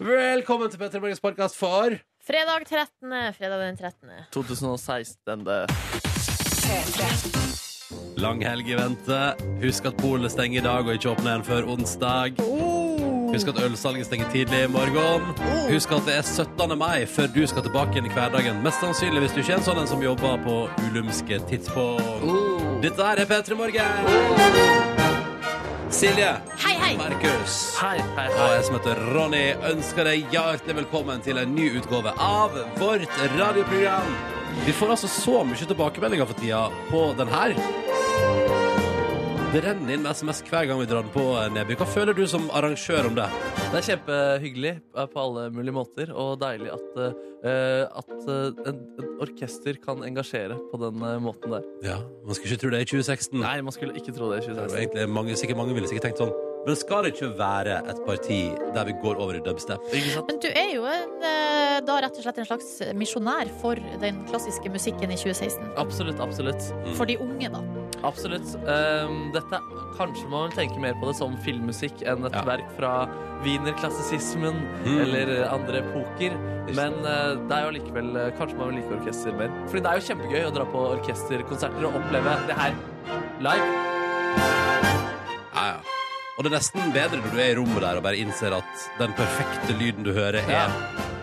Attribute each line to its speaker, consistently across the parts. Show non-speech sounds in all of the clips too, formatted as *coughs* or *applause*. Speaker 1: Velkommen til Petter Morgens podkast for
Speaker 2: Fredag 13. Fredag den 13.
Speaker 3: 2016. Det.
Speaker 1: lang helg i vente. Husk at polet stenger i dag og ikke åpner igjen før onsdag. Husk at ølsalget stenger tidlig i morgen. Husk at det er 17. mai før du skal tilbake igjen i hverdagen. Mest sannsynlig hvis du ikke er en sånn en som jobber på ulumske tidspunkt. Dette her er P3 Morgen. Silje.
Speaker 2: Hei, hei!
Speaker 1: Markus.
Speaker 3: Hei, hei,
Speaker 1: Og
Speaker 3: hei.
Speaker 1: jeg som heter Ronny, ønsker deg hjertelig velkommen til en ny utgave av vårt radioprogram. Vi får altså så mye tilbakemeldinger for tida på den her. Det renner inn med SMS hver gang vi drar den på, eh, Neby. Hva føler du som arrangør om det?
Speaker 3: Det er kjempehyggelig eh, på alle mulige måter, og deilig at, eh, at eh, en, en orkester kan engasjere på den eh, måten der.
Speaker 1: Ja, Man skulle ikke tro det i 2016.
Speaker 3: Nei, man skulle ikke tro det i
Speaker 1: Det er jo
Speaker 3: 2016.
Speaker 1: egentlig mange, sikkert mange ville sikkert tenkt sånn. Men skal det ikke være et parti der vi går over i dubstep?
Speaker 3: Ikke sant?
Speaker 2: Men du er jo en, eh, da rett og slett en slags misjonær for den klassiske musikken i 2016.
Speaker 3: Absolutt, absolutt.
Speaker 2: For de unge, da.
Speaker 3: Absolutt. Ehm, dette, kanskje man vil tenke mer på det som filmmusikk enn et
Speaker 1: Ja.
Speaker 3: verk fra wienerklassisismen
Speaker 1: Mm.
Speaker 3: eller eh, andre epoker. Men eh, det er jo likevel eh, Kanskje man vil like orkester mer. Fordi det er jo kjempegøy å dra på orkesterkonserter og oppleve det her live.
Speaker 1: Ja, ja. Og det er nesten bedre når du er i rommet der og bare innser at den perfekte lyden du hører, er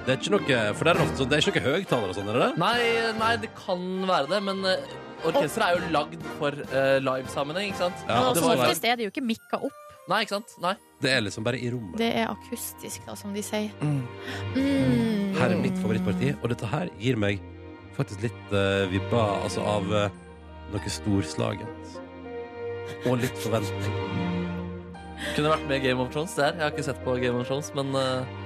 Speaker 1: Det er ikke noe, for det er ofte sånn, det er ikke noe høyttaler og sånn, er det det?
Speaker 3: Nei, nei, det kan være det, men eh, orkesteret er jo lagd for eh, live-sammenheng, ikke sant?
Speaker 1: Ja,
Speaker 2: Men
Speaker 1: det
Speaker 2: altså,
Speaker 1: må
Speaker 3: var-
Speaker 2: oftest er det jo ikke mikka opp.
Speaker 3: Nei, ikke sant? Nei.
Speaker 1: Det er liksom bare i rommet.
Speaker 2: Det er akustisk, da, som de sier.
Speaker 3: Mm.
Speaker 2: Mm.
Speaker 1: Her er mitt favorittparti, og dette her gir meg faktisk litt uh, vibba altså av eh, noe storslagent. Og litt forventning.
Speaker 3: Kunne vært med i Game of Thrones der. Jeg har ikke sett på Game of Thrones, men eh,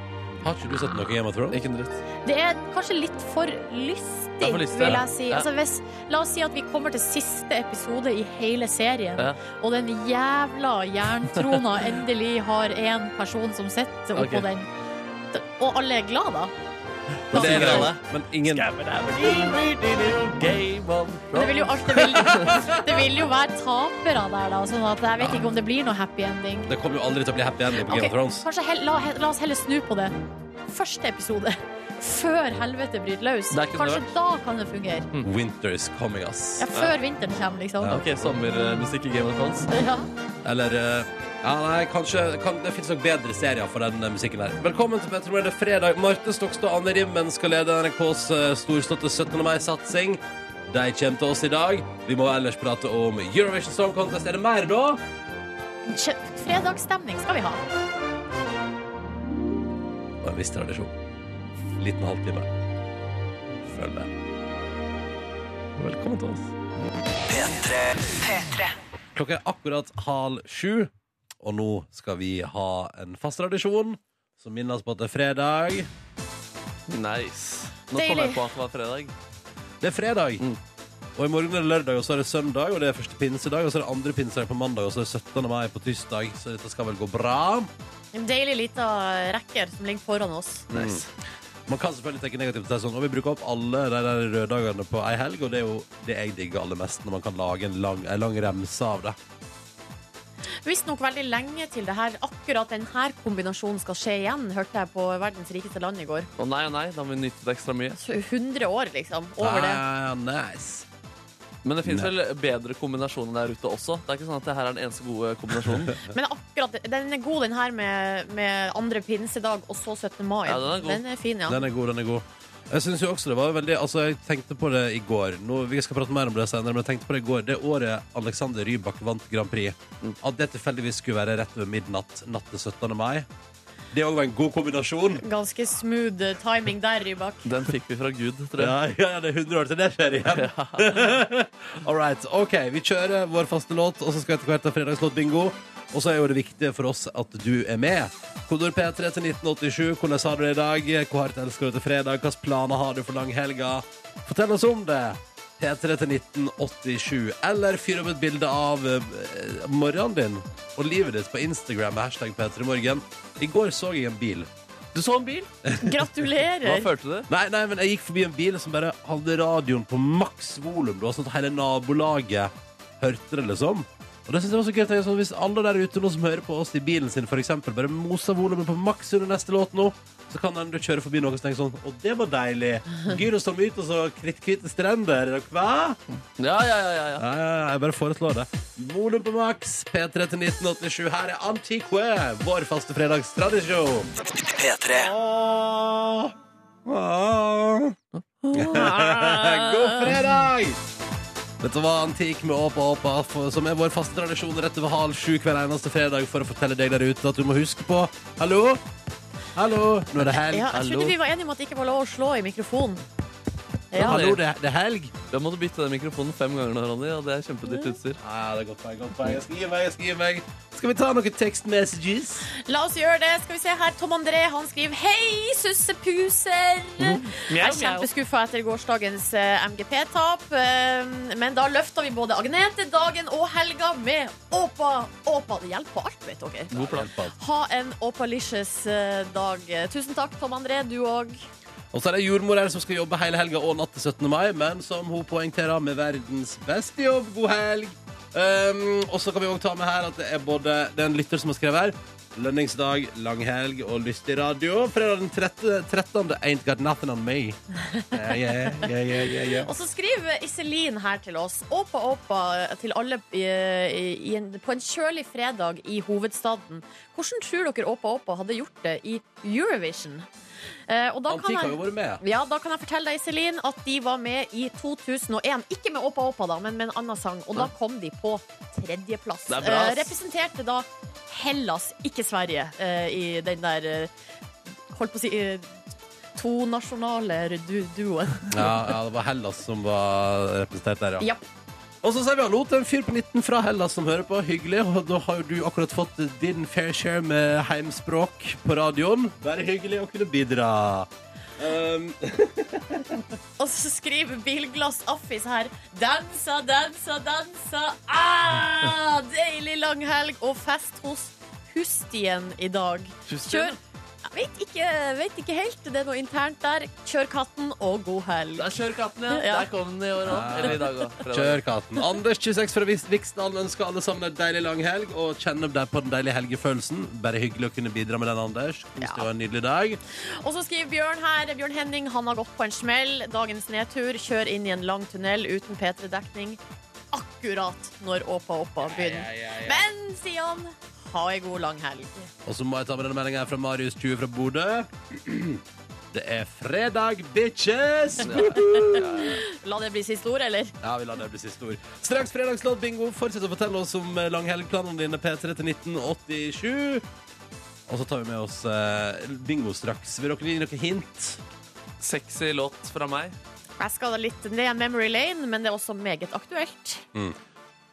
Speaker 1: Har ikke du sett noe Game of Thrones?
Speaker 3: ikke en dritt.
Speaker 2: Det er kanskje litt for lystig,
Speaker 3: Det er for lystig,
Speaker 2: vil
Speaker 3: ja.
Speaker 2: jeg si.
Speaker 3: Ja.
Speaker 2: Altså, hvis, la oss si at vi kommer til siste episode i hele serien,
Speaker 3: Ja.
Speaker 2: og den jævla
Speaker 3: *laughs*
Speaker 2: jerntrona endelig har én person som sitter oppå
Speaker 3: Ok.
Speaker 2: den. Og alle er glad, da.
Speaker 1: Men det er
Speaker 3: Sier
Speaker 1: greit,
Speaker 3: alle.
Speaker 1: Men ingen
Speaker 2: Men det vil jo alltid vil,
Speaker 3: *laughs*
Speaker 2: Det vil jo være tapere der, da. Sånn at jeg vet ikke om det blir noe happy ending.
Speaker 1: Det kommer jo aldri til å bli happy ending på
Speaker 2: Ok,
Speaker 1: Game of Thrones.
Speaker 2: Kanskje hell, la, he- la oss heller snu på det. Første episode. Før helvete bryter løs.
Speaker 3: Det er ikke så
Speaker 2: Kanskje da kan det fungere.
Speaker 1: Winter is coming, ass.
Speaker 2: Ja, før vinteren kommer, liksom.
Speaker 1: Ja.
Speaker 3: Ok, sommermusikk i Game of Thrones.
Speaker 2: Ja.
Speaker 1: Eller eh, Ja, nei, kanskje kan, Det fins nok bedre serier for den eh, musikken der. Velkommen til Petter Morgen, det er fredag. Marte Stokstad og Anne Rimmen skal lede NRKs eh, storslåtte 17. mai-satsing. De kommer til oss i dag. Vi må ellers prate om Eurovision Song Contest. Er det mer, da?
Speaker 2: Kjø- Fredagsstemning skal vi ha.
Speaker 1: Og en viss tradisjon. Liten halvtime. Følg med. Velkommen til oss. Klokka er akkurat halv sju, og nå skal vi ha en fast tradisjon som minner oss på at det er fredag.
Speaker 3: Nice. Nå kom jeg
Speaker 2: Deilig.
Speaker 3: på at det var fredag.
Speaker 1: Det er fredag.
Speaker 3: Mm.
Speaker 1: Og i morgen er det lørdag, og så er det søndag, og det er første pinsedag, og så er det andre pinsedag på mandag, og så er det 17. mai på tirsdag, så dette skal vel gå bra.
Speaker 2: En deilig lita rekker som ligger foran oss.
Speaker 3: Nice.
Speaker 1: Mm. Man kan selvfølgelig tenke negativt til det sånn, og vi bruker opp alle de der røde dagene på ei helg, og det er jo det jeg digger aller mest, når man kan lage en lang, en lang remse av det.
Speaker 2: Visstnok veldig lenge til det her. Akkurat denne kombinasjonen skal skje igjen, hørte jeg på Verdens rikeste land i går.
Speaker 3: Å nei og nei, da må vi nyte det ekstra mye.
Speaker 2: Så 100 år, liksom. Over det.
Speaker 1: Ah, nice.
Speaker 3: Men det fins
Speaker 1: Nei.
Speaker 3: vel bedre kombinasjoner der ute også. Det er ikke sånn at det her er den eneste gode kombinasjonen.
Speaker 2: *laughs* Men akkurat, den er god, den her med, med andre pinsedag og så 17. mai.
Speaker 3: Ja, den er god.
Speaker 2: fin, ja.
Speaker 1: Den er god, den er god. Jeg synes jo også det var veldig Altså, jeg tenkte på det i går. Nå, vi skal prate mer om det senere, men jeg tenkte på det i går. Det året Alexander Rybak vant Grand Prix, at det tilfeldigvis skulle være rett ved midnatt natt til 17. mai, det òg var en god kombinasjon.
Speaker 2: Ganske smooth eh, timing der, Rybak.
Speaker 3: Den fikk vi fra Gud, tror jeg.
Speaker 1: Ja, ja, *laughs* det er 100 år til det skjer igjen. *laughs* All right. OK, vi kjører vår faste låt, og så skal vi etter hvert ha fredagslåtbingo. Og så er jo det viktige for oss at du er med. Kodord P3 til 1987. Hvordan har du det i dag? Hvor hardt elsker du til fredag? Hvilke planer har du for langhelga? Fortell oss om det. P3 til 1987. Eller fyr opp et bilde av eh, morgenen din og livet ditt på Instagram med hashtag P3morgen. I går så jeg en bil.
Speaker 3: Du så en bil! Hva
Speaker 2: Gratulerer!
Speaker 3: følte du?
Speaker 1: Nei, nei, men jeg gikk forbi en bil som bare hadde radioen på maks volum. Det var Sånn at hele nabolaget hørte det, liksom. Og det synes jeg var så gøy, tenker jeg sånn, Hvis alle der ute nå som hører på oss i bilen sin, for eksempel, bare moser volumet på maks under neste låt nå, så kan den du kjører forbi noe og tenker sånn Å, det var deilig. Gyros som ut, og så kritthvite strender. Hva?
Speaker 3: Ja, ja, ja, ja, ja.
Speaker 1: Ja, ja, ja, jeg bare foreslår det. Volum på maks, P3 til 1987. Her er Antique, vår faste fredagstradisjon.
Speaker 4: P3.
Speaker 1: Åh, åh. God
Speaker 2: God
Speaker 1: fredag! Dette var Antik med Åpa Åpa, for- som er vår faste tradisjon rett over halv sju hver eneste fredag for å fortelle deg der ute at du må huske på Hallo? Hallo? Nå er det helg.
Speaker 2: Ja, jeg
Speaker 3: Hallo.
Speaker 2: trodde vi var enige om at det ikke var lov å slå i mikrofonen. Ja.
Speaker 1: Hallo, det, det er helg.
Speaker 3: Da må du bytte den mikrofonen fem ganger nå, Ronny, og det er kjempedyrt utstyr.
Speaker 1: Ja, det er godt poeng. godt poeng. Jeg skal gi meg. jeg skal gi meg Skal vi ta noen text messages?
Speaker 2: La oss gjøre det. Skal vi se her. Tom André han skriver Hei, sussepuser! Jeg er kjempeskuffa etter gårsdagens eh, MGP-tap. eh, Men da løfta vi både Agnete, dagen og helga med Åpa Åpa. Det hjelper på alt, vet dere.
Speaker 3: God plan.
Speaker 2: Ha en Åpalicious eh, dag. Tusen takk, Tom André. Du òg.
Speaker 1: Og så er det jordmor her som skal jobbe hele helga og natt til 17. mai, men som hun poengterer med verdens beste jobb. God helg! Um, og så kan vi også ta med her at det er både det er en lytter som har skrevet her. Lønningsdag, langhelg og lystig radio. Fredag den 13. 13. Ain't got nothing on
Speaker 2: *laughs*
Speaker 1: me. Yeah, yeah, yeah, yeah, yeah, yeah.
Speaker 2: Og så skriver Iselin her til oss. Åpa, åpa til alle i, i en, på en kjølig fredag i hovedstaden. Hvordan tror dere Åpa, åpa hadde gjort det i Eurovision? Eh, og da kan
Speaker 1: Antik har jo
Speaker 2: jeg...
Speaker 1: vært med.
Speaker 2: Ja, da kan jeg fortelle deg, Iselin, at de var med i 2001. Ikke med Åpa Åpa, da, men med en annen sang. Og da kom de på tredjeplass.
Speaker 3: Det er bra, ass.
Speaker 2: Eh, representerte da Hellas, ikke Sverige, eh, i den der eh, Holdt på å si eh, tonasjonale du duoen.
Speaker 1: Ja, ja, det var Hellas som var representert
Speaker 2: *laughs*
Speaker 1: der, ja.
Speaker 2: Ja.
Speaker 1: Og så sier vi hallo til en fyr på 19 fra Hellas som hører på. Hyggelig. Og da har jo du akkurat fått din fair share med heimspråk på radioen. Bare hyggelig å kunne bidra. Um,
Speaker 2: Og så skriver Bilglass Affis her Dansa, dansa, dansa ah, Deilig langhelg og fest hos Hustien i dag Kjør Jeg vet ikke, vet ikke helt, det er noe internt der Kjør katten og god helg
Speaker 3: Da kjør katten, ja.
Speaker 2: Ja.
Speaker 3: Der kom den i år òg. Eller i dag òg.
Speaker 1: kjør katten. Anders 26 fra Vis- Viksdalen ønsker alle sammen en deilig lang helg. Og kjenner deg på den deilige helgefølelsen. Bare hyggelig å kunne bidra med den, Anders. Kos deg og ha en nydelig dag.
Speaker 2: Og så skriver Bjørn her Bjørn Henning, han har gått på en smell Dagens nedtur, kjør inn i en lang tunnel Uten P3-dekning Akkurat når Åpa Åpa begynner Men, sier han Ha en god lang helg
Speaker 1: Og så må jeg ta med denne meldingen her fra Marius 20 fra Bodø. *clears throat* Det er fredag, bitches!
Speaker 2: La det bli siste ord, eller?
Speaker 1: Ja, vi lar det bli siste ord. Straks fredagslåt bingo. Fortsett å fortelle oss om eh, langhelgplanene dine, P3 til 1987. Og så tar vi med oss eh, bingo straks. Vil dere gi noen hint?
Speaker 3: Sexy låt fra meg.
Speaker 2: Jeg skal da litt ned memory lane, men det er også meget aktuelt.
Speaker 1: Mm.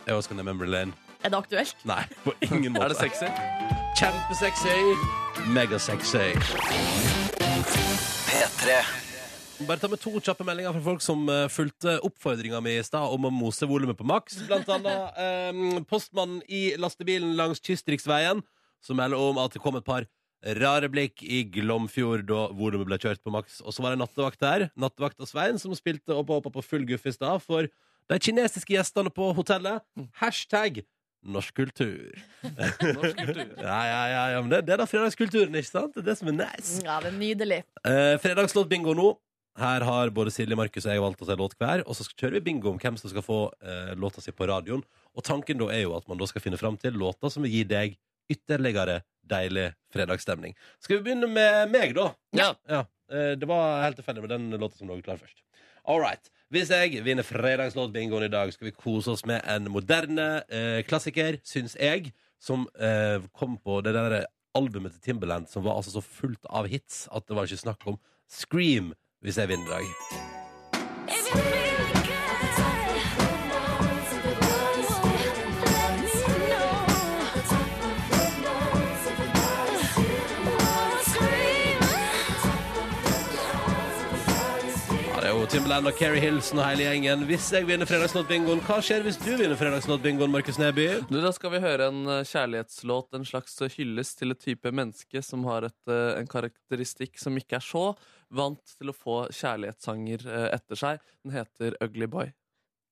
Speaker 1: Jeg også kan det Memory Lane.
Speaker 2: Er det aktuelt?
Speaker 1: Nei, på ingen
Speaker 3: *laughs*
Speaker 1: måte.
Speaker 3: Er det sexy?
Speaker 1: Kjempesexy. Megasexy.
Speaker 4: P3.
Speaker 1: Bare ta med to kjappe meldinger fra folk som eh, fulgte oppfordringa mi i stad om å mose volumet på maks. Blant annet eh, postmannen i lastebilen langs Kystriksveien, som melder om at det kom et par rare blikk i Glomfjord da volumet ble kjørt på maks. Og så var det nattevakt der, nattevakta Svein, som spilte opp og oppa på full guff i stad for de kinesiske gjestene på hotellet. Hashtag norsk kultur.
Speaker 3: *laughs* Norsk kultur.
Speaker 1: *laughs* Ja, ja, ja, ja men det, det er da fredagskulturen, ikke sant? Det er det som er nice.
Speaker 2: Ja, det er nydelig.
Speaker 1: Eh, Fredagslåtbingo nå. Her har både Silje, Markus og jeg valgt oss en låt hver. Og så kjører vi bingo om hvem som skal få eh, låta si på radioen. Og tanken da er jo at man da skal finne fram til låta som vil gi deg ytterligere deilig fredagsstemning. Skal vi begynne med meg, da?
Speaker 3: Ja.
Speaker 1: Ja, eh, det var helt tilfeldig med den låta som lå klar først. All right. Hvis jeg vinner fredagslåtbingoen i dag, skal vi kose oss med en moderne eh, klassiker, syns jeg, som eh, kom på det der albumet til Timberland som var altså så fullt av hits at det var ikke snakk om Scream hvis jeg vinner i dag. Ja, det er jo Timberland og Keri Hilson og hele gjengen. Hvis jeg vinner fredagslåtbingoen, hva skjer hvis du vinner fredagslåtbingoen, Markus Neby?
Speaker 3: Du, Da skal vi høre en eh, kjærlighetslåt, en slags eh, hyllest til et type menneske som har et, eh, en karakteristikk som ikke er så vant til å få kjærlighetssanger eh, etter seg. Den heter Ugly Boy.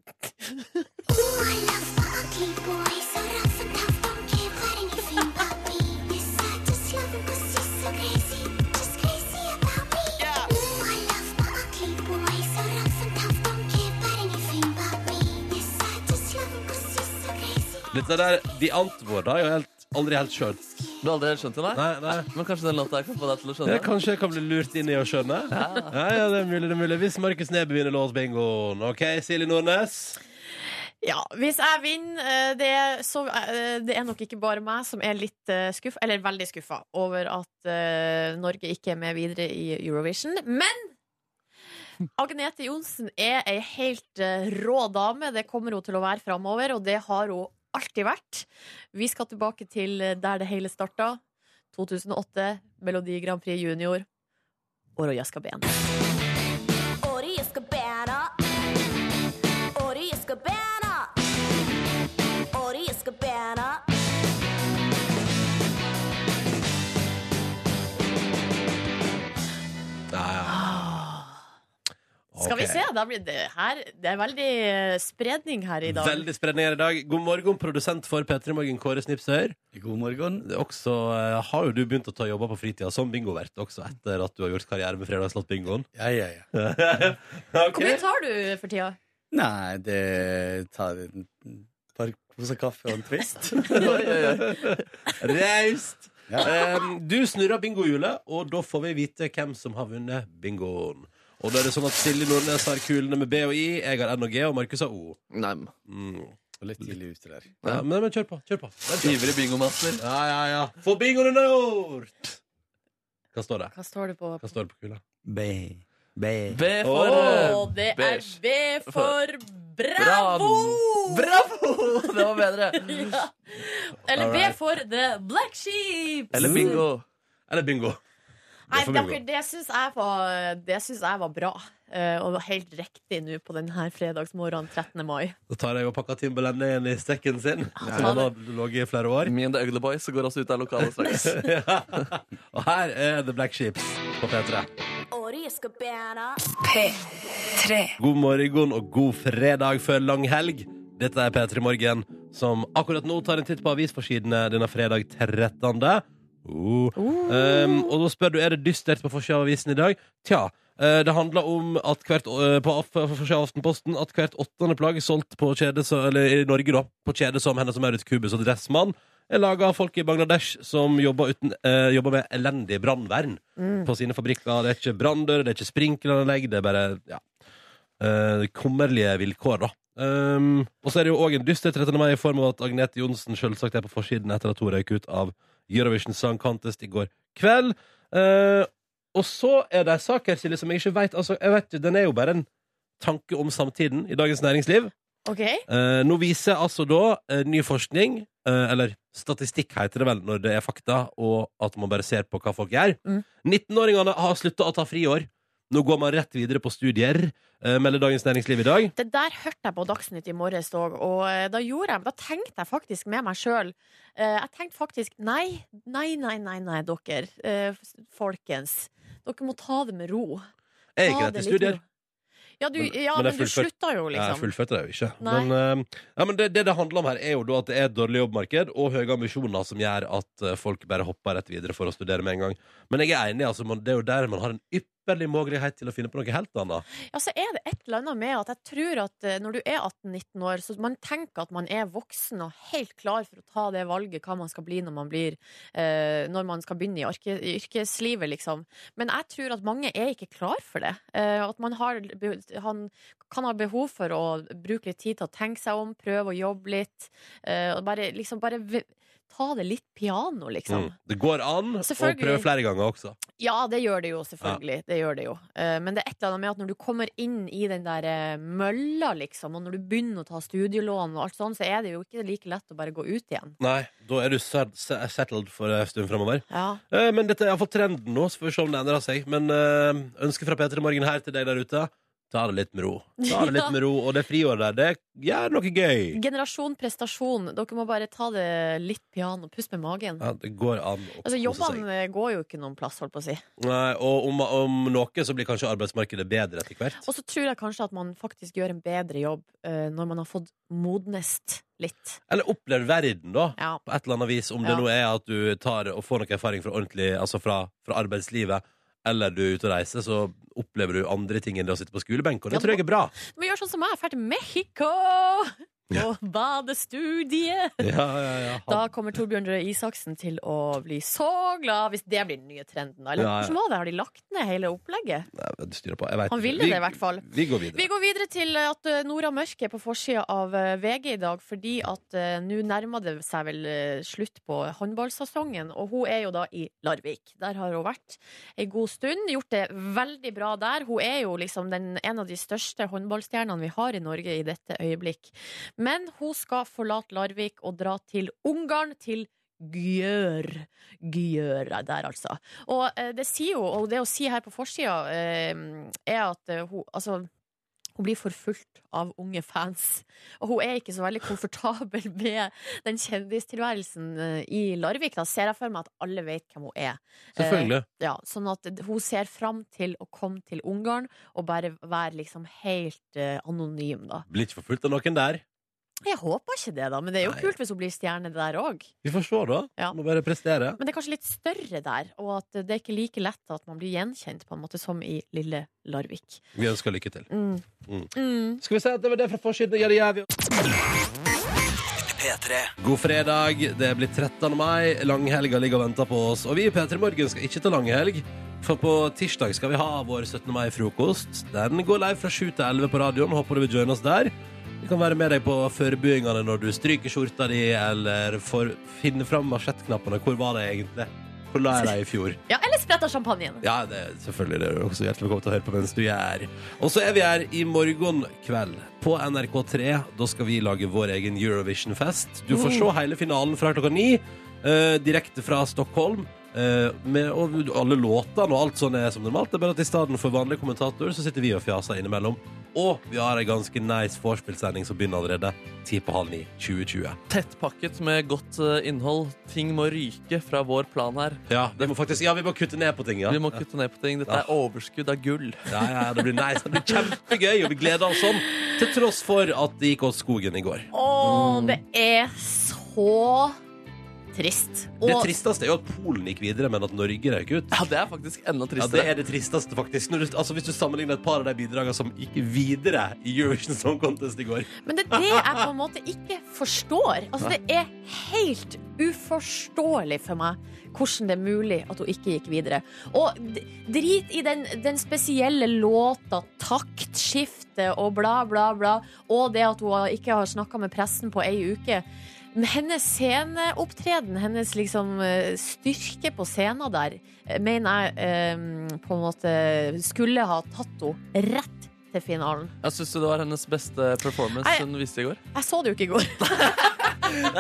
Speaker 5: Ooh, I love
Speaker 4: Ugly boys are often tough, don't care about anything about me. Yes, I just love him 'cause he's so crazy, just crazy about me. Ooh, I love my ugly boys are often tough, don't care about anything about me. Yes, I just love him 'cause he's so crazy.
Speaker 1: Dette der, De ante vår, da. Jeg har helt, aldri helt skjønt.
Speaker 3: Du har aldri helt skjønt det, nei?
Speaker 1: Nei, nei.
Speaker 3: Men kanskje den låta her kan få deg til å skjønne
Speaker 1: Det kanskje jeg kan bli lurt inn i å skjønne. Ja. ja, det er mulig, det er mulig. Hvis Markus Neby vinner låtbingoen. OK, Silje Nordnes.
Speaker 2: Ja, hvis jeg vinner, eh, det, er- så eh, det er nok ikke bare meg som er litt eh, skuff, eller veldig skuffa over at eh, Norge ikke er med videre i Eurovision. Men Agnete Johnsen er ei helt eh, rå dame. Det kommer hun til å være framover, og det har hun alltid vært. Vi skal tilbake til eh, der det hele starta. 2008, Melodi Grand Prix Junior. Og Roya skal ben.
Speaker 5: Ori jeg skal bære Ori jeg skal bære Ori jeg skal bære
Speaker 1: Ja, ja.
Speaker 2: Skal vi
Speaker 1: Ok.
Speaker 2: se. Da blir det, her, det er veldig eh, spredning her i dag.
Speaker 1: Veldig spredning her i dag. God morgen, produsent for P3 Morgen, Kåre Snipsøyr.
Speaker 6: God morgen.
Speaker 1: Det er Også eh, har jo du begynt å ta jobber på fritida som bingovert, også etter at du har gjort karriere med Fredagslåtbingoen.
Speaker 6: Ja, ja, ja.
Speaker 1: *laughs*
Speaker 2: Hvor mye tar du for tida?
Speaker 6: Nei, det tar en par poser kaffe og en twist.
Speaker 1: Raust!
Speaker 6: Ja.
Speaker 1: Em, du snurrer bingohjulet, og da får vi vite hvem som har vunnet bingoen. Og da er det sånn at Silje Nordnes har kulene med B og I, jeg har N og G, og Markus har O.
Speaker 3: Nei, men.
Speaker 1: Mm.
Speaker 6: Litt tidlig ute der.
Speaker 1: Ja, men, men kjør på. Kjør på. Bare kjør.
Speaker 3: Ivrig bingomaster.
Speaker 1: Ja, ja, ja. Få bingoen unnagjort! Hva står det?
Speaker 2: Hva står det på?
Speaker 1: Hva står det på kula?
Speaker 6: B. B.
Speaker 3: B for
Speaker 2: Å,
Speaker 3: eh,
Speaker 2: det er
Speaker 3: beige.
Speaker 2: B for Bravo!
Speaker 3: Bravo! *laughs* Det var bedre.
Speaker 2: Ja. Eller B
Speaker 1: Alright.
Speaker 2: for The Black Sheep.
Speaker 3: Eller bingo.
Speaker 1: Eller bingo.
Speaker 2: Nei,
Speaker 1: for
Speaker 2: dere,
Speaker 1: bingo.
Speaker 2: det syns jeg, var- det syns jeg var bra. Eh, og helt riktig nå på denne fredagsmorgenen 13. mai.
Speaker 1: Da tar jeg og pakker Timberland ned igjen i stekken sin. Som han har ligget i flere år.
Speaker 3: Me and the Ugly Boys går også ut av lokalet straks.
Speaker 1: *laughs* Ja. Og her er The Black Sheeps på P3.
Speaker 5: Ori jeg skal bære
Speaker 1: God morgen og god fredag før lang helg. Dette er P3 Morgen, som akkurat nå tar en titt på avisforsidene denne fredag 13. Uh. Um, og da spør du er det dystert på forsida av avisen i dag. Tja. eh, Det handler om at hvert, eh, på af- på forsida av Aftenposten at hvert åttende plagg solgt på kjede, så- eller i Norge da, på kjede som henne som er Ruth Kubus og Dressmann, er laga av folk i Bangladesh som jobber, uten, eh, jobber med elendig brannvern på sine fabrikker. Det er ikke branndører, det er ikke sprinkleranlegg, det er bare ja, eh, kummerlige vilkår, da. Um, og så er det jo òg en dyster 13. mai i form av at Agnete Johnsen selvsagt er på forsiden etter at hun røyk ut av Eurovision Song Contest i går kveld. Eh, og så er det en sak her, Silje, som jeg ikke veit altså, jeg vet jo, Den er jo bare en tanke om samtiden i Dagens Næringsliv.
Speaker 2: OK?
Speaker 1: Eh, nå viser altså da eh, ny forskning, eh, eller statistikk heter det vel når det er fakta, og at man bare ser på hva folk gjør.
Speaker 2: Mm.
Speaker 1: 19-åringene har slutta å ta friår. Nå går man rett videre på studier, eh, melder Dagens Næringsliv i dag.
Speaker 2: Det der hørte jeg på Dagsnytt i morges òg, og eh, da, gjorde jeg, da tenkte jeg faktisk med meg sjøl Jeg tenkte faktisk nei, nei, nei, nei, nei, dere. eh, Folkens. Dere må ta det med ro. Ta
Speaker 1: Jeg gikk rett
Speaker 2: det
Speaker 1: til
Speaker 2: litt
Speaker 1: studier.
Speaker 2: med ro. Ja, du,
Speaker 1: Men-
Speaker 2: ja, men,
Speaker 1: men det er
Speaker 2: du
Speaker 1: fullført.
Speaker 2: slutta jo,
Speaker 1: Ja, jeg
Speaker 2: liksom.
Speaker 1: fullførte det jo ikke.
Speaker 2: Nei.
Speaker 1: Men, eh, ja, men det, det det handler om her, er jo da at det er et dårlig jobbmarked og høye ambisjoner som gjør at eh, folk bare hopper rett videre for å studere med en gang. Men jeg er enig, altså, man, det er jo der man har en ypperlig mulighet til å finne på noe helt annet.
Speaker 2: Ja, så er det et eller annet med at jeg tror at eh, når du er 18-19 år, så man tenker at man er voksen og helt klar for å ta det valget hva man skal bli når man, blir, eh, når man skal begynne i, arke, i yrkeslivet, liksom. Men jeg tror at mange er ikke klar for det. Eh, at man har, be- han kan ha behov for å bruke litt tid til å tenke seg om, prøve å jobbe litt. eh, og bare, liksom, bare v- ta det litt piano, liksom.
Speaker 1: Mm. Det går an å
Speaker 2: Selvfølgelig.
Speaker 1: prøve flere ganger også.
Speaker 2: Ja, det gjør det jo, selvfølgelig. Det gjør det jo. Eh, Men det er et eller annet med at når du kommer inn i den der eh, mølla, liksom, og når du begynner å ta studielån og alt sånn, så er det jo ikke like lett å bare gå ut igjen.
Speaker 1: Nei, da er du set- set- settled for en stund fremover
Speaker 2: Ja.
Speaker 1: Eh, Men dette er iallfall trenden nå, så får vi se om det endrer seg. Men eh, ønske fra Peter i morgen her til deg der ute. Ta det litt med ro. Ta
Speaker 2: *laughs*
Speaker 1: det litt med ro, Og det friåret der, det gjør noe gøy.
Speaker 2: Generasjon prestasjon. Dere må bare ta det litt piano. Pust med magen.
Speaker 1: Ja, det går an å
Speaker 2: Altså,
Speaker 1: kose seg.
Speaker 2: Jobbene går jo ikke noen plass, holdt på å si.
Speaker 1: Nei, og om, om noe så blir kanskje arbeidsmarkedet bedre etter hvert.
Speaker 2: Og så tror jeg kanskje at man faktisk gjør en bedre jobb eh, når man har fått modnest litt.
Speaker 1: Eller opplever verden, da.
Speaker 2: Ja.
Speaker 1: På et eller annet vis. Om det
Speaker 2: Ja.
Speaker 1: nå er at du tar og får noe erfaring fra, ordentlig, altså fra, fra arbeidslivet, eller du er ute og reiser, så opplever du andre ting enn det å sitte på skolebenk, og det
Speaker 2: Ja,
Speaker 1: tror jeg er bra.
Speaker 2: Men gjør sånn som meg, drar til Mexico! Og badestudie!
Speaker 1: Ja, ja, ja.
Speaker 2: *laughs* Da kommer Torbjørn Røe Isaksen til å bli så glad, hvis det blir den nye trenden. da. Eller
Speaker 1: Ja, ja.
Speaker 2: hvordan var det? Har de lagt ned hele opplegget?
Speaker 1: Nei, du styrer på. Jeg vet
Speaker 2: Han
Speaker 1: ikke.
Speaker 2: ville
Speaker 1: Vi-
Speaker 2: det i hvert fall.
Speaker 1: Vi går videre.
Speaker 2: Vi går videre til at eh, Nora Mørke er på forsida av eh, VG i dag, fordi at eh, nå nærmer det seg vel eh, slutt på håndballsesongen. Og hun er jo da i Larvik. Der har hun vært ei god stund. Gjort det veldig bra der. Hun er jo liksom den, en av de største håndballstjernene vi har i Norge i dette øyeblikk. Men hun skal forlate Larvik og dra til Ungarn, til Gjør. Gjør er der, altså. Og eh, det sier jo, og det å si her på forsida, eh, er at eh, hun Altså, hun blir forfulgt av unge fans. Og hun er ikke så veldig komfortabel med den kjendistilværelsen eh, i Larvik. Da ser jeg for meg at alle vet hvem hun er.
Speaker 1: Selvfølgelig.
Speaker 2: Ja, sånn at hun ser fram til å komme til Ungarn og bare være liksom helt eh, anonym, da.
Speaker 1: Blir ikke forfulgt av noen der.
Speaker 2: Jeg håper ikke det, da, men det er jo
Speaker 1: Nei.
Speaker 2: kult hvis hun blir stjerne der òg.
Speaker 1: Vi får se, da.
Speaker 2: Ja.
Speaker 1: Må bare prestere.
Speaker 2: Men det er kanskje litt større der, og at det er ikke like lett at man blir gjenkjent på en måte som i lille Larvik.
Speaker 1: Vi ønsker lykke til.
Speaker 2: Mm.
Speaker 1: Mm.
Speaker 2: Mm.
Speaker 1: Skal vi se at det var det fra forsiden? Ja, det gjør vi. God fredag. Det er blitt 13. mai. Langhelga ligger og venter på oss. Og vi i P3 Morgen skal ikke ta langhelg, for på tirsdag skal vi ha vår 17. mai-frokost. Den går live fra 7 til 11 på radioen. Håper du vil joine oss der. Vi kan være med deg på forberedelsene når du stryker skjorta di, eller får finne fram marsjettknappene. Hvor var det egentlig? Hvor la jeg dem i fjor?
Speaker 2: Ja, eller spretter champagnen.
Speaker 1: Ja, det er selvfølgelig det er du også hjertelig velkommen til å høre på mens du er Og så er vi her i morgen kveld på NRK3. Da skal vi lage vår egen Eurovision-fest. Du får se hele finalen fra klokka ni, eh, direkte fra Stockholm. eh, med, og alle låtene og alt sånn er som normalt. Det er bare at i stedet for vanlig kommentator, så sitter vi og fjaser innimellom. Og vi har ei ganske nice vorspiel-sending som begynner allerede ti på halv ni 2020.
Speaker 3: Tettpakket med godt eh, innhold. Ting må ryke fra vår plan her.
Speaker 1: Ja, vi må faktisk Ja, vi må kutte ned på ting, ja.
Speaker 3: Vi må kutte ned på ting. Dette er overskudd av gull.
Speaker 1: Ja, ja, det blir nice. Det blir kjempegøy, og vi gleder oss sånn. Til tross for at det gikk oss skogen i går.
Speaker 2: Å, det er så trist.
Speaker 1: Det tristeste er jo at Polen gikk videre, men at Norge røyk ut.
Speaker 3: Ja, det er faktisk enda
Speaker 1: Ja, det
Speaker 3: tristere.
Speaker 1: er det tristeste, faktisk. Når du, altså, hvis du sammenligner et par av de bidragene som gikk videre i Eurovision Song Contest i går.
Speaker 2: Men det er det jeg på en måte ikke forstår. Altså, det er helt uforståelig for meg hvordan det er mulig at hun ikke gikk videre. Og d- drit i den, den spesielle låta, taktskiftet og bla, bla, bla, og det at hun ikke har snakka med pressen på ei uke. Men Hennes sceneopptreden, hennes liksom eh, styrke på scenen der, eh, mener jeg eh, på en måte skulle ha tatt henne rett til finalen.
Speaker 3: Jeg syns det var hennes beste performance
Speaker 2: Nei.
Speaker 3: hun viste i går.
Speaker 2: Jeg så det jo ikke i
Speaker 1: *laughs*
Speaker 2: går.
Speaker 3: Ja,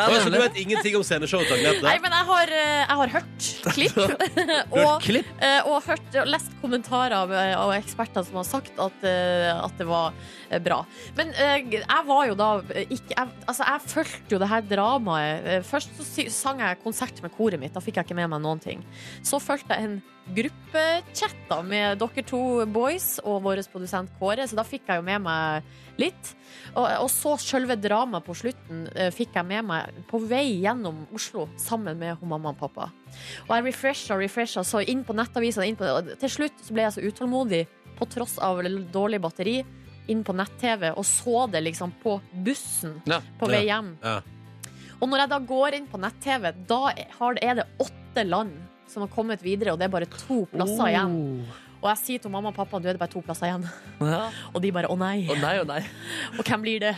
Speaker 1: Altså, du vet ingenting om sceneshowet til
Speaker 2: Nei,
Speaker 1: Agnete?
Speaker 2: men jeg har, eh, jeg har hørt
Speaker 1: *laughs*
Speaker 2: klipp.
Speaker 1: Du har
Speaker 2: og,
Speaker 1: klipp?
Speaker 2: eh, og hørt og lest kommentarer av, eh, av eksperter som har sagt at, eh, at det var eh, bra. Men eh, jeg var jo da eh, ikke jeg, Altså, jeg fulgte jo det her dramaet. Eh, Først så sy- sang jeg konsert med koret mitt. Da fikk jeg ikke med meg noen ting. Så fulgte jeg en gruppechat da med dere to boys og vår produsent Kåre, så da fikk jeg jo med meg litt. Og, og så selve dramaet på slutten eh, fikk jeg med meg på vei gjennom Oslo sammen med hun mamma og pappa. Og jeg refresha og refresha, så inn på nettavisene, inn på, og til slutt så ble jeg så utålmodig, på tross av l- dårlig batteri, inn på nett-TV og så det liksom på bussen
Speaker 3: Ja,
Speaker 2: på vei hjem.
Speaker 1: Ja.
Speaker 2: Og når jeg da går inn på nett-TV, da har- er det åtte land som har kommet videre, og det er bare to
Speaker 7: Oh.
Speaker 2: plasser igjen.
Speaker 1: Oh.
Speaker 2: Og jeg sier til mamma og pappa, du er det bare to plasser igjen. *laughs*
Speaker 3: Ja.
Speaker 2: Og de bare, å nei,
Speaker 3: Å nei, å nei.
Speaker 2: *laughs* og hvem blir det?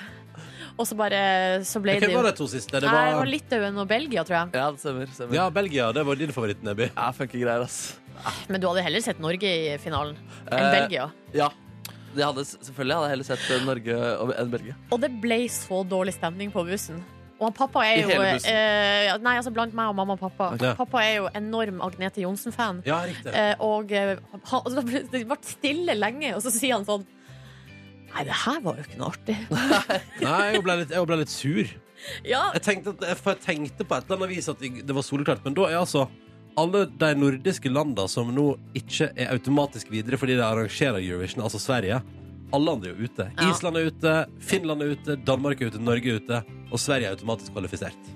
Speaker 2: Og så bare, så ble det
Speaker 1: Hvem
Speaker 2: jo
Speaker 1: var de to siste? Det
Speaker 2: Nei, det var
Speaker 1: var
Speaker 2: Litauen og Belgia, tror jeg.
Speaker 3: Ja, det stemmer. stemmer.
Speaker 1: Ja, Belgia. Det var din favoritt, Nebby.
Speaker 3: Ja, funker greier, ass.
Speaker 2: Men du hadde heller sett Norge i finalen enn
Speaker 3: Eh.
Speaker 2: Belgia.
Speaker 3: Ja. Jeg hadde, selvfølgelig hadde jeg heller sett eh, Norge og- enn Belgia.
Speaker 2: Og det ble så dårlig stemning på bussen. Og han pappa er
Speaker 3: I
Speaker 2: jo
Speaker 3: hele bussen?
Speaker 2: eh, ja, Nei, altså blant meg og mamma og pappa.
Speaker 1: Ok.
Speaker 2: Pappa er jo enorm Agnete Johnsen-fan.
Speaker 1: Ja, riktig.
Speaker 2: Eh, og eh, han, altså, det ble det ble stille lenge, og så sier han sånn Nei, det her var jo ikke noe artig.
Speaker 1: Nei, jeg ble litt, jeg ble litt sur.
Speaker 2: Ja,
Speaker 1: Jeg tenkte, at, for jeg tenkte på et eller annet vis at vi- det var soleklart, men da er altså alle de nordiske landene som nå ikke er automatisk videre fordi de arrangerer Eurovision, altså Sverige, alle andre er jo ute.
Speaker 2: Ja.
Speaker 1: Island er ute, Finland er ute, Danmark er ute, Norge er ute, og Sverige er automatisk kvalifisert.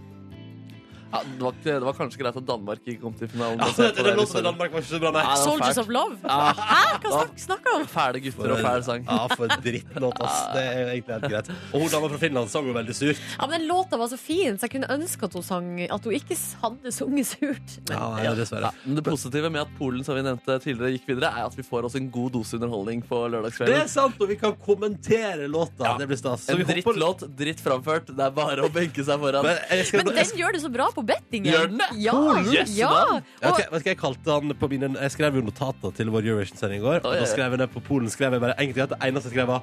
Speaker 3: Ja, det, var, ikke- det var kanskje greit at Danmark ikke kom til finalen.
Speaker 1: Altså, den låten til Danmark var ikke så bra, nei.
Speaker 3: Ja, det var
Speaker 2: Soldiers
Speaker 3: fælt.
Speaker 2: of Love?
Speaker 3: Ja.
Speaker 2: Hæ? Hva snak, snakker om?
Speaker 3: Fæle gutter og fæl sang.
Speaker 1: Ja, for en drittlåt, ass. Det er egentlig helt greit. Og hun dama fra Finland sang jo veldig surt.
Speaker 2: Ja, men Den låta var så fin, så jeg kunne ønske at hun, sang, at hun ikke hadde sunget surt. Men,
Speaker 1: Ja, nei,
Speaker 3: *laughs*
Speaker 1: dessverre.
Speaker 3: Ja, men det positive med at Polen som vi nevnte tidligere gikk videre, er at vi får oss en god dose underholdning på
Speaker 1: Det er
Speaker 3: lørdagskvelden.
Speaker 1: sant, og vi kan kommentere låta.
Speaker 3: Ja.
Speaker 1: Det blir stas. Så
Speaker 3: En
Speaker 1: vi hopper-
Speaker 3: drittlåt, dritt framført. Det er bare å benke seg foran.
Speaker 1: Men jeg skal,
Speaker 2: men
Speaker 1: jeg
Speaker 2: den gjør det så bra på bettingen.
Speaker 3: Gjør den det?
Speaker 2: Ja,
Speaker 3: Polen? Yes,
Speaker 2: ja.
Speaker 3: da.
Speaker 1: Jeg vet
Speaker 2: Og,
Speaker 1: ikke- vet ikke hva jeg kalte han på mine Jeg skrev jo notater til vår Eurovision-sending i går.
Speaker 3: Oi,
Speaker 1: Og
Speaker 3: oi,
Speaker 1: da
Speaker 3: oi.
Speaker 1: skrev jeg ned på Polen skrev jeg bare egentlig at det eneste jeg skrev, var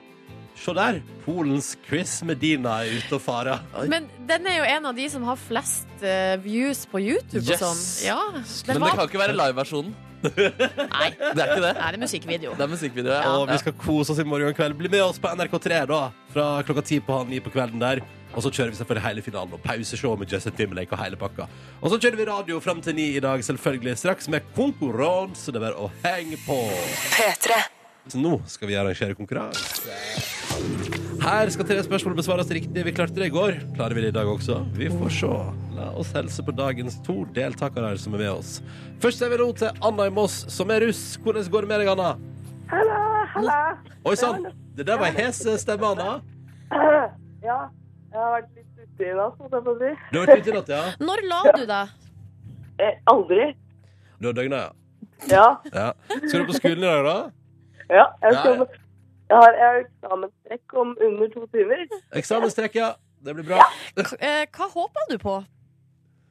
Speaker 1: Se der! Polens Chris Medina er ute og farer.
Speaker 2: men den er jo en av de som har flest eh, views på YouTube
Speaker 3: Yes.
Speaker 2: og sånn. Ja, den
Speaker 3: Men det
Speaker 2: var,
Speaker 3: kan ikke være liveversjonen.
Speaker 2: *laughs* nei, nei,
Speaker 3: *laughs* Det er ikke det.
Speaker 2: det er musikkvideo.
Speaker 3: Det er musikkvideo. Ja.
Speaker 1: Og vi
Speaker 3: Ja.
Speaker 1: skal kose oss i morgen kveld. Bli med oss på NRK3 da fra klokka ti på halv ni på kvelden der. Og så kjører vi selvfølgelig hele finalen og pauseshow med Justin Timberlake og hele pakka. Og så kjører vi radio fram til ni i dag, selvfølgelig straks med konkurranse. Det er bare å henge på. Så nå skal vi arrangere konkurranse. Her skal tre spørsmål besvares riktig. Vi klarte det i går. Klarer vi det i dag også? Vi får se. La oss helse på dagens to deltakere her som er med oss. Først sier vi nå til Anna i Moss, som er russ. Hvordan går det med deg, Anna?
Speaker 7: Hallo, hallo. *clears throat*
Speaker 1: Oi sann, det der var hes eh, stemme, Anna.
Speaker 7: Ja, jeg har vært litt ute i dag, som jeg får si.
Speaker 1: Du har vært ute i natt, ja?
Speaker 2: Når la du deg?
Speaker 7: Eh, aldri.
Speaker 1: Du har døgna, ja.
Speaker 7: Ja,
Speaker 1: ja. Skal du på skolen i dag, da?
Speaker 7: ja. Jeg,
Speaker 1: Ja,
Speaker 7: skal,
Speaker 1: ja.
Speaker 7: jeg har, jeg har eksamenstrekk om under to timer.
Speaker 1: Eksamenstrekk, ja. Det blir bra.
Speaker 2: K- eh, Hva håper du på?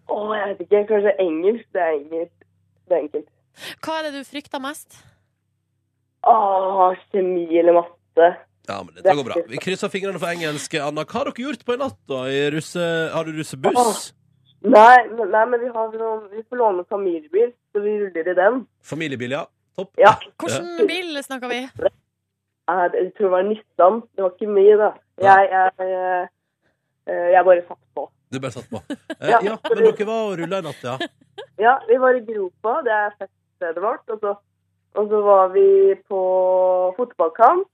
Speaker 7: Å, jeg vet ikke. Kanskje engelsk. Det er engelsk. Det er enkelt.
Speaker 2: Hva er det du frykter mest?
Speaker 7: Å, kjemi eller matte.
Speaker 1: Ja, men dette går bra. Vi krysser fingrene for engelsk. Anna, hva har dere gjort på i natt, da? I russe... Har du russebuss?
Speaker 7: Nei, men- nei men vi, har, noen- vi får låne familiebil, så vi ruller i den.
Speaker 1: Familiebil, ja. Topp.
Speaker 7: Ja.
Speaker 2: Hvilken bil snakker vi?
Speaker 7: Jeg, jeg tror det var Nissan. Det var ikke mye, da. Jeg, jeg, jeg, jeg bare satt på.
Speaker 1: Du bare satt på. Eh, ja.
Speaker 7: Ja.
Speaker 1: men dere var og rulla i natt, ja.
Speaker 7: Ja, vi var i Gropa, det er feststedet vårt. Og så, og så var vi på fotballkamp.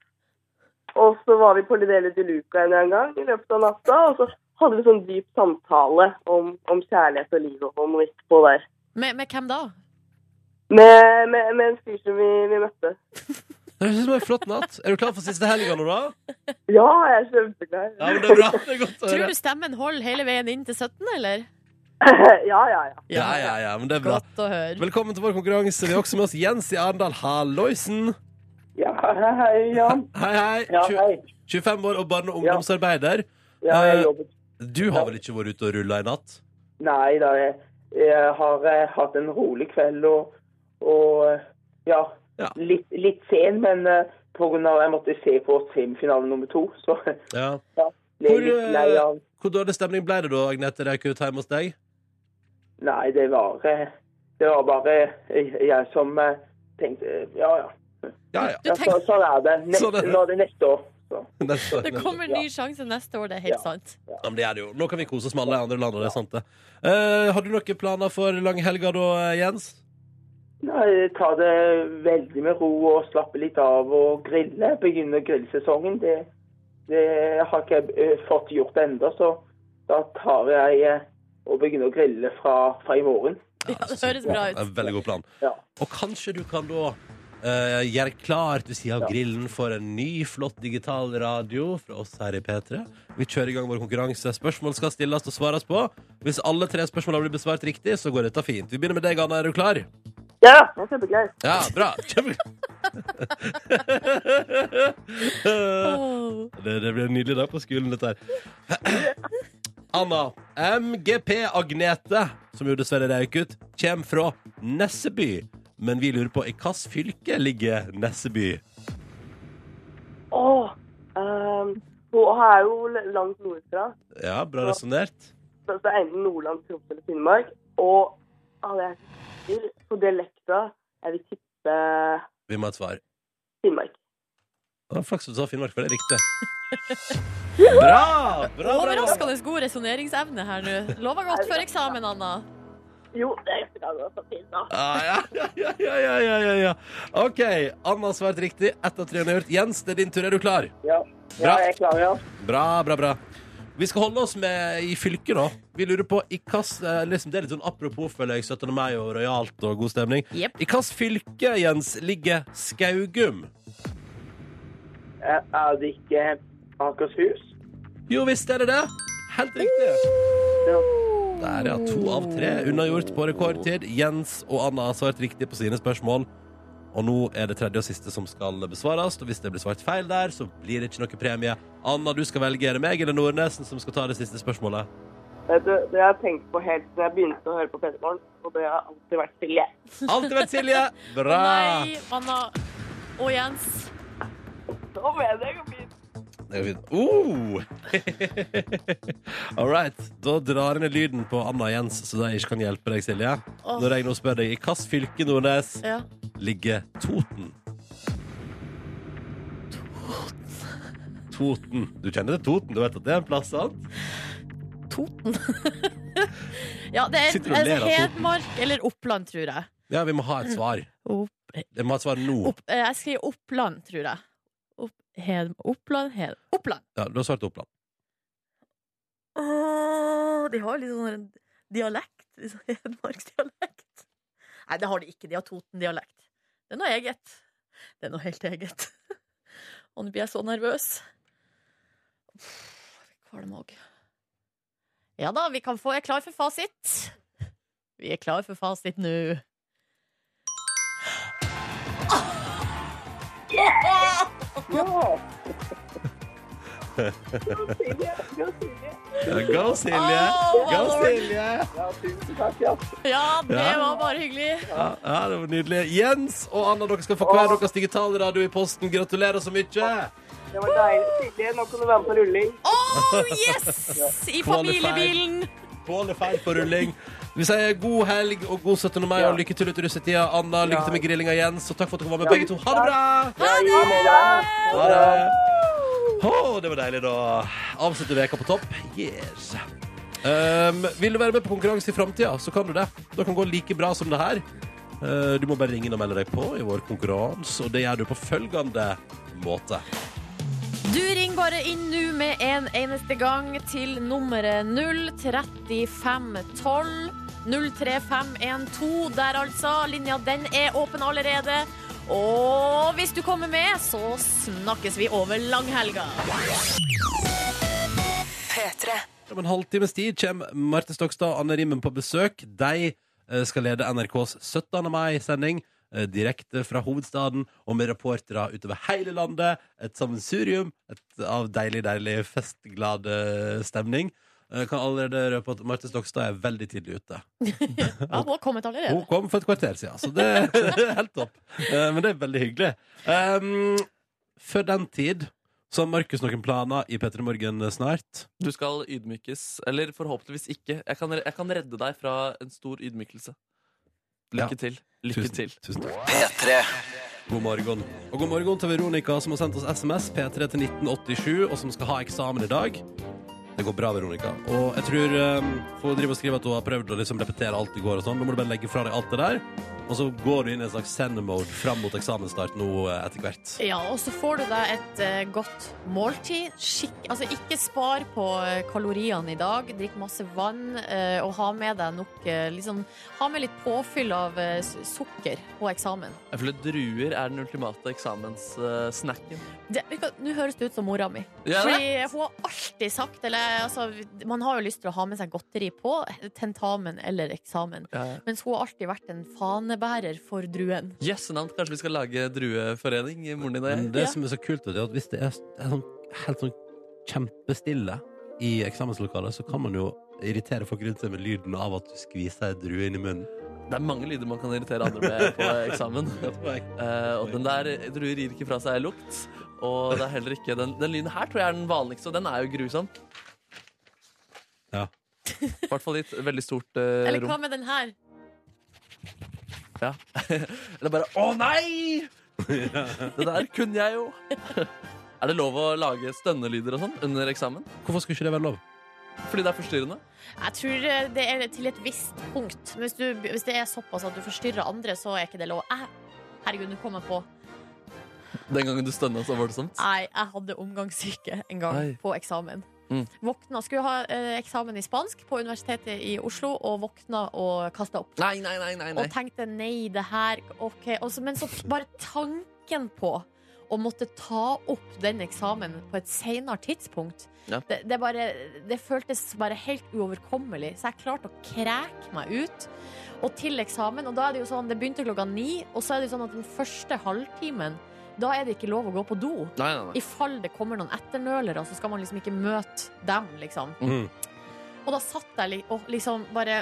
Speaker 7: Og så var vi på Lidele de Luca en gang i løpet av natta. Og så hadde vi sånn dyp samtale om, om kjærlighet og liv og om litt på der.
Speaker 2: Med, med hvem da?
Speaker 7: Med, med, med en fyr som vi, vi møtte.
Speaker 1: Det høres ut som en flott natt. Er du klar for siste helga nå, da?
Speaker 7: Ja, jeg er kjempeglad.
Speaker 1: Ja, men det er bra. Det er godt å
Speaker 2: Tror
Speaker 1: høre.
Speaker 2: du stemmen holder hele veien inn til 17, eller?
Speaker 7: *laughs* Ja, ja, ja.
Speaker 1: Ja, ja, ja, men det er bra.
Speaker 2: Godt å høre.
Speaker 1: Velkommen til vår konkurranse. Vi har også med oss Jens i Arendal. Halloisen.
Speaker 7: Ja, hei, hei, Jan.
Speaker 1: Hei, hei.
Speaker 7: Ja,
Speaker 1: Tju-
Speaker 7: hei.
Speaker 1: 25 år og barne- og ungdomsarbeider.
Speaker 7: Ja,
Speaker 1: Eh,
Speaker 7: jeg jobber.
Speaker 1: Du har vel ikke vært ute og rulla i natt?
Speaker 7: Nei da, jeg, jeg har eh, hatt en rolig kveld og, og eh, ja,
Speaker 1: Ja.
Speaker 7: Litt, litt sen, men eh, på grunn av jeg måtte se på semifinale nummer to, så
Speaker 1: Ja.
Speaker 7: ble
Speaker 1: Hvor,
Speaker 7: jeg litt lei
Speaker 1: eh,
Speaker 7: av
Speaker 1: Hvor dårlig stemning ble det da Agnete røyk ut hjemme hos deg? *laughs*
Speaker 7: Nei, det var, eh, det var bare eh, jeg som eh, tenkte eh, Ja, ja.
Speaker 1: Ja, ja.
Speaker 2: Du
Speaker 7: ja så,
Speaker 2: tenker,
Speaker 7: sånn er det. Neste,
Speaker 1: Sånn er det.
Speaker 7: Nå er det neste år. Så. *laughs*
Speaker 1: Neste-
Speaker 2: det kommer en ny sjanse neste år, det er
Speaker 7: Ja.
Speaker 2: helt sant.
Speaker 1: Ja, men det er det jo. Nå kan vi kose oss med alle andre land, og det er sant, det. Eh, har du noen planer for langhelga da, eh, Jens?
Speaker 7: Nei, ta det veldig med ro og slappe litt av og grille. Begynne grillsesongen. Det, det har ikke jeg eh, fått gjort ennå, så da tar jeg eh, og begynner å grille fra, fra i morgen.
Speaker 2: Ja, *laughs* det høres bra
Speaker 1: Det er
Speaker 2: ut.
Speaker 1: en veldig god plan.
Speaker 7: Ja.
Speaker 1: Og kanskje du kan da eh, gjøre klart ved siden av grillen for en ny, flott digital radio fra oss her i P3. Vi kjører i gang vår konkurranse. Spørsmål skal stilles og svares på. Hvis alle tre spørsmålene blir besvart riktig, så går dette fint. Vi begynner med deg, Anna. Er du klar?
Speaker 7: Ja, det er kjempegøy.
Speaker 1: *laughs* Ja, bra. Kjempe-
Speaker 2: *laughs* Åh.
Speaker 1: Det, det blir en nydelig dag på skolen, dette her. *clears throat* Anna. MGP Agnete, som jo dessverre røyk ut, kommer fra Nesseby. Men vi lurer på i hvilket fylke ligger Nesseby?
Speaker 7: Åh, ehm, hun er jo l- langt nordfra,
Speaker 1: Ja, bra resonnert.
Speaker 7: så det er enten Nordland, Troms eller Finnmark. Og alle jeg husker på dialekta, jeg vil tippe
Speaker 1: Vi må ha et svar.
Speaker 7: Finnmark.
Speaker 1: Det var Flaks at du sa Finnmark, for det er riktig.
Speaker 3: Bra!
Speaker 1: Bra, bra, bra.
Speaker 2: Overraskende god resonneringsevne her nå. Lover godt før eksamen, Anna.
Speaker 7: Jo, det er ganske bra å finne.
Speaker 1: Ah, ja, ja, ja, ja, ja, ja, ja, ja. OK. Anna har svart riktig. Ett av tre hun har gjort. Jens, det er din tur. Er du klar?
Speaker 7: Ja.
Speaker 1: Bra.
Speaker 7: ja, jeg er klar, ja.
Speaker 1: Bra, bra, bra. Vi skal holde oss med i fylket, da. Vi lurer på i hvilket eh, liksom, Det er litt sånn apropos føler jeg 17. mai og rojalt og god stemning.
Speaker 2: Jepp.
Speaker 1: I hvilket fylke, Jens, ligger Skaugum?
Speaker 7: Eh, Er det ikke Akershus?
Speaker 1: Jo visst er det det. Helt riktig.
Speaker 7: Ja.
Speaker 1: Der, ja. To av tre unnagjort på rekordtid. Jens og Anna har svart riktig på sine spørsmål. Og nå er det tredje og siste som skal besvares. Og hvis det blir svart feil der, så blir det ikke noe premie. Anna, du skal velge. Er det meg eller Nordnesen som skal ta det siste spørsmålet?
Speaker 7: Vet du, det har jeg tenkt på helt siden jeg begynte å høre på P3morgen, og det har alltid vært Silje.
Speaker 1: Alltid vært Silje.
Speaker 2: Å
Speaker 1: Bra.
Speaker 2: nei, Anna og Jens.
Speaker 7: Nå mener jeg jo fint.
Speaker 1: Det er jo fint. Oh! All right. Da drar jeg ned lyden på Anna og Jens, så de ikke kan hjelpe deg, Silje.
Speaker 2: Åh.
Speaker 1: Når jeg nå spør deg i hvilket fylke Nordnes
Speaker 2: Ja.
Speaker 1: ligger Toten? Toten. Du kjenner til Toten? Du vet at det er en plass, sant?
Speaker 2: Toten. ja, det er,
Speaker 1: Sitter du og
Speaker 2: er
Speaker 1: ler av Toten?
Speaker 2: Hedmark eller Oppland, tror jeg.
Speaker 1: Ja, vi må ha et svar.
Speaker 2: Opp,
Speaker 1: Vi må ha et svar nå.
Speaker 2: opp, eh, jeg skriver Oppland, tror jeg. Opp, Hed, Oppland, Hed, Oppland.
Speaker 1: Ja, du har svart
Speaker 2: *laughs*
Speaker 1: Oppland.
Speaker 2: Åh, de har litt sånn dialekt. Litt sånn Hedmarksdialekt. Nei, det har de ikke. De har Toten-dialekt. Det er noe eget. Det er noe helt eget. *laughs* Og nå blir jeg så nervøs. Pff, jeg fikk Kvalm òg. Ja da, vi kan få Jeg er klar for fasit. Vi er klar for fasit nå.
Speaker 7: Silje, ja, Silje.
Speaker 1: Go, Silje!
Speaker 2: Åh,
Speaker 1: Go,
Speaker 2: Lord.
Speaker 1: Silje!
Speaker 7: Ja, tusen takk, ja.
Speaker 2: Ja, det
Speaker 1: Ja.
Speaker 2: var bare hyggelig.
Speaker 1: Ja, ja, det var nydelig. Jens og Anna, dere skal få hver deres digitalradio i posten. Gratulerer så mye!
Speaker 7: Det var deilig. Silje, nå kan du være med på rulling.
Speaker 2: Oh,
Speaker 1: *laughs*
Speaker 2: yes! I familiebilen.
Speaker 1: Qualified på rulling. Vi sier god helg og god 17. mai og lykke til ut i russetida. Anna, lykke til med grillinga, Jens, og takk for at dere var med, begge to. Ha det bra!
Speaker 7: Ja, gi meg det.
Speaker 1: Ha det! Å, det var deilig, da. Avslutte veka på topp. Yes. Um, vil du være med på konkurranse i framtida, så kan du det. Det kan gå like bra som det her. Uh, du må bare ringe inn og melde deg på i vår konkurranse, og det gjør du på følgende måte.
Speaker 2: Du ringer bare inn nå med en eneste gang til nummeret 03512. 03512 der, altså. Linja den er åpen allerede. Og hvis du kommer med, så snakkes vi over langhelga.
Speaker 1: Om en halvtimes tid kommer Marte Stokstad og Anne Rimmen på besøk. De eh, skal lede NRKs 17. mai-sending eh, direkte fra hovedstaden og med reportere utover hele landet. Et sammensurium et av deilig, deilig festglad eh, stemning. Jeg kan allerede røpe at Marte Stokstad er veldig tidlig ute.
Speaker 2: Ja, hun har kommet allerede.
Speaker 1: Hun kom for et kvarter siden, så det er *laughs* helt topp. Eh, Men det er veldig hyggelig. Um, før den tid så har Markus noen planer i P3 Morgen snart.
Speaker 3: Du skal ydmykes. Eller forhåpentligvis ikke. Jeg kan, jeg kan redde deg fra en stor ydmykelse. Lykke til. Lykke
Speaker 1: Tusen-
Speaker 3: til.
Speaker 1: Tusen takk. God morgen. Og god morgen til Veronica, som har sendt oss SMS P3 til 1987, og som skal ha eksamen i dag. Det går bra, Veronica. Og jeg tror um, For hun driver og skriver at hun har prøvd å liksom repetere alt i går og sånn. Da må du bare legge fra deg alt det der, og så går du inn i en slags send-mode fram mot eksamensstart nå eh, etter hvert.
Speaker 2: Ja, og så får du deg et eh, godt måltid. Skikk, altså, ikke spar på eh, kaloriene i dag. Drikk masse vann, eh, og ha med deg nok eh, liksom, Ha med litt påfyll av eh, s- sukker på eksamen.
Speaker 3: Jeg føler druer er den ultimate eksamenssnacken.
Speaker 2: Det- vet du hva, Nå høres det ut som mora mi.
Speaker 3: Ja, det.
Speaker 2: Fordi hun har alltid sagt eller, altså, Man har jo lyst til å ha med seg godteri på tentamen eller eksamen.
Speaker 3: Ja, ja.
Speaker 2: Mens hun har alltid vært en fanebærer for druen.
Speaker 3: Jøssenavn, kanskje vi skal lage drueforening? Moren din og
Speaker 1: Men
Speaker 3: jeg.
Speaker 1: det
Speaker 2: Ja.
Speaker 1: som er så kult, vet du, er at hvis det er, er sånn, helt sånn kjempestille i eksamenslokalet, så kan man jo irritere folk rundt seg med lyden av at du skviser ei drue inn i munnen.
Speaker 3: Det er mange lyder man kan irritere andre
Speaker 1: *laughs*
Speaker 3: med på eksamen. Eh, og den der druer gir ikke fra seg lukt. Og det er heller ikke den, den lyden her tror jeg er den vanligste, og den er jo grusom.
Speaker 1: Ja.
Speaker 3: I hvert fall i et veldig stort eh,
Speaker 2: Eller hva
Speaker 3: rom.
Speaker 2: med den her?
Speaker 3: *laughs* Ja. Eller bare 'Å nei!'
Speaker 1: *laughs*
Speaker 3: Det der kunne jeg jo. *laughs* Er det lov å lage stønnelyder og sånn under eksamen?
Speaker 1: Hvorfor skulle ikke det være lov?
Speaker 3: Fordi det er forstyrrende?
Speaker 2: Jeg tror eh, det er til et visst punkt. Men Hvis, du, hvis det er såpass at du forstyrrer andre, så er ikke det lov. Jeg, herregud, nå kom jeg på.
Speaker 3: Den gangen du stønna så sånn. voldsomt?
Speaker 2: Nei, jeg hadde omgangssyke en gang
Speaker 3: Oi.
Speaker 2: på eksamen.
Speaker 3: Mm.
Speaker 2: Våkna, Skulle ha eh, eksamen i spansk på Universitetet i Oslo, og våkna og kasta opp.
Speaker 3: Nei, nei, nei. nei, nei.
Speaker 2: Og tenkte nei, det her ok. Og så- men så bare tanken på å måtte ta opp den eksamen på et senere tidspunkt,
Speaker 3: Ja.
Speaker 2: det, det, bare, det føltes bare helt uoverkommelig. Så jeg klarte å kreke meg ut. Og til eksamen. Og da er det jo sånn, det begynte klokka ni, og så er det jo sånn at den første halvtimen, da er det ikke lov å gå på do.
Speaker 3: nei, nei,
Speaker 2: I fall det kommer noen etternølere, så skal man liksom ikke møte dem, liksom.
Speaker 1: Mm.
Speaker 2: Og da satt jeg li- og liksom bare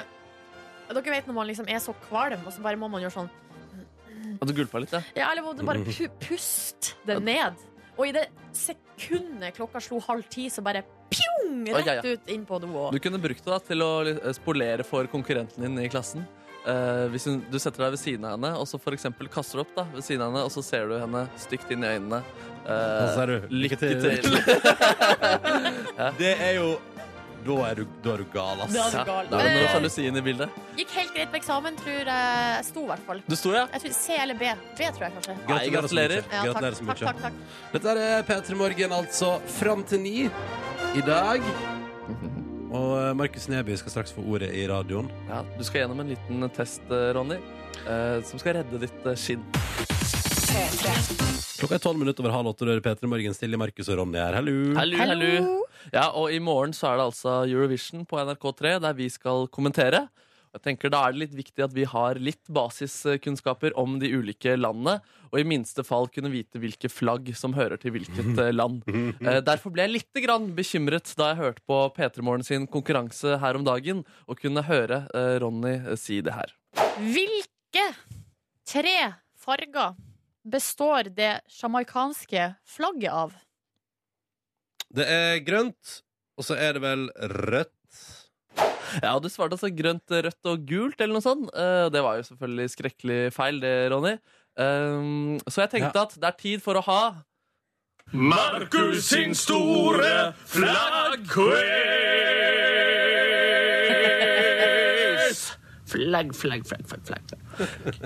Speaker 2: Dere vet når man liksom er så kvalm, og så bare må man gjøre sånn
Speaker 3: nei. Og du gulpa litt, ja?
Speaker 2: Ja, eller må du bare pu
Speaker 3: *laughs*
Speaker 2: puste det ned. Og i det sekundet klokka slo halv ti, så bare pjong!
Speaker 3: Oi, ja, ja.
Speaker 2: Rett ut inn på do.
Speaker 3: Du kunne brukt det da til å li- eh, spolere for konkurrenten din i klassen. Eh, hvis hun, du setter deg ved siden av henne og så for eksempel kaster du opp, da, ved siden av henne og så ser du henne stygt inn i øynene. Eh,
Speaker 1: Og så er du,
Speaker 3: lykke
Speaker 1: lykke til.
Speaker 3: til!
Speaker 1: *laughs* Det er jo Da er du, da er du gal, ass.
Speaker 2: Da er du
Speaker 3: Ja,
Speaker 2: gal.
Speaker 3: da er det noe
Speaker 2: Eh,
Speaker 3: sjalusi inn i bildet.
Speaker 2: Gikk helt greit på eksamen, tror jeg. Jeg Sto i hvert fall.
Speaker 3: Du sto, ja?
Speaker 2: Jeg tror C eller B. B, tror jeg kanskje.
Speaker 3: Nei, gratulerer.
Speaker 2: Ja, takk,
Speaker 1: Gratulerer så
Speaker 2: takk,
Speaker 1: mye.
Speaker 2: takk, takk.
Speaker 1: Dette er eh, P3 Morgen, altså fram til ni i dag. Og eh, Markus Neby skal straks få ordet i radioen.
Speaker 3: ja. Du skal gjennom en liten test, eh, Ronny, eh, som skal redde ditt eh, skinn.
Speaker 1: Klokka er tolv minutter over halv åtte. og det er P3 Morgen stille Markus og Ronny her. Hallo.
Speaker 3: Hallo, hallo. Ja, og i morgen så er det altså Eurovision på NRK3, der vi skal kommentere. Og Jeg tenker Da er det litt viktig at vi har litt basiskunnskaper om de ulike landene, og i minste fall kunne vite hvilke flagg som hører til hvilket eh, land. Eh, Derfor ble jeg litt grann bekymret da jeg hørte på P3 Morgen sin konkurranse her om dagen, og kunne høre eh, Ronny eh, si det her.
Speaker 2: Hvilke tre farger består det sjamaikanske flagget av?
Speaker 1: Det er grønt, og så er det vel rødt.
Speaker 3: Ja, og Du svarte altså grønt, rødt og gult, eller noe sånt. Eh, Det var jo selvfølgelig skrekkelig feil, det, Ronny. Um, så jeg tenkte at det er tid for å ha
Speaker 8: Markus sin store flaggquiz! Flagg, flagg, flagg, flagg, flagg.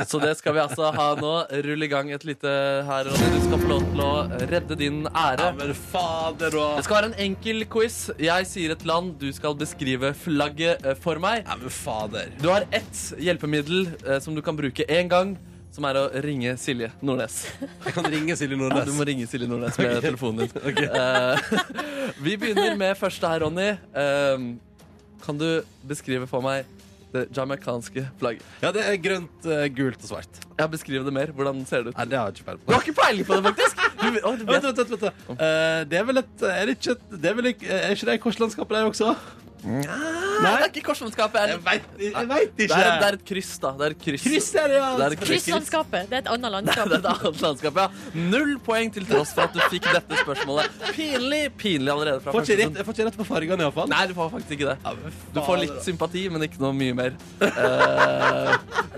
Speaker 3: Så det skal vi altså ha nå. Rull i gang et lite her, Ronny. Du skal få lov til å redde din ære.
Speaker 1: Men fader og
Speaker 3: Det skal være en enkel quiz. Jeg sier et land, du skal beskrive flagget eh, for meg.
Speaker 1: Ja, men fader.
Speaker 3: Du har ett hjelpemiddel eh, som du kan bruke én gang, som er å ringe Silje Nordnes.
Speaker 1: Jeg kan ringe Silje
Speaker 3: Ja, du
Speaker 1: Nordnes.
Speaker 3: må ringe Silje Nordnes med
Speaker 1: *laughs*
Speaker 3: telefonen din. Eh, *laughs* vi begynner med første her, Ronny. Eh, kan du beskrive for meg det jamaicanske flagget?
Speaker 1: Ja, det er grønt, eh, gult og svart.
Speaker 3: Ja, Beskriv det mer. Hvordan ser det ut?
Speaker 1: Nei, det har jeg ikke
Speaker 3: Du
Speaker 1: peiling på.
Speaker 3: har ikke peiling på det, faktisk! Du, å, du
Speaker 1: Vent,
Speaker 3: vet.
Speaker 1: vent, vent, vent. da. Eh, det er vel et Er det ikke et det er, vel ikke, eh, er ikke det i korslandskapet der også?
Speaker 3: Nei, Ah, det er ikke korslandskapet. er det?
Speaker 1: Jeg veit jeg vet
Speaker 3: Det
Speaker 1: ikke.
Speaker 3: er, det er et kryss, da. Det er et kryss.
Speaker 1: Kryss er det, ja.
Speaker 3: Det er et kryss.
Speaker 2: Krysslandskapet. Det er et annet
Speaker 3: *laughs*
Speaker 2: landskap.
Speaker 3: Det er et annet landskap, ja. Null poeng til tross for at du fikk dette spørsmålet. Pinlig pinlig allerede fra
Speaker 1: Får
Speaker 3: første
Speaker 1: ikke
Speaker 3: stund.
Speaker 1: rett, jeg får ikke rett på fargene, iallfall.
Speaker 3: Nei, du får faktisk ikke det. Du får litt sympati, men ikke noe
Speaker 1: *laughs*
Speaker 3: mye mer. Eh,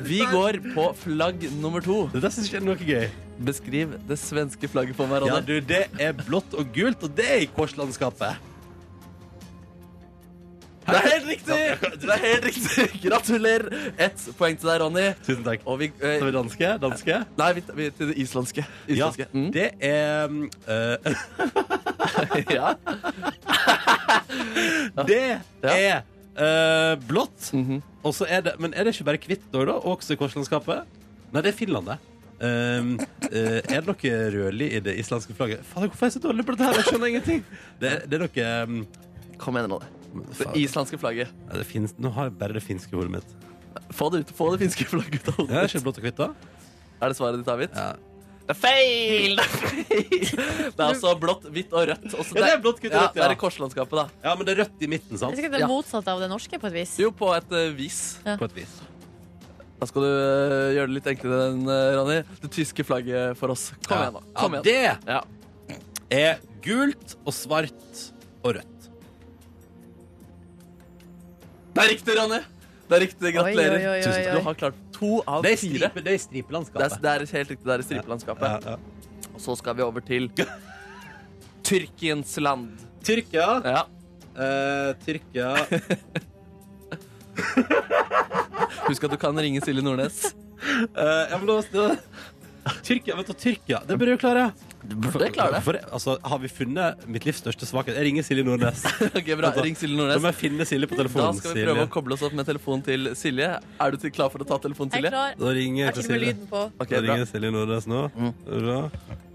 Speaker 3: vi går på flagg nummer to.
Speaker 1: Det der syns jeg er noe gøy.
Speaker 3: Beskriv det svenske flagget for meg,
Speaker 1: Ja,
Speaker 3: Ronny.
Speaker 1: du, Det er blått og gult, og det er i korslandskapet.
Speaker 3: Det er helt riktig! Det er helt riktig. Gratulerer. Ett poeng til deg, Ronny.
Speaker 1: Tusen takk.
Speaker 3: Og vi eh,
Speaker 1: Så er vi danske? danske.
Speaker 3: Nei, vi, vi, til det islandske.
Speaker 1: Ja,
Speaker 3: islandske. Mm.
Speaker 1: det er eh, mm, eh, *laughs*
Speaker 3: *laughs* Ja.
Speaker 1: Det
Speaker 3: Ja.
Speaker 1: er eh, blått.
Speaker 3: Mhm.
Speaker 1: Og så er det, men er det ikke bare hvitt da, da? Også i korslandskapet? Nei, det er Finland, det. Ehm, eh, er det noe rødlig i det islandske flagget? Fader, hvorfor er jeg så dårlig på dette her? Jeg skjønner ingenting. Det, er- det er noe um,
Speaker 3: Kom igjen, Ronny. Det
Speaker 1: faen,
Speaker 3: islandske flagget.
Speaker 1: ja, det finnes, Nå har jeg bare det finske
Speaker 3: *laughs*
Speaker 1: ordet mitt.
Speaker 3: Få det, ut, få det finske flagget ut av
Speaker 1: Ja,
Speaker 3: hodet.
Speaker 1: er det ikke blått og hvitt, da?
Speaker 3: Er det svaret ditt avgitt?
Speaker 1: Ja.
Speaker 3: Det er feil! Det er feil! Det er altså blått, hvitt og rødt. Også
Speaker 1: Ja, det er blått, hvitt og rødt,
Speaker 3: Ja, det
Speaker 1: ja.
Speaker 3: er i korslandskapet, da.
Speaker 1: Ja, men det er rødt i midten,
Speaker 2: Jeg
Speaker 1: sant?
Speaker 2: synes ikke det
Speaker 3: Ja.
Speaker 2: er motsatt av det norske, på et vis.
Speaker 3: Jo, på et eh, vis.
Speaker 1: På et vis.
Speaker 3: Da skal du eh, gjøre det litt enklere enn eh, Ronny. Det tyske flagget for oss. Kom igjen, da. Kom igjen.
Speaker 1: ja, det
Speaker 3: Ja.
Speaker 1: er gult og svart og rødt.
Speaker 3: Det er riktig, Ronny. Det er riktig. Gratulerer.
Speaker 2: Oi, oi, oi, oi, oi.
Speaker 3: Tusen takk. Du har klart to av
Speaker 1: Det er i
Speaker 3: fire.
Speaker 1: stripe- det er i
Speaker 3: Det er,
Speaker 1: stripelandskapet.
Speaker 3: det er helt riktig, det er i stripelandskapet.
Speaker 1: Ja, ja.
Speaker 3: Og så skal vi over til Tyrkiens land.
Speaker 1: Tyrkia.
Speaker 3: Ja.
Speaker 1: eh, Tyrkia
Speaker 3: *laughs* Husk at du kan ringe Silje Nordnes.
Speaker 1: Eh, jeg vil også, Tyrkia, vet du, Tyrkia, det bør du klare.
Speaker 3: Det klarer jeg.
Speaker 1: For, altså, har vi funnet mitt livs største svakhet? Jeg ringer Silje Nordnes.
Speaker 3: *laughs* Ok, bra. Ring Silje
Speaker 1: Da må
Speaker 3: Nordnes.
Speaker 1: jeg finne Silje på
Speaker 3: Da
Speaker 1: telefonen.
Speaker 3: skal vi prøve å
Speaker 1: Silje.
Speaker 3: koble oss opp med telefonen til Silje. Er du til, klar for å ta telefonen,
Speaker 2: Jeg er
Speaker 3: Silje?
Speaker 2: klar.
Speaker 1: Da ringer
Speaker 2: Jeg har
Speaker 1: jeg
Speaker 2: til og
Speaker 1: til
Speaker 2: med
Speaker 1: Silje.
Speaker 2: lyden på.
Speaker 3: Ok,
Speaker 1: Da
Speaker 3: bra. Mm.
Speaker 1: ringer jeg Silje Nordnes nå. Bra.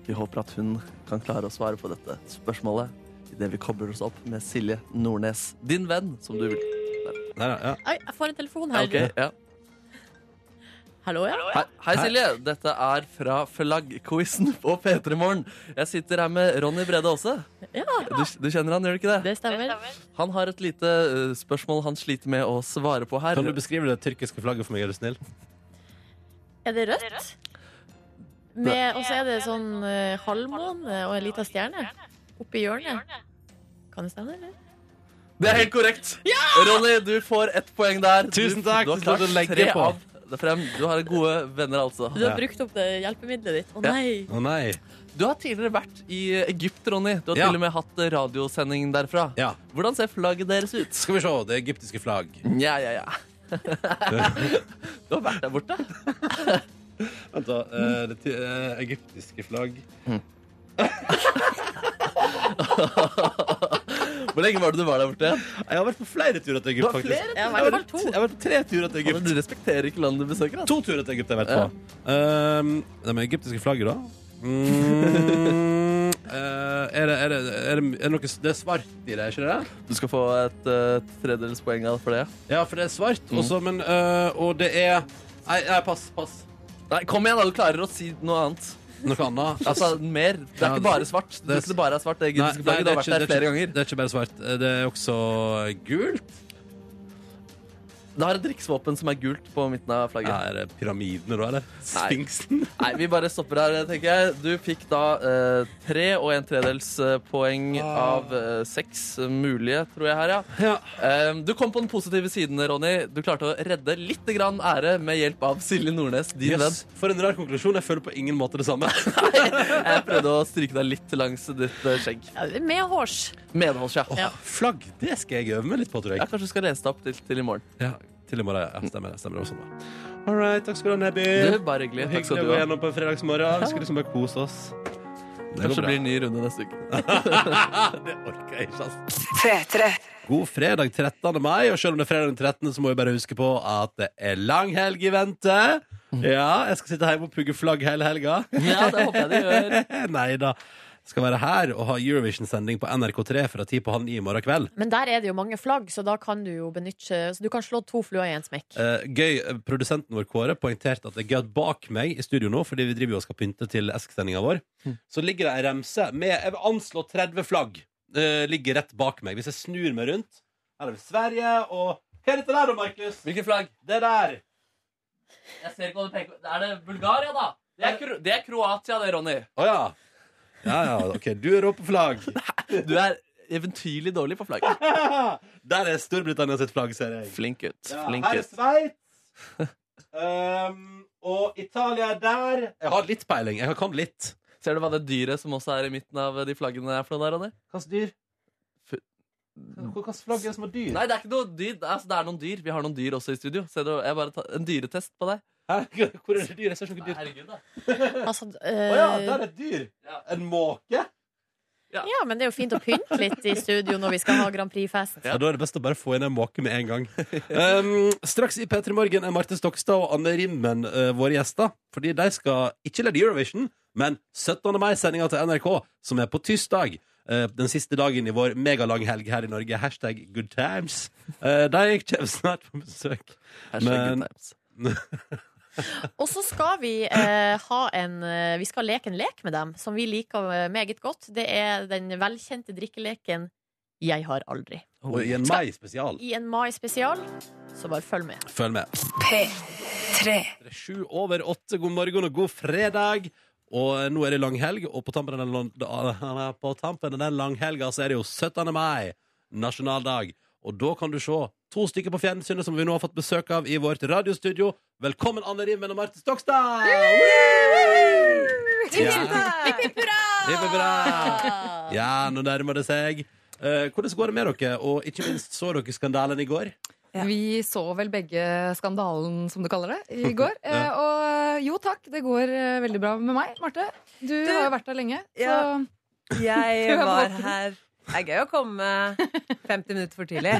Speaker 3: Vi håper at hun kan klare å svare på dette spørsmålet idet vi kobler oss opp med Silje Nordnes, din venn, som du vil.
Speaker 1: Der, ja.
Speaker 2: Oi, jeg får en telefon her.
Speaker 3: Ok, ja.
Speaker 2: Hallo, ja.
Speaker 3: Hei, hei Silje, dette er fra flaggquizen på P3 Morgen. Jeg sitter her med Ronny Brede Aase.
Speaker 2: ja.
Speaker 3: Du, du kjenner han, gjør du ikke det?
Speaker 2: Det stemmer.
Speaker 3: Han har et lite eh, spørsmål han sliter med å svare på her.
Speaker 1: Kan du beskrive det tyrkiske flagget for meg, er du snill?
Speaker 2: Er det rødt? Med, og så er det sånn eh, halvmåne og en liten stjerne oppi hjørnet. Kan det stemme, eller?
Speaker 3: Det er helt korrekt. Ronny, du får ett poeng der.
Speaker 1: Tusen
Speaker 3: du,
Speaker 1: takk,
Speaker 3: Du har
Speaker 1: så skal
Speaker 3: klart
Speaker 1: du legge
Speaker 3: tre
Speaker 1: på.
Speaker 3: av det frem. Du har gode venner, altså.
Speaker 2: Du har
Speaker 1: Ja.
Speaker 2: brukt opp det hjelpemiddelet ditt. Å
Speaker 3: Ja.
Speaker 2: nei.
Speaker 1: Å nei.
Speaker 3: Du har tidligere vært i Egypt, Ronny. Du har
Speaker 1: Ja.
Speaker 3: til og med hatt radiosending derfra.
Speaker 1: Ja.
Speaker 3: Hvordan ser flagget deres ut?
Speaker 1: Skal vi se. Det egyptiske flagg.
Speaker 3: Ja, ja, ja. du har vært der borte.
Speaker 1: Vent, da. eh, det ty- eh, egyptiske flagg
Speaker 3: Mm. *laughs* Hvor lenge var det du var der borte?
Speaker 1: Jeg har vært på flere turer
Speaker 3: Du
Speaker 1: til Egypt,
Speaker 3: har
Speaker 1: faktisk.
Speaker 3: flere
Speaker 2: Jeg har
Speaker 1: Jeg har
Speaker 2: vært
Speaker 1: vært,
Speaker 2: på
Speaker 1: jeg
Speaker 2: to.
Speaker 1: har vært på tre turer til
Speaker 3: Egypt.
Speaker 1: Egypt.
Speaker 3: Du respekterer ikke landet du besøker. Altså.
Speaker 1: To turer til Egypt jeg har vært på. Ehm, det med egyptiske flagget, da? Mm, *laughs* eh, er, det, er, det, er, det, er det noe Det er svart i det, ikke det?
Speaker 3: Du skal få et uh, tredjedels poeng av for det.
Speaker 1: Ja, for det er svart.
Speaker 3: Mm.
Speaker 1: Også, men, eh, og det er Nei, nei pass. pass.
Speaker 3: Nei, kom igjen, da. Du klarer å si
Speaker 1: *laughs*
Speaker 3: noe annet.
Speaker 1: Noe annet.
Speaker 3: Altså, mer. Det er
Speaker 1: Ja,
Speaker 3: ikke bare svart. Det er ikke bare er svart, det
Speaker 1: Nei,
Speaker 3: egyptiske
Speaker 1: nei,
Speaker 3: flagget. Du har vært
Speaker 1: ikke-
Speaker 3: der flere ganger.
Speaker 1: ikke, det er ikke bare svart. Eh, Det er også gult.
Speaker 3: Det har et riksvåpen som er gult på midten av flagget.
Speaker 1: Er det pyramidene, da, eller? Sfinksen?
Speaker 3: Nei, vi bare stopper her, tenker jeg. Du fikk da eh, tre og en tredels eh, poeng av eh, seks mulige, tror jeg her, ja.
Speaker 1: Ah. Ja.
Speaker 3: Eh, du kom på den positive siden, Ronny. Du klarte å redde litt grann ære med hjelp av Silje Nordnes, din venn.
Speaker 1: Yes. For en rar konklusjon. Jeg føler på ingen
Speaker 3: *laughs*
Speaker 1: måte det samme.
Speaker 3: Jeg prøvde å stryke deg litt langs ditt eh, skjegg.
Speaker 2: Ja, Med hårs.
Speaker 3: Medholds, ja.
Speaker 2: Ja.
Speaker 1: Flagg, det skal jeg øve meg litt på, tror jeg.
Speaker 3: Ja, Kanskje du skal lese det opp til, til i morgen.
Speaker 1: Ja, til i morgen. Ja, stemmer det. Stemmer det
Speaker 3: *laughs*
Speaker 1: også, da. All right, takk skal du ha, Nebby.
Speaker 3: Du, bare hyggelig. Takk
Speaker 1: Hyggelig
Speaker 3: skal
Speaker 1: å
Speaker 3: du
Speaker 1: gå
Speaker 3: ha.
Speaker 1: gjennom på en fredagsmorgen. Vi skal liksom bare kose oss. Det
Speaker 3: Kanskje det blir en ny runde neste uke. *laughs*
Speaker 1: *laughs* det orker jeg ikke, altså. God fredag 13. mai, og selv om det er fredag den 13., så må vi bare huske på at det er lang helg i vente. Ja, jeg skal sitte hjemme og pugge flagg hele helga.
Speaker 3: Ja, det håper jeg du
Speaker 1: *laughs*
Speaker 3: gjør.
Speaker 1: Nei da. Skal være her og ha Eurovision-sending på NRK3 fra ti på halv ni i morgen kveld.
Speaker 2: Men der er det jo mange flagg, så da kan du jo benytte Så du kan slå to fluer i en
Speaker 1: *laughs*
Speaker 2: smekk.
Speaker 1: Eh, gøy, eh, Produsenten vår Kåre poengterte at det er gøy at bak meg i studio nå, fordi vi driver jo og skal pynte til Esk-sendinga vår, så ligger det ei remse med jeg vil anslå 30 flagg. eh, ligger rett bak meg. Hvis jeg snur meg rundt Her er det Sverige og Hva er dette der, da, Markus?
Speaker 3: Hvilket flagg?
Speaker 1: Det der.
Speaker 3: Jeg ser ikke hva du tenker på. Er det Bulgaria, da? Det er, Kro det er Kroatia, det, Ronny.
Speaker 1: Å ja. Ja ja, OK. Du er rå på
Speaker 3: *laughs*
Speaker 1: flagg.
Speaker 3: Du
Speaker 1: *laughs*
Speaker 3: er eventyrlig dårlig på flagg.
Speaker 1: Der er Storbritannia sitt flagg, ser jeg.
Speaker 3: Flink gutt.
Speaker 1: Ja,
Speaker 3: Flink
Speaker 1: her er
Speaker 3: gutt.
Speaker 1: Sveits. *laughs* Um, og Italia er der. Jeg har litt peiling. Jeg kan litt.
Speaker 3: Ser du hva det dyret som også er i midten av de flaggene er for noe der, Ronny?
Speaker 1: Hvilket dyr?
Speaker 3: Fu-
Speaker 1: Hvilket flagg er det som har dyr?
Speaker 3: Nei, det er ikke noe dyr. Det er, altså, det er noen dyr. Vi har noen dyr også i studio. Ser du, jeg bare tar en dyretest på deg.
Speaker 1: Hæ? *laughs* Hvor er det dyr? Jeg ser ikke noe dyr.
Speaker 3: Herregud, da.
Speaker 2: Altså,
Speaker 1: Å
Speaker 2: eh,
Speaker 1: ja, der er et dyr.
Speaker 3: Ja.
Speaker 1: En måke?
Speaker 2: ja, men det er jo fint å pynte litt i studio når vi skal ha Grand Prix-fest.
Speaker 1: Ja, Da er det best å bare få inn en måke med en gang. Um, straks i P3 Morgen er Marte Stokstad og Anne Rimmen eh, våre gjester. Fordi de skal ikke lede Eurovision, men 17. mai-sendinga til NRK, som er på tirsdag. eh, den siste dagen i vår megalang helg her i Norge. Hashtag good times. Eh, de kommer *laughs* snart på besøk. Men-
Speaker 3: Men...
Speaker 2: Og så skal vi eh, ha en eh, Vi skal leke en lek med dem som vi liker eh, meget godt. Det er den velkjente drikkeleken Jeg har aldri.
Speaker 1: Og i en mai-spesial.
Speaker 2: I en mai-spesial, så bare følg med.
Speaker 1: Følg med. P3. Sju over åtte, god morgen og god fredag. Og nå er det langhelg, og på tampen av den, lang- på tampen av den langhelga så er det jo 17. mai, nasjonaldag. Og da kan du se To stykker på fjernsynet som vi nå har fått besøk av i vårt radiostudio. Velkommen, Anne Rimmen og Marte Stokstad! Ja. Hipp, hipp, hurra! ja, nå nærmer det seg. Eh, hvordan går det med dere? Og ikke minst, så dere skandalen i går?
Speaker 9: Vi så vel begge skandalen, som du kaller det,
Speaker 10: *laughs*
Speaker 9: i går. Eh, Og jo takk, det går eh, veldig bra med meg, Marte. Du, har jo vært her lenge. Så
Speaker 10: Ja. *laughs*
Speaker 2: *laughs*
Speaker 10: Jeg
Speaker 9: *laughs* Du er
Speaker 10: var
Speaker 9: våken.
Speaker 10: her Det er gøy å komme 50 minutter for *laughs* tidlig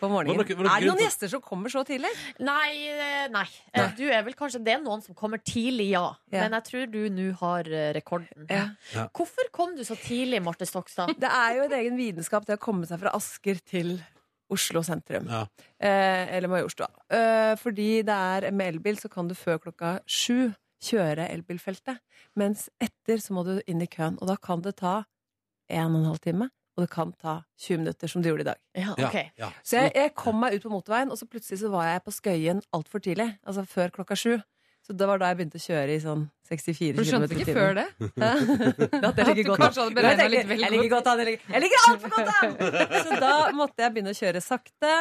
Speaker 10: på morgenen.
Speaker 1: Var
Speaker 10: er det
Speaker 1: det- var det grunn
Speaker 10: noen
Speaker 1: til-
Speaker 10: gjester som kommer så tidlig?
Speaker 2: Nei, eh, nei. Eh, Du er vel kanskje Det er noen som kommer tidlig, ja.
Speaker 10: Ja.
Speaker 2: Men jeg tror du nå har eh, rekorden.
Speaker 10: Ja.
Speaker 1: Ja.
Speaker 2: Hvorfor kom du så tidlig, Marte Stokstad?
Speaker 10: Det er jo en egen vitenskap det å komme seg fra Asker til Oslo sentrum.
Speaker 1: Ja.
Speaker 10: Eh, eller Majorstua. Eh, fordi det er med elbil så kan du før klokka sju kjøre elbilfeltet. Mens etter så må du inn i køen. Og da kan det ta en og en halv time. Og det kan ta 20 minutter, som det gjorde i dag.
Speaker 2: Ja,
Speaker 1: Ja,
Speaker 2: ok.
Speaker 1: ja.
Speaker 10: Så jeg, jeg kom meg ut på motorveien, og så plutselig så var jeg på Skøyen altfor tidlig. Altså før klokka sju. Så det var da jeg begynte å kjøre i sånn
Speaker 9: for du
Speaker 10: 64 km i
Speaker 9: skjønte ikke før det? *laughs*
Speaker 10: *laughs* det at jeg ligger godt an.
Speaker 9: Kanskje hadde
Speaker 10: Jeg,
Speaker 9: beregnet
Speaker 10: tenker,
Speaker 9: litt vel
Speaker 10: jeg ligger
Speaker 9: godt.
Speaker 10: godt an, jeg ligger, jeg ligger altfor godt
Speaker 9: *laughs*
Speaker 10: an! Så da måtte jeg begynne å kjøre sakte.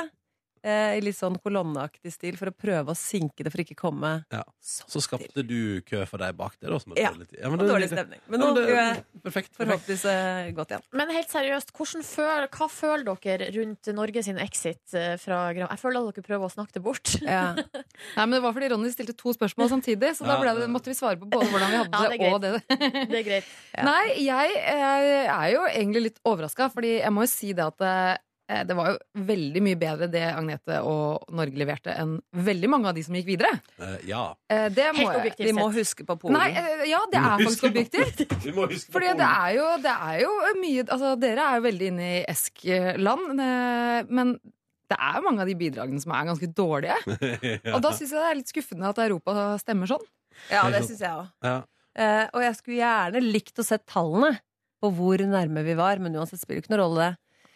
Speaker 10: eh, I litt sånn kolonneaktig stil, for å prøve å sinke det for ikke komme
Speaker 1: Ja.
Speaker 10: sånn
Speaker 1: Så skapte du kø for deg bak der, da. Som hadde
Speaker 10: Ja.
Speaker 1: dårlig tid. Ja, men
Speaker 10: til.
Speaker 1: det-
Speaker 10: Dårlig stemning. Men
Speaker 1: Ja,
Speaker 10: nå
Speaker 1: men det-
Speaker 10: gjør jeg
Speaker 1: Perfekt. perfekt.
Speaker 10: forhåpentligvis eh, godt igjen.
Speaker 2: Men helt seriøst, hvordan føl, hva føler dere rundt Norge sin exit eh, fra Gram? Jeg føler at dere prøver å snakke det bort.
Speaker 10: Ja.
Speaker 2: *laughs*
Speaker 9: Nei, men Det var fordi Ronny stilte to spørsmål samtidig, så da
Speaker 1: Ja.
Speaker 9: ble det, måtte vi svare på både hvordan vi hadde
Speaker 2: Ja,
Speaker 9: det,
Speaker 2: det er
Speaker 9: og det.
Speaker 2: Det er greit.
Speaker 10: Ja.
Speaker 9: *laughs* Nei, jeg eh, er jo egentlig litt overraska, fordi jeg må jo si det at eh, det var jo veldig mye bedre det Agnete og Norge leverte, enn veldig mange av de som gikk videre.
Speaker 1: Eh, ja.
Speaker 9: Eh, det må
Speaker 2: Helt
Speaker 9: jeg-
Speaker 2: objektivt
Speaker 10: Vi må
Speaker 2: sett.
Speaker 10: huske på Polen.
Speaker 9: Nei, eh, ja, det er faktisk
Speaker 1: Husker på-
Speaker 9: objektivt.
Speaker 1: *laughs* Vi må huske på
Speaker 9: Fordi det er jo, det er jo mye altså, Dere er jo veldig inne i Esk-land, eh, men det er jo mange av de bidragene som er ganske dårlige.
Speaker 1: *laughs* Ja.
Speaker 9: Og da syns jeg det er litt skuffende at Europa stemmer sånn.
Speaker 10: Ja, det syns jeg òg.
Speaker 1: Ja.
Speaker 10: Eh, og jeg skulle gjerne likt å se tallene på hvor nærme vi var, men uansett spiller det ikke noen rolle.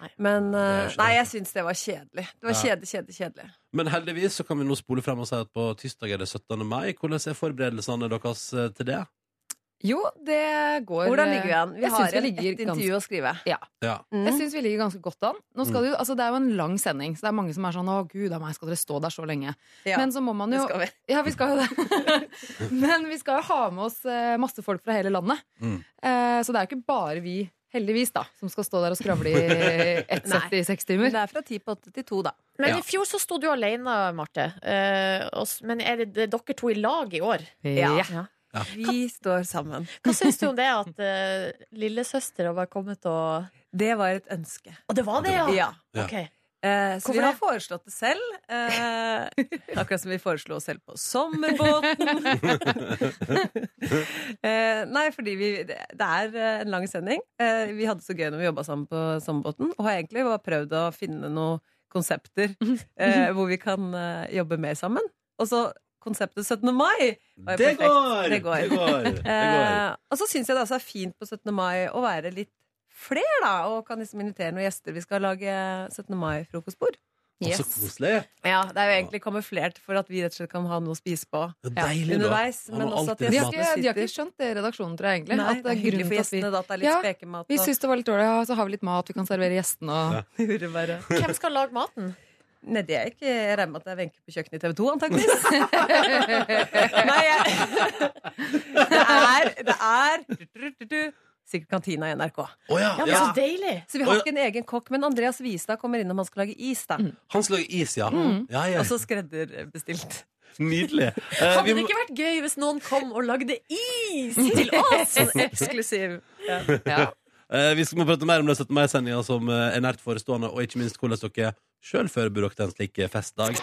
Speaker 2: Nei.
Speaker 10: det. Men eh,
Speaker 1: Det er ikke
Speaker 10: nei,
Speaker 1: det.
Speaker 10: jeg syns det var kjedelig. Det var
Speaker 1: Ja.
Speaker 10: kjedelig, kjedelig, kjedelig.
Speaker 1: Men heldigvis så kan vi nå spole frem og si at på tirsdag er det 17. mai. Hvordan er forberedelsene deres eh, til det?
Speaker 9: Jo, det går
Speaker 10: Hvordan ligger vi an? Vi
Speaker 9: jeg synes
Speaker 10: har
Speaker 9: vi
Speaker 10: en,
Speaker 9: ligger
Speaker 10: et intervju å skrive.
Speaker 1: Ja.
Speaker 10: Mm.
Speaker 9: Jeg syns vi ligger ganske godt an. Nå skal det, jo, altså, det er jo en lang sending, så det er mange som er sånn 'Å, gud a meg, skal dere stå der så lenge?'
Speaker 10: ja,
Speaker 9: Men så må man
Speaker 10: det
Speaker 9: jo
Speaker 10: skal vi.
Speaker 9: *laughs* Ja, vi skal jo det. *laughs* Men vi skal jo ha med oss eh, masse folk fra hele landet.
Speaker 1: Mm.
Speaker 9: Eh, Så det er jo ikke bare vi, heldigvis, da, som skal stå der og skravle i
Speaker 10: *laughs*
Speaker 9: ett
Speaker 10: Nei.
Speaker 9: sett i seks
Speaker 10: Men
Speaker 9: timer.
Speaker 10: det er fra ti på åtte
Speaker 9: *laughs*
Speaker 10: til to, da.
Speaker 2: Men
Speaker 1: Ja.
Speaker 2: i fjor så sto du alene, Marte. Eh, og s- men er det, det er dere to i lag i år?
Speaker 10: Ja.
Speaker 2: Ja.
Speaker 10: Vi står sammen.
Speaker 2: Hva syns du om det at uh, lillesøstera var kommet og
Speaker 10: Det var et ønske.
Speaker 2: Å, det var det, ja!
Speaker 10: Ja.
Speaker 1: Ja.
Speaker 2: Ok.
Speaker 10: Eh, så
Speaker 2: Hvorfor
Speaker 10: vi har
Speaker 2: det?
Speaker 10: foreslått det selv. Eh, akkurat som vi foreslo oss selv på sommerbåten.
Speaker 2: *laughs*
Speaker 10: eh, nei, fordi vi, det det er eh, en lang sending. Eh, vi hadde det så gøy når vi jobba sammen på sommerbåten, og har egentlig bare prøvd å finne noen
Speaker 9: *laughs*
Speaker 10: konsepter
Speaker 9: Mhm.
Speaker 10: eh, hvor vi kan eh, jobbe mer sammen. Og så konseptet 17. mai! var jo
Speaker 1: Det
Speaker 10: perfekt.
Speaker 1: går!
Speaker 10: Det går.
Speaker 1: Det
Speaker 10: *laughs*
Speaker 1: går. Det går.
Speaker 10: Eh, og så syns jeg det også er fint på 17. mai å være litt fler, da. Og kan liksom invitere noen gjester. Vi skal lage 17. mai-frokostbord.
Speaker 1: Å, Så koselig.
Speaker 10: Ja, Det er jo egentlig kamuflert for at vi rett og slett kan ha noe å spise på.
Speaker 1: Det er deilig, da.
Speaker 10: Underveis,
Speaker 1: Han
Speaker 10: men også
Speaker 1: har alltid
Speaker 10: at de
Speaker 9: De
Speaker 1: mat.
Speaker 9: har, ikke, de har
Speaker 10: Maten
Speaker 9: ikke skjønt det i redaksjonen, tror jeg egentlig.
Speaker 10: Nei,
Speaker 9: at
Speaker 10: det
Speaker 9: det
Speaker 10: er
Speaker 9: er grunnen
Speaker 10: hyggelig for
Speaker 9: til at vi
Speaker 10: gjestene da, at det er litt
Speaker 9: Ja,
Speaker 10: spekemat
Speaker 9: vi
Speaker 10: og
Speaker 9: syns det var litt dårlig, ja, så har vi litt mat vi kan servere gjestene og
Speaker 10: jordbære.
Speaker 2: Hvem skal lage maten?
Speaker 10: Nei, det er ikke Jeg regner med at det er Wenche på kjøkkenet i TV 2,
Speaker 2: *laughs*
Speaker 10: antakeligvis. Nei, jeg Det er, det er du, du, du, du, Sikkert kantina i NRK.
Speaker 1: Å ja,
Speaker 2: Ja, men
Speaker 1: ja.
Speaker 2: Så deilig!
Speaker 10: Så vi har ikke en egen kokk, men Andreas Vistad kommer innom. Han skal lage is, da.
Speaker 2: Mm.
Speaker 1: Han skal lage is, ja. ja, ja.
Speaker 10: Og så skredderbestilt.
Speaker 1: Nydelig. Eh,
Speaker 2: Hadde
Speaker 1: vi
Speaker 2: det
Speaker 1: må-
Speaker 2: ikke vært gøy hvis noen kom og lagde
Speaker 10: *laughs*
Speaker 2: is til oss?
Speaker 10: Eksklusiv. *laughs* Ja.
Speaker 1: *laughs* eh, vi skal må prate mer om det 17. mai-sendinga som eh, er nært forestående, og ikke minst hvordan dere sjøl forbereder dere til en slik eh, festdag.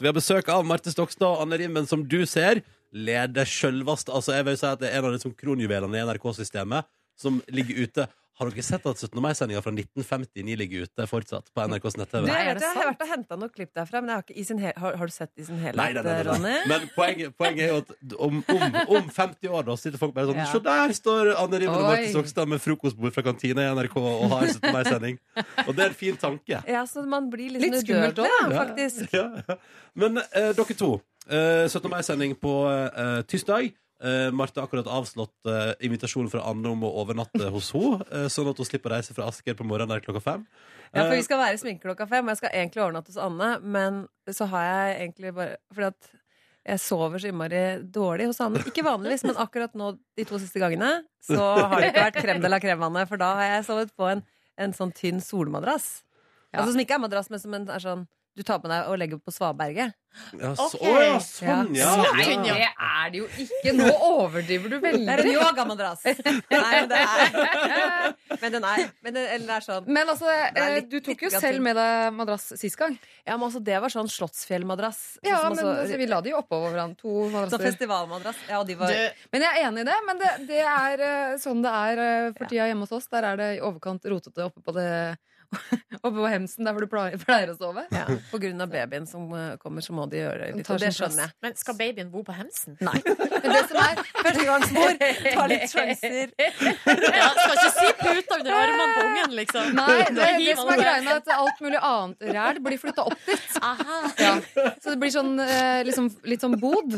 Speaker 1: Vi har besøk av Marte Stokstad og Anne Rimmen, som du ser, leder sjølvast. Altså, jeg vil si at det er en av de som kronjuvelene i NRK-systemet som ligger ute. Har dere sett at 17. mai-sendinga fra 1959 ligger ute fortsatt på NRKs
Speaker 10: Du,
Speaker 1: nett-TV?
Speaker 10: jeg,
Speaker 9: er
Speaker 10: vet,
Speaker 9: det
Speaker 10: jo, jeg har vært og henta noen klipp derfra, men jeg har, ikke i sin hel, har, har du sett i sin
Speaker 1: Nei,
Speaker 10: helhet,
Speaker 1: nei, nei, nei, nei.
Speaker 10: Ronny?
Speaker 1: Men poenget, poenget er jo at om, om, om 50 år da sitter folk bare sånn
Speaker 10: Ja.
Speaker 1: Se der står Anne Rimmen
Speaker 9: Oi.
Speaker 1: og Marte Stokstad med frokostbord fra kantina i NRK og har 17. mai-sending. Og det er en fin
Speaker 10: *laughs*
Speaker 1: tanke.
Speaker 10: Ja, så man blir litt,
Speaker 9: Litt
Speaker 10: sånn
Speaker 9: skummelt
Speaker 10: udødelig,
Speaker 9: også,
Speaker 10: ja,
Speaker 1: Ja.
Speaker 10: faktisk.
Speaker 1: Ja. Men eh, dere to. Eh, 17. mai-sending på eh, tirsdag. Eh, Marte har akkurat avslått eh, invitasjonen fra Anne om å overnatte hos henne, eh, sånn at hun slipper å reise fra Asker på morgenen der klokka fem.
Speaker 10: Ja, for
Speaker 1: Eh,
Speaker 10: vi skal være i sminke klokka fem, og jeg skal egentlig overnatte hos Anne, men så har jeg egentlig bare Fordi at jeg sover så innmari dårlig hos Anne. Ikke vanligvis, men akkurat nå de to siste gangene så har det ikke vært krem de la creme, Anne, for da har jeg sovet på en, en sånn tynn solmadrass. Altså som ikke er madrass, men som en, er sånn du tar på deg og legger på svaberget.
Speaker 1: Ja, så- Ok. å, ja, sånn, ja. Så tynn, ja.
Speaker 10: Det er det jo ikke. Nå overdriver du veldig. Det er en yogamadrass. *laughs* Nei, men det er Men den er, men den, eller den er sånn
Speaker 9: Men altså,
Speaker 10: Det er
Speaker 9: eh,
Speaker 10: litt-
Speaker 9: du tok jo
Speaker 10: litt grann
Speaker 9: selv
Speaker 10: tynn.
Speaker 9: med deg madrass sist gang.
Speaker 10: Ja, men altså, det var sånn Slottsfjell-madrass.
Speaker 9: Ja,
Speaker 10: Sånn som
Speaker 9: men
Speaker 10: altså-
Speaker 9: altså, vi la det jo oppå hverandre. To
Speaker 10: Sånn
Speaker 9: madrasser.
Speaker 10: festivalmadrass. Ja, og de var
Speaker 9: Det- Men jeg er enig i det. Men det, det er eh, sånn det er eh, for tida hjemme hos oss. Der er det i overkant rotete oppe på det *laughs* Oppe på hemsen, der hvor du pleier, pleier å sove.
Speaker 10: Ja, på grunn av babyen som eh, kommer, så må de gjøre det
Speaker 9: Den
Speaker 10: litt.
Speaker 9: tar
Speaker 10: Og det
Speaker 9: sin plass.
Speaker 10: skjønner jeg.
Speaker 2: Men skal babyen bo på hemsen?
Speaker 10: Nei. Men det som er førstegangsmor, ta litt sjanser.
Speaker 2: *laughs* Ja, skal ikke si puta under armene på ungen,
Speaker 9: *laughs*
Speaker 2: liksom.
Speaker 9: Nei, det,
Speaker 2: Bare hiv
Speaker 9: det
Speaker 2: han
Speaker 9: som er
Speaker 2: over.
Speaker 9: greia er at alt mulig annet ræl blir flytta opp
Speaker 10: *laughs*
Speaker 9: dit. Ja. Så det blir sånn, eh, liksom, litt sånn
Speaker 10: *laughs*
Speaker 9: bod.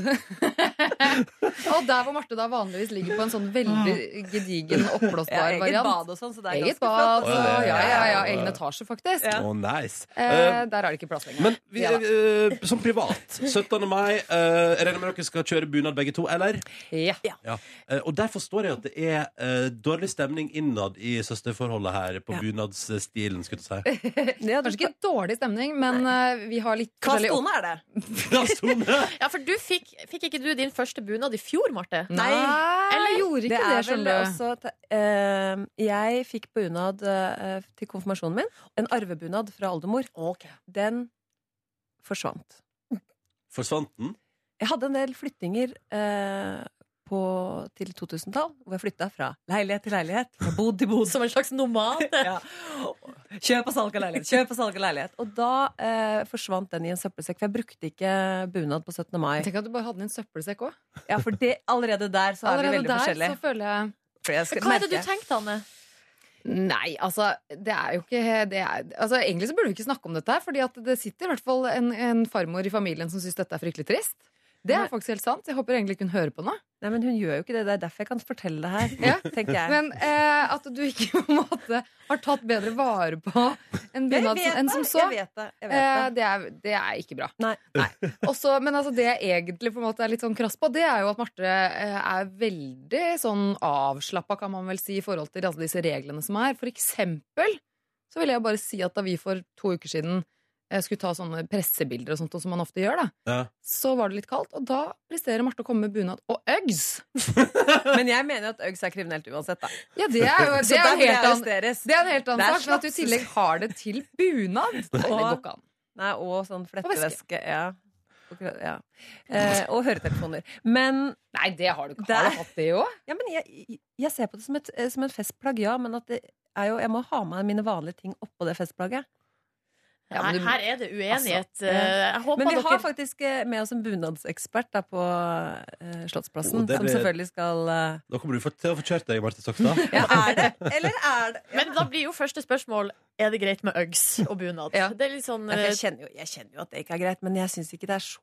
Speaker 9: og der hvor Marte da vanligvis ligger på en sånn veldig gedigen,
Speaker 10: Ja,
Speaker 9: oppblåsbar
Speaker 10: eget
Speaker 9: variant.
Speaker 10: bad og sånn, så det er ganske
Speaker 9: Eget bad,
Speaker 10: flott,
Speaker 9: og,
Speaker 10: altså.
Speaker 9: ja, ja, ja, egen etasje, faktisk. *laughs*
Speaker 1: Å, nice.
Speaker 9: Eh, der er det ikke plass lenger.
Speaker 1: Men vi,
Speaker 9: Ja da.
Speaker 1: eh, som
Speaker 9: *laughs*
Speaker 1: privat, 17. mai eh, Jeg regner med dere skal kjøre bunad begge to, eller?
Speaker 9: Ja.
Speaker 1: Ja. Eh, og der forstår jeg at det er eh, dårlig stemning innad i søsterforholdet her, på bunadsstilen, skulle
Speaker 9: Eh.
Speaker 1: jeg til å si.
Speaker 9: Kanskje ikke dårlig stemning, men eh, vi har litt
Speaker 10: Hva
Speaker 9: forskjellig opp-
Speaker 10: stående er det?
Speaker 2: *laughs* Ja, for du fikk, fikk ikke du din første bunad i fjor, Marte?
Speaker 9: Nei,
Speaker 2: Eller?
Speaker 9: jeg gjorde ikke det,
Speaker 10: er vel
Speaker 9: skjønner du.
Speaker 10: også at, eh, jeg fikk bunad eh, til konfirmasjonen min. En arvebunad fra oldemor. Den forsvant.
Speaker 1: Forsvant den?
Speaker 10: Jeg hadde en del flyttinger eh, på, til 2000-tall, hvor jeg flytta fra leilighet til leilighet. Fra bod til bod.
Speaker 2: Som en slags nomad?
Speaker 10: ja. Kjøp og salg av leilighet. Kjøp og salg av leilighet. Og da eh, forsvant den i en søppelsekk, for jeg brukte ikke bunad på 17. mai.
Speaker 9: Tenk at du bare hadde den i en søppelsekk òg.
Speaker 10: Ja, for det, allerede der så er vi
Speaker 9: Allerede
Speaker 10: veldig
Speaker 9: der så
Speaker 10: forskjellige.
Speaker 9: føler jeg
Speaker 10: For jeg skal
Speaker 2: Hva er det du
Speaker 10: merke-
Speaker 2: tenkte, Anne?
Speaker 9: Nei, altså, det er jo ikke det er, altså, Egentlig så burde vi ikke snakke om dette, her, Fordi at det sitter i hvert fall en, en farmor i familien som syns dette er fryktelig trist. Det
Speaker 10: Nei.
Speaker 9: er faktisk helt sant. Jeg håper egentlig ikke hun hører på nå.
Speaker 10: Nei, men hun gjør jo ikke det. Det er derfor jeg kan fortelle det her,
Speaker 9: Ja.
Speaker 10: tenker jeg.
Speaker 9: Men eh, at du ikke på en måte har tatt bedre vare på en bunad
Speaker 10: Jeg vet
Speaker 9: som- enn
Speaker 10: det,
Speaker 9: som så,
Speaker 10: Jeg vet det. Jeg vet
Speaker 9: eh,
Speaker 10: det.
Speaker 9: det, er, det er ikke bra.
Speaker 10: Nei.
Speaker 9: Også, men altså, det jeg egentlig på en måte er litt sånn krass på, det er jo at Marte eh, er veldig sånn avslappa, kan man vel si, i forhold til alle disse reglene som er. For eksempel så vil jeg bare si at da vi for to uker siden eh, skulle ta sånne pressebilder og sånt, og som man ofte gjør, da,
Speaker 1: Ja.
Speaker 9: så var det litt kaldt, og da presterer Marte å komme med bunad og Uggs!
Speaker 10: Men jeg mener jo at Uggs er kriminelt uansett, da.
Speaker 9: Ja, det er jo
Speaker 10: *laughs* Så
Speaker 9: det er
Speaker 10: der
Speaker 9: en
Speaker 10: burde jeg
Speaker 9: helt annen
Speaker 10: arresteres.
Speaker 9: det er en helt annen
Speaker 10: Det er
Speaker 9: sak, men at du i
Speaker 10: slaps.
Speaker 9: tillegg har det til
Speaker 2: *laughs*
Speaker 9: bunad! Nei, det går ikke an.
Speaker 10: Nei, og sånn
Speaker 9: væske.
Speaker 10: flettevæske. Ja. Og gra- ja. Eh, og høretelefoner. Men,
Speaker 9: Nei, det har du ikke.
Speaker 10: Det
Speaker 9: Har
Speaker 10: er-
Speaker 9: du hatt det òg?
Speaker 10: ja, men jeg, jeg ser på det som et, eh, som en festplagg, ja. Men at det er jo, jeg må ha med mine vanlige ting oppå det festplagget.
Speaker 9: Ja, men
Speaker 2: Nei,
Speaker 9: du-
Speaker 2: her er det uenighet.
Speaker 10: Altså,
Speaker 2: Eh, jeg håper
Speaker 10: Men vi
Speaker 2: dere
Speaker 10: har faktisk eh, med oss en bunadsekspert da, på eh, Slottsplassen.
Speaker 1: Å, det
Speaker 10: Som
Speaker 1: blir-
Speaker 10: selvfølgelig skal eh,
Speaker 1: Da kommer du for- til å få kjørt deg, Marte Stokstad.
Speaker 9: *laughs*
Speaker 10: Ja, er det? Eller er det
Speaker 2: Men da blir jo første spørsmål Er det greit med Uggs og bunad?
Speaker 9: Ja.
Speaker 2: Det er litt sånn
Speaker 10: Nei, for
Speaker 2: eh,
Speaker 10: jeg, kjenner jo, jeg kjenner jo at det ikke er greit, men jeg syns ikke det er så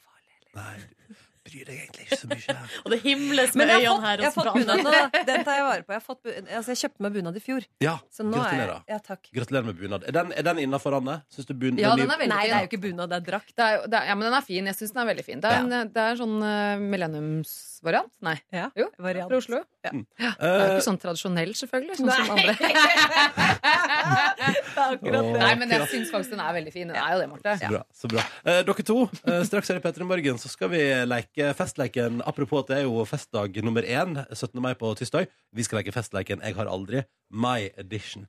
Speaker 10: farlig.
Speaker 1: Nei, bryr deg egentlig ikke så mye.
Speaker 2: *laughs* Og det himles
Speaker 10: Men
Speaker 2: med
Speaker 10: jeg
Speaker 2: øynene
Speaker 10: har fått,
Speaker 2: her
Speaker 10: jeg har
Speaker 2: hos
Speaker 10: fått bunad nå. da. Den tar jeg vare på. Jeg, har fått, bu- altså, jeg kjøpte meg bunad i fjor.
Speaker 1: Ja,
Speaker 10: Så nå er jeg,
Speaker 1: gratulerer.
Speaker 10: ja, takk.
Speaker 1: Gratulerer med bunad. Er den, er den innafor, Anne? Syns du bun
Speaker 9: Ja,
Speaker 1: nye-
Speaker 9: den er veldig
Speaker 10: Nei,
Speaker 9: fin.
Speaker 10: det er jo ikke bunad, det er drakt.
Speaker 9: Det er, jo- det er, ja, men den er fin. Jeg syns den er veldig fin. Det er en, det er en sånn eh, millenniumsvariant. Nei.
Speaker 10: Ja,
Speaker 9: Jo,
Speaker 10: variant.
Speaker 9: fra Oslo.
Speaker 2: Mm.
Speaker 9: Det er jo
Speaker 1: Eh,
Speaker 9: ikke sånn tradisjonell, selvfølgelig. Sånn
Speaker 2: *laughs*
Speaker 9: som
Speaker 10: Nei.
Speaker 9: andre.
Speaker 1: Åh,
Speaker 9: Nei, men jeg
Speaker 1: akkurat.
Speaker 9: syns faktisk den er veldig fin. Den er jo det, Marte.
Speaker 1: Så bra, så bra. Eh, dere to, eh, straks her i Petter i morgen så skal vi leke festleken. Apropos at det er jo festdag nummer én, 17. mai på tirsdag. Vi skal leke festleken Jeg har aldri, My Edition.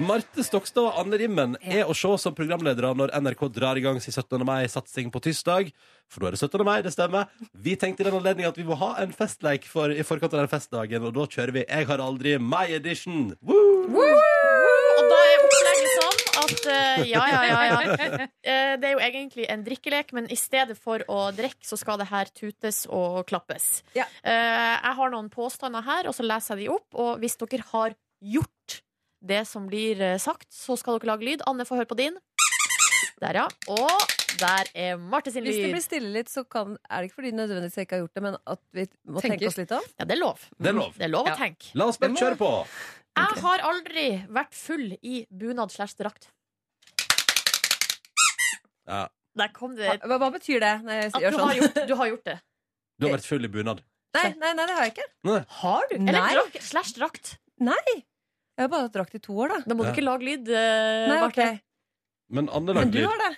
Speaker 1: Marte Stokstad og Anne Rimmen er å se som programledere når NRK drar i gang sin 17. mai-satsing på tirsdag. For da er det 17. mai, det stemmer. Vi tenkte i den anledning at vi må ha en festleik for, i forkant av den festdagen, og da kjører vi Jeg har aldri, My Edition. Woo!
Speaker 2: *laughs* Og da er opplegget sånn at eh, Ja, ja, ja. ja. Eh, det er jo egentlig en drikkelek, men i stedet for å drikke, så skal det her tutes og klappes.
Speaker 10: Ja.
Speaker 2: Eh, jeg har noen påstander her, og så leser jeg de opp. Og hvis dere har gjort det som blir eh, sagt, så skal dere lage lyd. Anne får høre på din. Der, ja. Og der er Marte sin
Speaker 10: Hvis det
Speaker 2: lyd.
Speaker 10: blir stille litt, så kan, er det ikke fordi nødvendigvis jeg ikke har gjort det, men at vi må
Speaker 2: Tenker.
Speaker 10: tenke oss litt om.
Speaker 2: Ja, det er lov.
Speaker 1: Det er lov.
Speaker 2: Det er lov
Speaker 10: Ja.
Speaker 2: å tenke.
Speaker 1: La oss bare
Speaker 10: Det må-
Speaker 1: kjøre på.
Speaker 2: Jeg har aldri vært full i bunad slash drakt.
Speaker 1: Ja.
Speaker 2: Der kom det
Speaker 10: Hva, hva- hva betyr det? Når jeg
Speaker 2: at
Speaker 10: gjør
Speaker 2: du har,
Speaker 10: sånn?
Speaker 2: gjort, du har gjort det.
Speaker 1: Du har vært full i bunad.
Speaker 10: Nei, nei, nei, det har jeg ikke.
Speaker 2: Eh, Har du? Eller
Speaker 10: Nei.
Speaker 2: drak, slash drakt.
Speaker 10: Jeg har bare hatt drakt i to år, da.
Speaker 2: Da må du
Speaker 1: Ja.
Speaker 2: ikke lage lyd, eh,
Speaker 10: Nei,
Speaker 2: Marte.
Speaker 10: ok.
Speaker 1: Men Anne
Speaker 10: Men
Speaker 1: lagde
Speaker 10: du
Speaker 1: lyd.
Speaker 10: har det.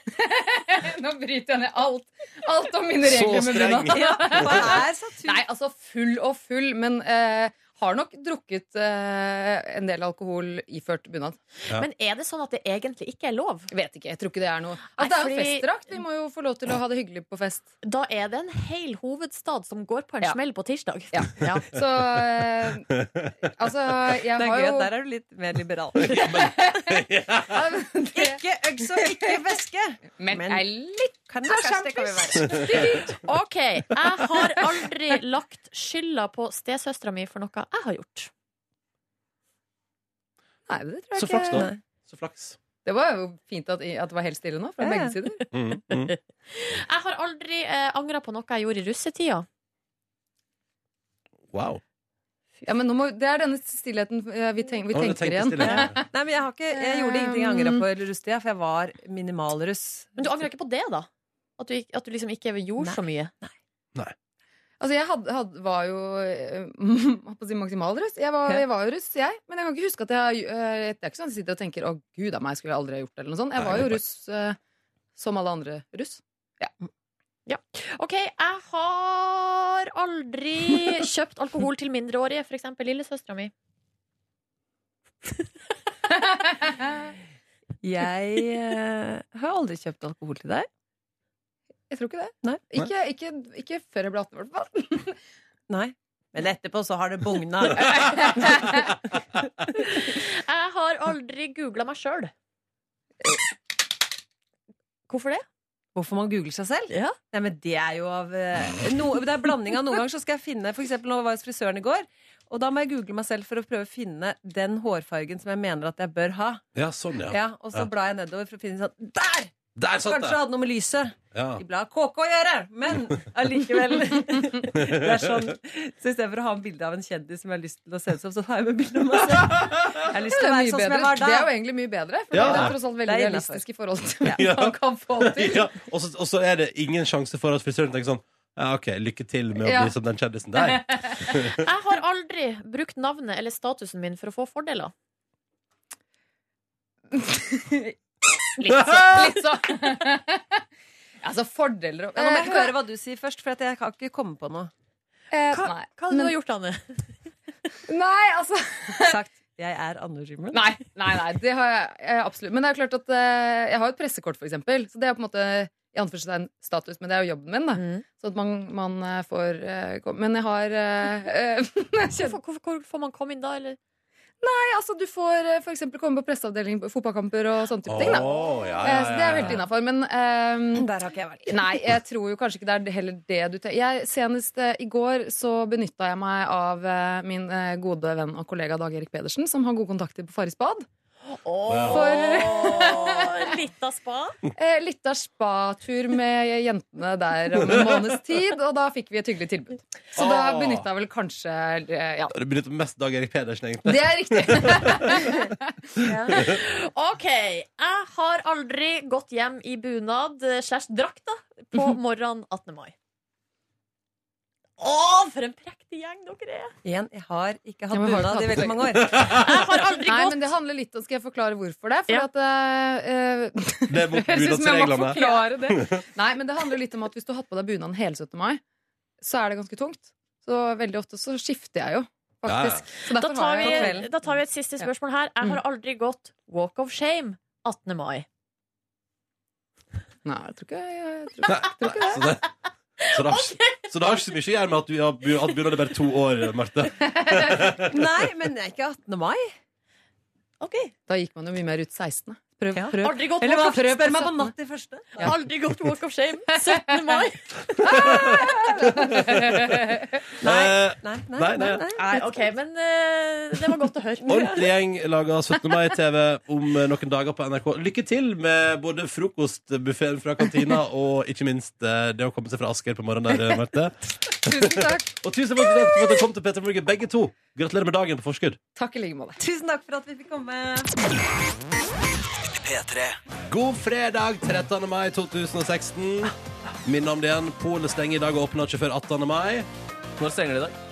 Speaker 9: *laughs* Nå bryter jeg ned alt. Alt om mine
Speaker 1: Så
Speaker 9: regler med
Speaker 1: streng.
Speaker 9: bunad.
Speaker 10: Ja,
Speaker 9: *laughs*
Speaker 10: hva er satur?
Speaker 9: Nei, altså full og full, men eh, har nok drukket eh, en del alkohol iført bunad.
Speaker 1: Ja.
Speaker 2: Men er det sånn at det egentlig ikke er lov?
Speaker 9: Vet ikke, jeg tror ikke det er noe.
Speaker 2: Nei,
Speaker 9: At det er jo
Speaker 2: fordi-
Speaker 9: festdrakt. Vi må jo få lov til å ha det hyggelig på fest.
Speaker 2: Da er det en hel hovedstad som går på en
Speaker 9: Ja.
Speaker 2: smell på tirsdag.
Speaker 9: Ja.
Speaker 10: *laughs*
Speaker 9: *laughs* Så eh, altså, jeg
Speaker 10: Det er
Speaker 9: har
Speaker 10: gøy
Speaker 9: jo
Speaker 10: at der er du litt mer
Speaker 9: *laughs*
Speaker 10: liberal.
Speaker 9: det-
Speaker 10: Ikke øks og ikke væske.
Speaker 9: Men
Speaker 10: Men-
Speaker 9: er litt
Speaker 10: Kan det være det kan vi være.
Speaker 2: *laughs* OK. Jeg har aldri lagt skylda på stesøstera mi for noe jeg har gjort.
Speaker 10: Nei, det tror
Speaker 1: Så flaks, da. Så flaks.
Speaker 9: Det var jo fint at, at det var helt stille nå, fra
Speaker 10: Ja, ja.
Speaker 9: begge sider.
Speaker 1: Mm, mm.
Speaker 2: *laughs* Jeg har aldri eh, angra på noe jeg gjorde i russetida.
Speaker 1: Wow.
Speaker 9: Ja, men nå må, Det er denne stillheten eh, vi, tenk, vi
Speaker 1: Å, du
Speaker 9: tenker
Speaker 1: tenkte
Speaker 9: igjen. Um,
Speaker 1: stille.
Speaker 9: *laughs*
Speaker 10: Nei, men jeg, har ikke, jeg gjorde ingenting jeg angra på i russetida, for jeg var minimalruss.
Speaker 2: Men du angrer ikke på det, da? At du, ikk- at du liksom ikke gjorde så mye?
Speaker 9: Altså, jeg had, had, var jo eh, *laughs* holdt på å si maksimalruss. Jeg, var-
Speaker 10: Ja.
Speaker 9: jeg var jo russ, jeg. Men jeg kan ikke huske at jeg eh, Det er ikke sånn at jeg sitter og tenker 'Å, gud a meg, skulle jeg aldri ha gjort det', eller noe sånt. Jeg
Speaker 1: Nei,
Speaker 9: var jo
Speaker 1: det er
Speaker 9: russ eh, som alle andre russ.
Speaker 2: OK, jeg har
Speaker 9: *laughs*
Speaker 2: aldri kjøpt alkohol til mindreårige, f.eks. lillesøstera mi.
Speaker 10: Jeg eh, har aldri kjøpt alkohol til deg.
Speaker 9: Jeg tror ikke det.
Speaker 10: Nei.
Speaker 9: Ikke, ikke, ikke før jeg ble 18, i hvert fall.
Speaker 10: Nei. Men etterpå så har det bugna.
Speaker 2: Jeg har aldri googla meg sjøl. *laughs* Hvorfor det?
Speaker 10: Hvorfor man googler seg selv?
Speaker 2: Ja.
Speaker 10: Nei, men det er jo av eh, no, Det er blanding av noen ganger så skal jeg finne For eksempel nå var jeg hos frisøren i går, og da må jeg google meg selv for å prøve å finne den hårfargen som jeg mener at jeg bør ha.
Speaker 1: Ja, sånn, ja.
Speaker 10: Ja, og så
Speaker 1: Ja.
Speaker 10: blar jeg nedover for å finne sånn Der!
Speaker 1: Der satt
Speaker 10: Kanskje
Speaker 1: det!
Speaker 10: jeg hadde noe med lyset.
Speaker 1: Ja.
Speaker 2: Ah.
Speaker 10: I bladet KK å gjøre, men
Speaker 2: *laughs*
Speaker 10: allikevel. *laughs* Det er sånn. Så i stedet for å ha en bilde av en kjendis som jeg har lyst til å se ut som, så har jeg med bilde av meg selv. Jeg har lyst
Speaker 9: Det er,
Speaker 10: til å være
Speaker 9: mye
Speaker 10: sånn som jeg
Speaker 9: bedre.
Speaker 10: var
Speaker 9: det er
Speaker 10: da.
Speaker 9: jo egentlig mye bedre, for
Speaker 1: Ja.
Speaker 9: det er tross alt veldig
Speaker 10: Det er innenfor.
Speaker 9: realistisk i forhold til hva
Speaker 1: Ja.
Speaker 9: man kan få til.
Speaker 1: ja. Og, så, og så er det ingen sjanse for at frisøren tenker sånn Ja, OK, lykke til med å
Speaker 9: Ja.
Speaker 1: bli som den
Speaker 10: *laughs*
Speaker 1: kjendisen der.
Speaker 2: Jeg har aldri brukt navnet eller statusen min for å få fordeler.
Speaker 9: Litt så.
Speaker 10: *laughs*
Speaker 9: Litt så. *laughs* altså, fordeler og
Speaker 10: Ja, nå må jeg høre hva du sier først, for at jeg kan ikke komme på noe.
Speaker 9: Eh,
Speaker 2: Hva,
Speaker 9: nei.
Speaker 2: hva har du gjort, Anne?
Speaker 9: *laughs* nei, altså
Speaker 10: Sagt 'jeg er Anne Rymmen'.
Speaker 9: Nei, nei, nei det har jeg, eh, absolutt. Men det er jo klart at eh, jeg har jo et pressekort, for eksempel. Så det er jo på en måte i anførselstegn status, men det er jo jobben min, da. Sånn at man, man eh, får eh, gå- Men jeg har eh, *laughs* eh,
Speaker 2: Hvorfor, hvorfor, hvor får man komme inn da, eller?
Speaker 9: Nei, altså, du får eh, for eksempel komme på presseavdeling på fotballkamper og sånne type
Speaker 1: Åh,
Speaker 9: ting, da.
Speaker 1: ja, ja,
Speaker 9: Eh, Så det er jo helt innafor. Men ehm,
Speaker 10: Der har ikke jeg vært.
Speaker 9: Nei, jeg tror jo kanskje ikke det er det- heller det du tenker. Jeg, senest eh, i går så benytta jeg meg av eh, min eh, gode venn og kollega Dag Erik Pedersen, som har gode kontakter på Farris bad.
Speaker 2: For litt av spa.
Speaker 9: *laughs* Eh, Litt av spatur med jentene der om en måneds tid, og da fikk vi et hyggelig tilbud. Så da
Speaker 1: Åh.
Speaker 9: benytta jeg vel kanskje eh, Ja.
Speaker 1: Du benytter mest Dag Erik Pedersen, egentlig.
Speaker 9: Det er
Speaker 2: *laughs*
Speaker 9: riktig.
Speaker 2: OK. Jeg har aldri gått hjem i bunad eh, slash drakt da, på morgenen 18. mai. Å, for en prektig gjeng dere er!
Speaker 10: Igjen, jeg har ikke hatt
Speaker 9: Ja, men har du
Speaker 10: bunad i
Speaker 9: ikke hatt
Speaker 10: veldig
Speaker 9: *laughs*
Speaker 10: mange år.
Speaker 2: Jeg har aldri
Speaker 9: Nei,
Speaker 2: gått
Speaker 9: men det handler litt om Skal jeg forklare hvorfor det? Fordi
Speaker 2: Ja.
Speaker 9: at eh, eh,
Speaker 1: Det er mot
Speaker 9: *laughs* Jeg synes jeg må
Speaker 1: bunadsreglene.
Speaker 9: forklare det.
Speaker 1: *laughs*
Speaker 9: Nei, men det handler jo litt om at hvis du har hatt på deg bunaden hele 17. mai, så er det ganske tungt. Så veldig ofte så skifter jeg jo, faktisk. Så
Speaker 2: da
Speaker 9: derfor
Speaker 2: tar,
Speaker 9: har jeg på
Speaker 2: vi,
Speaker 9: kvelden.
Speaker 2: da tar vi et siste spørsmål her. Jeg har aldri gått walk of shame 18. mai.
Speaker 9: Nei, jeg tror ikke, jeg,
Speaker 2: *laughs*
Speaker 9: tror,
Speaker 1: Nei,
Speaker 9: tror ikke det.
Speaker 1: Så det, så det, har, ikke- så det har ikke så mye å gjøre med at du har bu- hatt bunad i bare to år,
Speaker 10: *laughs*
Speaker 1: Marte.
Speaker 10: Nei, men det er ikke 18. mai.
Speaker 2: Ok
Speaker 9: Da gikk man jo mye mer ut 16.
Speaker 10: Prøv,
Speaker 9: Ja.
Speaker 10: prøv.
Speaker 2: Aldri gått
Speaker 10: Eller hva?
Speaker 2: walk of-
Speaker 10: Spør meg på natt til første.
Speaker 2: Aldri gått walk of shame. 17. mai.
Speaker 1: Nei,
Speaker 10: nei,
Speaker 1: Eh, nei, nei.
Speaker 2: Nei, OK, men eh, det var godt å høre.
Speaker 1: Ordentlig gjeng lager 17. mai-TV om eh, noen dager på NRK. Lykke til med både frokostbuffeen fra kantina og ikke minst eh, det å komme seg fra Asker på morgenen der, eh, Marte.
Speaker 9: *laughs* Tusen takk.
Speaker 1: Og tusen takk for at dere kom til Peter Morgen, begge to. Gratulerer med dagen på forskudd.
Speaker 9: Takk i like måte.
Speaker 10: Tusen takk for at vi fikk komme.
Speaker 1: God fredag 13. mai 2016. Minn om det igjen. Polet stenger i dag og åpner ikke før 18. mai.
Speaker 3: Når stenger de i dag?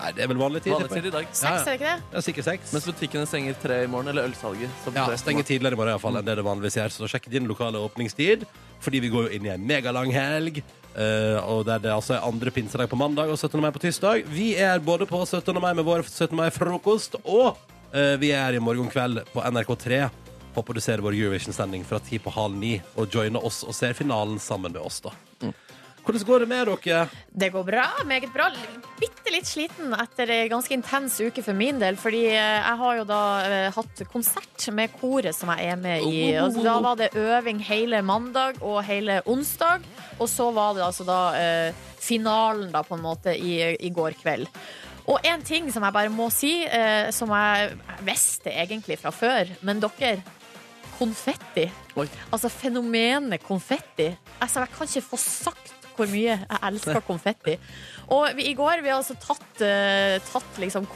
Speaker 1: Nei, Det er vel vanlig tid?
Speaker 3: Vanlig
Speaker 1: tipper jeg.
Speaker 3: tid i dag.
Speaker 1: Ja,
Speaker 2: Seks, er det ikke det?
Speaker 1: ja. Ja, sikkert seks.
Speaker 3: Mens butikkene stenger tre i morgen, eller ølsalget. som
Speaker 1: Ja,
Speaker 3: tre i
Speaker 1: stenger
Speaker 3: morgen.
Speaker 1: tidligere i morgen i hvert fall, enn det det vanligvis gjør. Så sjekk din lokale åpningstid, fordi vi går jo inn i en megalang helg. eh, og der det altså er andre pinsedag på mandag og 17. mai på tirsdag. Vi er både på 17. mai med vår 17. mai-frokost, og eh, vi er i morgen kveld på NRK3. Håper du ser vår Eurovision-sending fra ti på halv ni og joiner oss og ser finalen sammen med oss, da.
Speaker 3: Mm.
Speaker 1: Hvordan går det med dere?
Speaker 2: Det går bra. Meget bra. Bitte litt sliten etter ei ganske intens uke for min del. Fordi eh, jeg har jo da eh, hatt konsert med koret som jeg er med i.
Speaker 1: Oh.
Speaker 2: Og så da var det øving hele mandag og hele onsdag. Og så var det altså da eh, finalen, da, på en måte, i, i går kveld. Og én ting som jeg bare må si, eh, som jeg visste egentlig fra før, men dere Konfetti.
Speaker 3: Oi.
Speaker 2: Altså fenomenet konfetti. Altså, jeg kan ikke få sagt hvor mye jeg elsker konfetti. Og vi, i går vi har altså tatt, eh, tatt liksom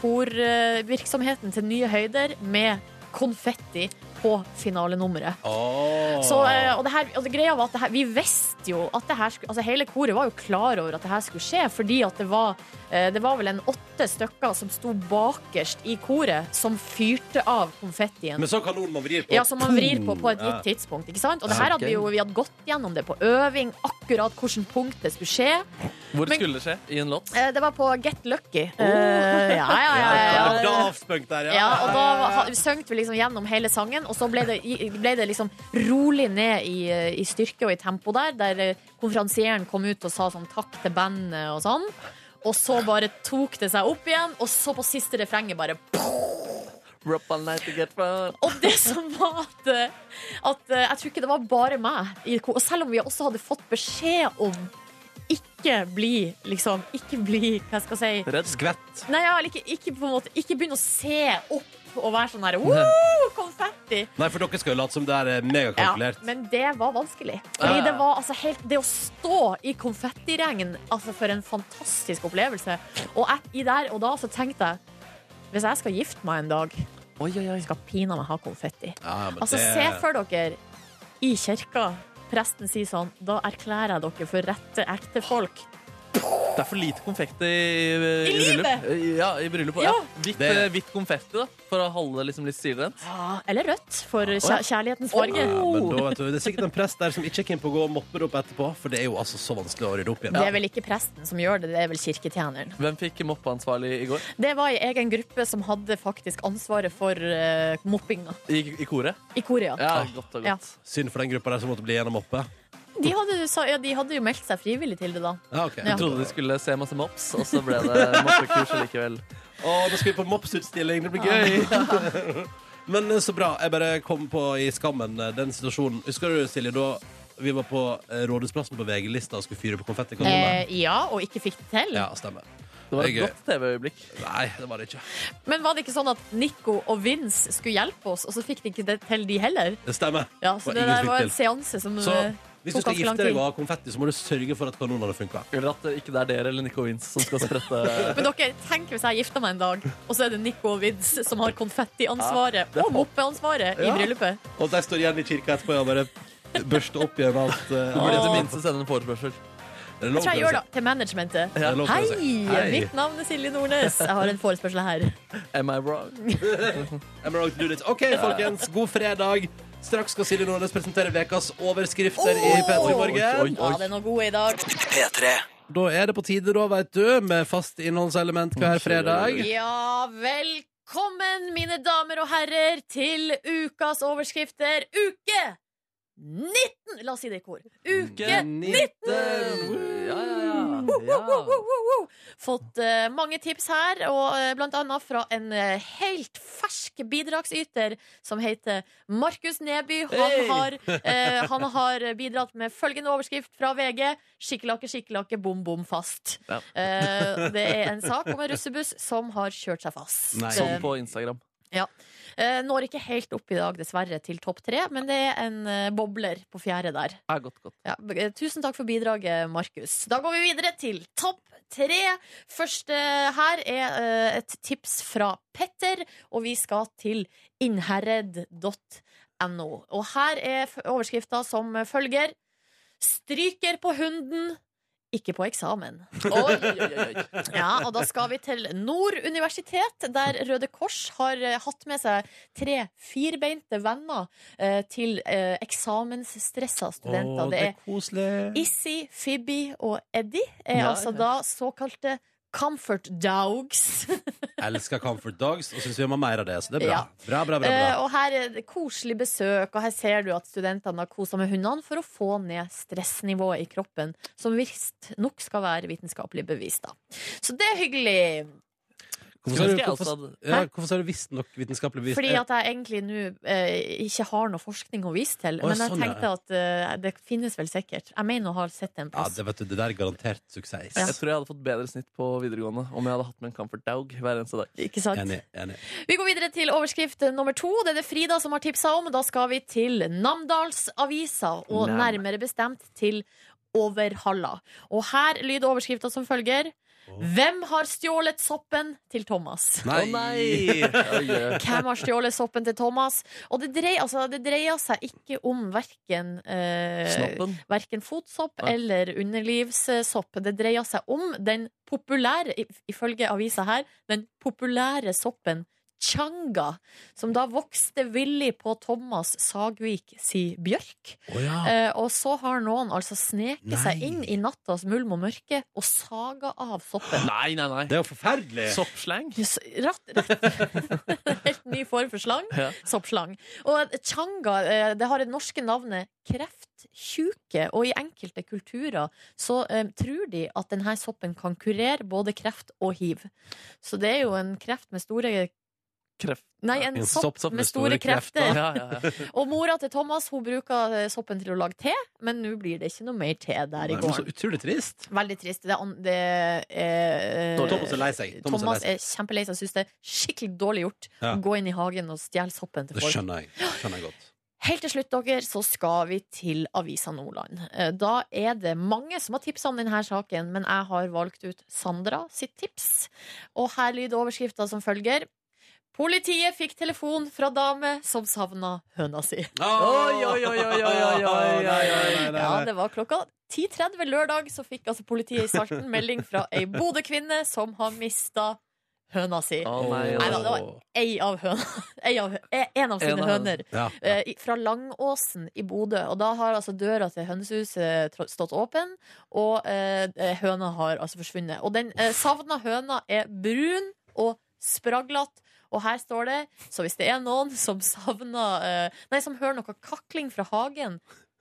Speaker 2: korvirksomheten til nye høyder med konfetti på finalenummeret. Så, eh, og, det her, og det greia var at det her, vi visste jo at det her skulle Altså hele koret var jo klar over at det her skulle skje, fordi at det var eh, Det var vel en åtte stykker som sto bakerst i koret, som fyrte av konfettien.
Speaker 1: Med sånn kanon man vrir på.
Speaker 2: Ja, som man vrir på på et
Speaker 1: Ja.
Speaker 2: gitt tidspunkt. Ikke sant? Og det
Speaker 3: Ja,
Speaker 2: her hadde
Speaker 3: ok.
Speaker 2: vi jo vi hadde gått gjennom det på øving, akkurat hvilket punkt det skulle skje.
Speaker 3: Hvor
Speaker 2: Men-
Speaker 3: skulle det skje? I en låt?
Speaker 2: Eh, Det var på Get Lucky. Eh, ja, ja, ja, ja, ja.
Speaker 1: Da avspøk der,
Speaker 2: Ja, og da var- ha- søngte vi liksom gjennom hele sangen, og så ble det, i- ble det liksom rolig ned i, eh, i styrke og i tempo der, der eh, konferansieren kom ut og sa sånn takk til bandet og sånn. Og så bare tok det seg opp igjen, og så på siste refrenget bare
Speaker 3: Rub all night to get far.
Speaker 2: Og det som var at, eh, at eh, Jeg tror ikke det var bare meg. i ko- Og selv om vi også hadde fått beskjed om ikke bli liksom, Ikke bli, hva skal jeg si
Speaker 3: Redd.
Speaker 1: Skvett.
Speaker 2: Nei, ja, eller ikke, ikke, på en måte, ikke begynne å se opp og være sånn
Speaker 3: *laughs*
Speaker 2: her Woo, konfetti!
Speaker 1: Nei, for dere skal jo late som det er eh,
Speaker 2: Ja,
Speaker 1: megakalkulert.
Speaker 2: men det var vanskelig.
Speaker 3: Ja,
Speaker 2: Fordi
Speaker 3: ja.
Speaker 2: det var altså helt Det å stå i konfettiregn, altså for en fantastisk opplevelse. Og jeg, i der og da så tenkte jeg hvis jeg skal gifte meg en dag,
Speaker 3: Oi, oi, oi.
Speaker 2: skal pinadø ha konfetti.
Speaker 1: Ja, men
Speaker 2: Altså,
Speaker 1: det-
Speaker 2: se for dere i kirka. Presten sier sånn, da erklærer jeg dere for rette ekte folk.
Speaker 3: Det er for lite konfekt i, i,
Speaker 2: I livet!
Speaker 3: bryllup. Eh, Ja, i bryllup. Ja.
Speaker 2: Ja.
Speaker 3: Hvitt,
Speaker 1: Det-
Speaker 3: eh, hvitt konfetti, da, for å holde det liksom litt stilrent.
Speaker 2: Eller rødt, for kjær kjærlighetens farge.
Speaker 1: Ja, men da, vet du, det er sikkert en prest der som ikke er keen på å gå og moppe det opp etterpå, for det er jo altså så vanskelig å rydde opp igjen.
Speaker 2: Det er vel ikke presten som gjør det, det er vel kirketjeneren.
Speaker 3: Hvem fikk moppeansvarlig i går?
Speaker 2: Det var ei egen gruppe som hadde faktisk ansvaret for eh, moppinga
Speaker 3: I, i koret?
Speaker 2: i Korea.
Speaker 3: Ja, godt og
Speaker 2: Ja.
Speaker 3: godt.
Speaker 1: Synd for den gruppa der som måtte bli gjennom oppe.
Speaker 2: De, hadde, jo sa- ja, de hadde jo meldt seg frivillig til det, da.
Speaker 1: Ja, ok.
Speaker 2: Ja.
Speaker 3: Trodde de skulle se masse mops, og så ble det
Speaker 1: *laughs*
Speaker 3: moppekurs likevel.
Speaker 1: Å, nå skal vi på mopsutstilling, det blir
Speaker 3: *laughs*
Speaker 1: gøy! Men eh, så bra. Jeg bare kom på i skammen eh, den situasjonen. Husker du, Silje, da vi var på eh, Rådhusplassen på VG-lista og skulle fyre på konfettikanoner?
Speaker 2: Eh, ja, og ikke fikk det til.
Speaker 1: Ja, stemmer.
Speaker 3: Det var et
Speaker 1: Det er gøy.
Speaker 3: godt TV-øyeblikk.
Speaker 1: Nei, det var det ikke.
Speaker 2: Men var det ikke sånn at Nico og Vince skulle hjelpe oss, og så fikk de ikke det til, de heller?
Speaker 1: Det stemmer.
Speaker 2: Ja, så
Speaker 1: Og
Speaker 2: det
Speaker 1: ingen
Speaker 2: der
Speaker 1: fikk
Speaker 2: var
Speaker 1: til.
Speaker 2: en seanse som
Speaker 1: Så
Speaker 2: eh,
Speaker 1: hvis du
Speaker 2: tok
Speaker 1: skal
Speaker 2: ganske lang
Speaker 1: gifte deg
Speaker 2: tid.
Speaker 1: og ha konfetti, så må du sørge for at kanonene funker.
Speaker 3: Eller at det ikke det er dere eller Nico Vince som skal sprette
Speaker 1: eh,
Speaker 2: Men dere, tenk hvis jeg gifter meg en dag, og så er det Nico og Vince som har konfettiansvaret
Speaker 3: det er
Speaker 2: og moppeansvaret i
Speaker 1: Ja.
Speaker 2: bryllupet.
Speaker 1: Og de står igjen i kirka etterpå og bare børster opp igjen alt. eh,
Speaker 3: Du burde i det
Speaker 1: alt.
Speaker 3: minste sende en forespørsel.
Speaker 1: Det er lov altså.
Speaker 2: Jeg tror jeg
Speaker 1: til å
Speaker 2: gjør
Speaker 1: si.
Speaker 2: det til managementet.
Speaker 1: Det er lov til
Speaker 2: Hei,
Speaker 1: å si. Hei.
Speaker 2: mitt navn er Silje Nordnes. Jeg har en forespørsel her.
Speaker 3: Am I wrong?
Speaker 1: Am I wrong to do this? OK, folkens. God fredag. Straks skal Silje Nordnes presentere ukas overskrifter i P3
Speaker 3: Oi,
Speaker 1: Morgen.
Speaker 3: oi,
Speaker 2: Ja, det er noe god i dag.
Speaker 1: Da er det på tide, da, veit du, med fast innholdselement hver fredag.
Speaker 2: Ja, velkommen, mine damer og herrer, til ukas overskrifter uke 19! La oss si det i kor. Uke
Speaker 3: Uke
Speaker 2: 19!
Speaker 3: Ja, ja, ja.
Speaker 2: Wo, wo, wo, wo. Fått eh, mange tips her, og eh, blant annet fra en eh, helt fersk bidragsyter som heter Markus Neby. Han,
Speaker 11: Hey!
Speaker 2: har, eh, han har bidratt med følgende overskrift fra VG. Skikkelakke, skikkelakke, bom, bom, fast.
Speaker 3: Ja.
Speaker 2: Eh, det er en sak om en russebuss som har kjørt seg fast.
Speaker 3: Nei.
Speaker 2: Eh,
Speaker 3: Som på Instagram.
Speaker 2: ja. Eh, Når ikke helt opp i dag, dessverre, til topp tre, men det er en eh, bobler på fjerde der.
Speaker 3: Ja, godt, godt.
Speaker 2: Ja, b- eh, tusen takk for bidraget, Markus. Da går vi videre til topp tre. Først eh, her er eh, et tips fra Petter, og vi skal til innherred.no. Og her er f- overskrifta som følger. Stryker på hunden, ikke på eksamen. Oi, oi, oi, oi. *laughs* Ja, og da skal vi til Nord universitet, der Røde Kors har eh, hatt med seg tre firbeinte venner eh, til eh, eksamensstressa studenter.
Speaker 1: Å,
Speaker 2: det
Speaker 1: det er
Speaker 2: er
Speaker 1: koselig.
Speaker 2: Issy, Phoebe og Eddie er
Speaker 1: Ja,
Speaker 2: altså
Speaker 1: ja.
Speaker 2: da såkalte comfort dogs.
Speaker 1: Elsker Comfort Dogs og syns vi må ha mer av det, så det er bra.
Speaker 2: Ja.
Speaker 1: Bra, bra, bra,
Speaker 2: Eh,
Speaker 1: bra.
Speaker 2: og her er det koselig besøk, og her ser du at studentene har kosa med hundene for å få ned stressnivået i kroppen, som visstnok skal være vitenskapelig bevist, da. Så det er hyggelig.
Speaker 1: Hvorfor sa
Speaker 2: Skulle
Speaker 1: du-
Speaker 2: ønske jeg
Speaker 1: hvorfor-
Speaker 2: også hadde-
Speaker 1: ja,
Speaker 2: Hæ?
Speaker 1: Hvorfor sa du visstnok vitenskapelig bevist?
Speaker 2: Fordi at jeg egentlig nå eh, ikke har noe forskning å vise til.
Speaker 1: Å,
Speaker 2: men jeg
Speaker 1: sånn, ja.
Speaker 2: tenkte at eh, det finnes vel sikkert. Jeg mener å ha sett det en
Speaker 1: Ja,
Speaker 2: plass.
Speaker 1: det, vet du, det der er garantert suksess.
Speaker 2: Ja.
Speaker 3: Jeg tror jeg hadde fått bedre snitt på videregående om jeg hadde hatt med en Comfort Dog hver eneste dag.
Speaker 2: Ikke sant?
Speaker 3: Enig,
Speaker 1: enig.
Speaker 2: Vi går videre til overskrift nummer to. Det er det Frida som har tipsa om. Da skal vi til Namdalsavisa, og
Speaker 11: Nam.
Speaker 2: nærmere bestemt til Overhalla. Og her lyder overskrifta som følger. Hvem har stjålet soppen til Thomas?
Speaker 11: Nei. Å, nei. Oi, oi, oi.
Speaker 2: Hvem har stjålet soppen til Thomas? Og det dreier, altså, det dreier seg ikke om verken, eh,
Speaker 11: Snoppen.
Speaker 2: verken fotsopp
Speaker 11: Nei.
Speaker 2: eller underlivssopp. Det dreier seg om den populære, i- ifølge avisa her, den populære soppen Changa, som da vokste villig på Thomas Sagvik si bjørk. Eh, og så har noen altså sneket seg inn i nattas mulm og mørke og saga av soppen.
Speaker 3: Nei, nei, nei.
Speaker 1: Det er jo forferdelig.
Speaker 3: Soppslang.
Speaker 2: Yes, Ratt, rett. *laughs* Helt ny form for slang.
Speaker 3: Ja.
Speaker 2: Soppslang. Og changa eh, det har det norske navnet krefttjuke, og i enkelte kulturer så eh, tror de at denne soppen kan kurere både kreft og hiv. Så det er jo en kreft med store
Speaker 3: Kreft.
Speaker 2: Nei, en, sopp, med store, krefter.
Speaker 3: Ja, ja, ja.
Speaker 2: *laughs* og mora til Thomas hun bruker eh, soppen til å lage te, men nå blir det ikke noe mer te der i
Speaker 1: Nei, men så
Speaker 2: gården.
Speaker 1: utrolig trist.
Speaker 2: Veldig trist. Det er, an- det er, eh,
Speaker 1: Thomas er lei seg. Thomas er
Speaker 2: Thomas
Speaker 1: lei
Speaker 2: er kjempelei seg. Syns det er skikkelig dårlig gjort
Speaker 1: Ja.
Speaker 2: å gå inn i hagen og stjele soppen til
Speaker 1: Det
Speaker 2: folk.
Speaker 1: skjønner jeg. Det
Speaker 2: *gasps*
Speaker 1: skjønner jeg godt.
Speaker 2: Helt til slutt, dere, så skal vi til Avisa Nordland. Eh, Da er det mange som har tipsa om denne saken, men jeg har valgt ut Sandra sitt tips. Og her lyder overskrifta som følger. Politiet fikk telefon fra dame som savna høna si.
Speaker 11: Oi, oi, oi, oi, oi, oi, oi, oi, oi.
Speaker 2: Ja, det var klokka 10.30 lørdag, så fikk altså politiet
Speaker 11: *laughs*
Speaker 2: i Salten melding fra ei Bodø-kvinne som har mista høna si.
Speaker 11: Å, nei, å.
Speaker 2: da, det var ei av høna. *laughs* Ei av, hø- en av sine
Speaker 11: En av
Speaker 2: høner.
Speaker 11: hønene. Ja,
Speaker 2: Eh, i- Fra Langåsen i Bodø. Og da har altså døra til hønsehuset tro- stått åpen, og eh, høna har altså forsvunnet. Og den eh, savna høna er brun og spraglete. Og her står det, så hvis det er noen som savner eh, Nei, som hører noe kakling fra hagen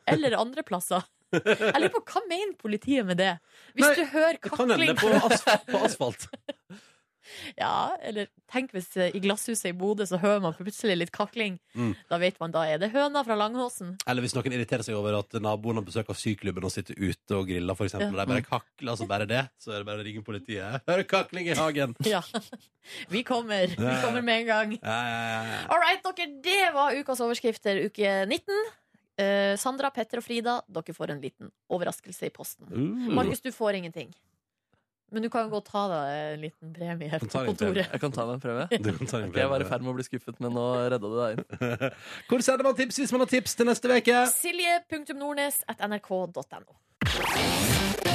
Speaker 2: eller andre plasser Jeg lurer på hva mener politiet med det? Hvis du hører
Speaker 1: Det kan hende
Speaker 2: kakling
Speaker 1: det på, asf på asfalt.
Speaker 2: *laughs* ja, eller tenk hvis eh, i glasshuset i Bodø så hører man plutselig litt kakling.
Speaker 1: Mm.
Speaker 2: Da vet man, da er det høna fra Langåsen. *laughs*
Speaker 1: Eller hvis noen irriterer seg over at naboen har besøk av syklubben og sitter ute og griller, for eksempel,
Speaker 2: Ja.
Speaker 1: og de bare kakler, så bare det, så er det bare å ringe politiet. Hører kakling i hagen!
Speaker 2: Ja. Vi kommer. Vi kommer med en gang.
Speaker 1: Ja, ja, ja.
Speaker 2: All right, dere, det var ukas overskrifter uke 19. Eh, Sandra, Petter og Frida, dere får en liten overraskelse i posten.
Speaker 3: Uh.
Speaker 2: Markus, du får ingenting. Men du kan jo gå og ta deg en liten premie her på kontoret.
Speaker 3: Jeg kan ta meg en prøve.
Speaker 1: Du kan ta deg en
Speaker 3: Ok, jeg var
Speaker 1: prøve.
Speaker 3: i ferd med å bli skuffet, men nå redda du deg inn.
Speaker 1: *laughs* Hvor sender man tips hvis man har tips til neste uke?
Speaker 2: Silje.nordnes.nrk.no.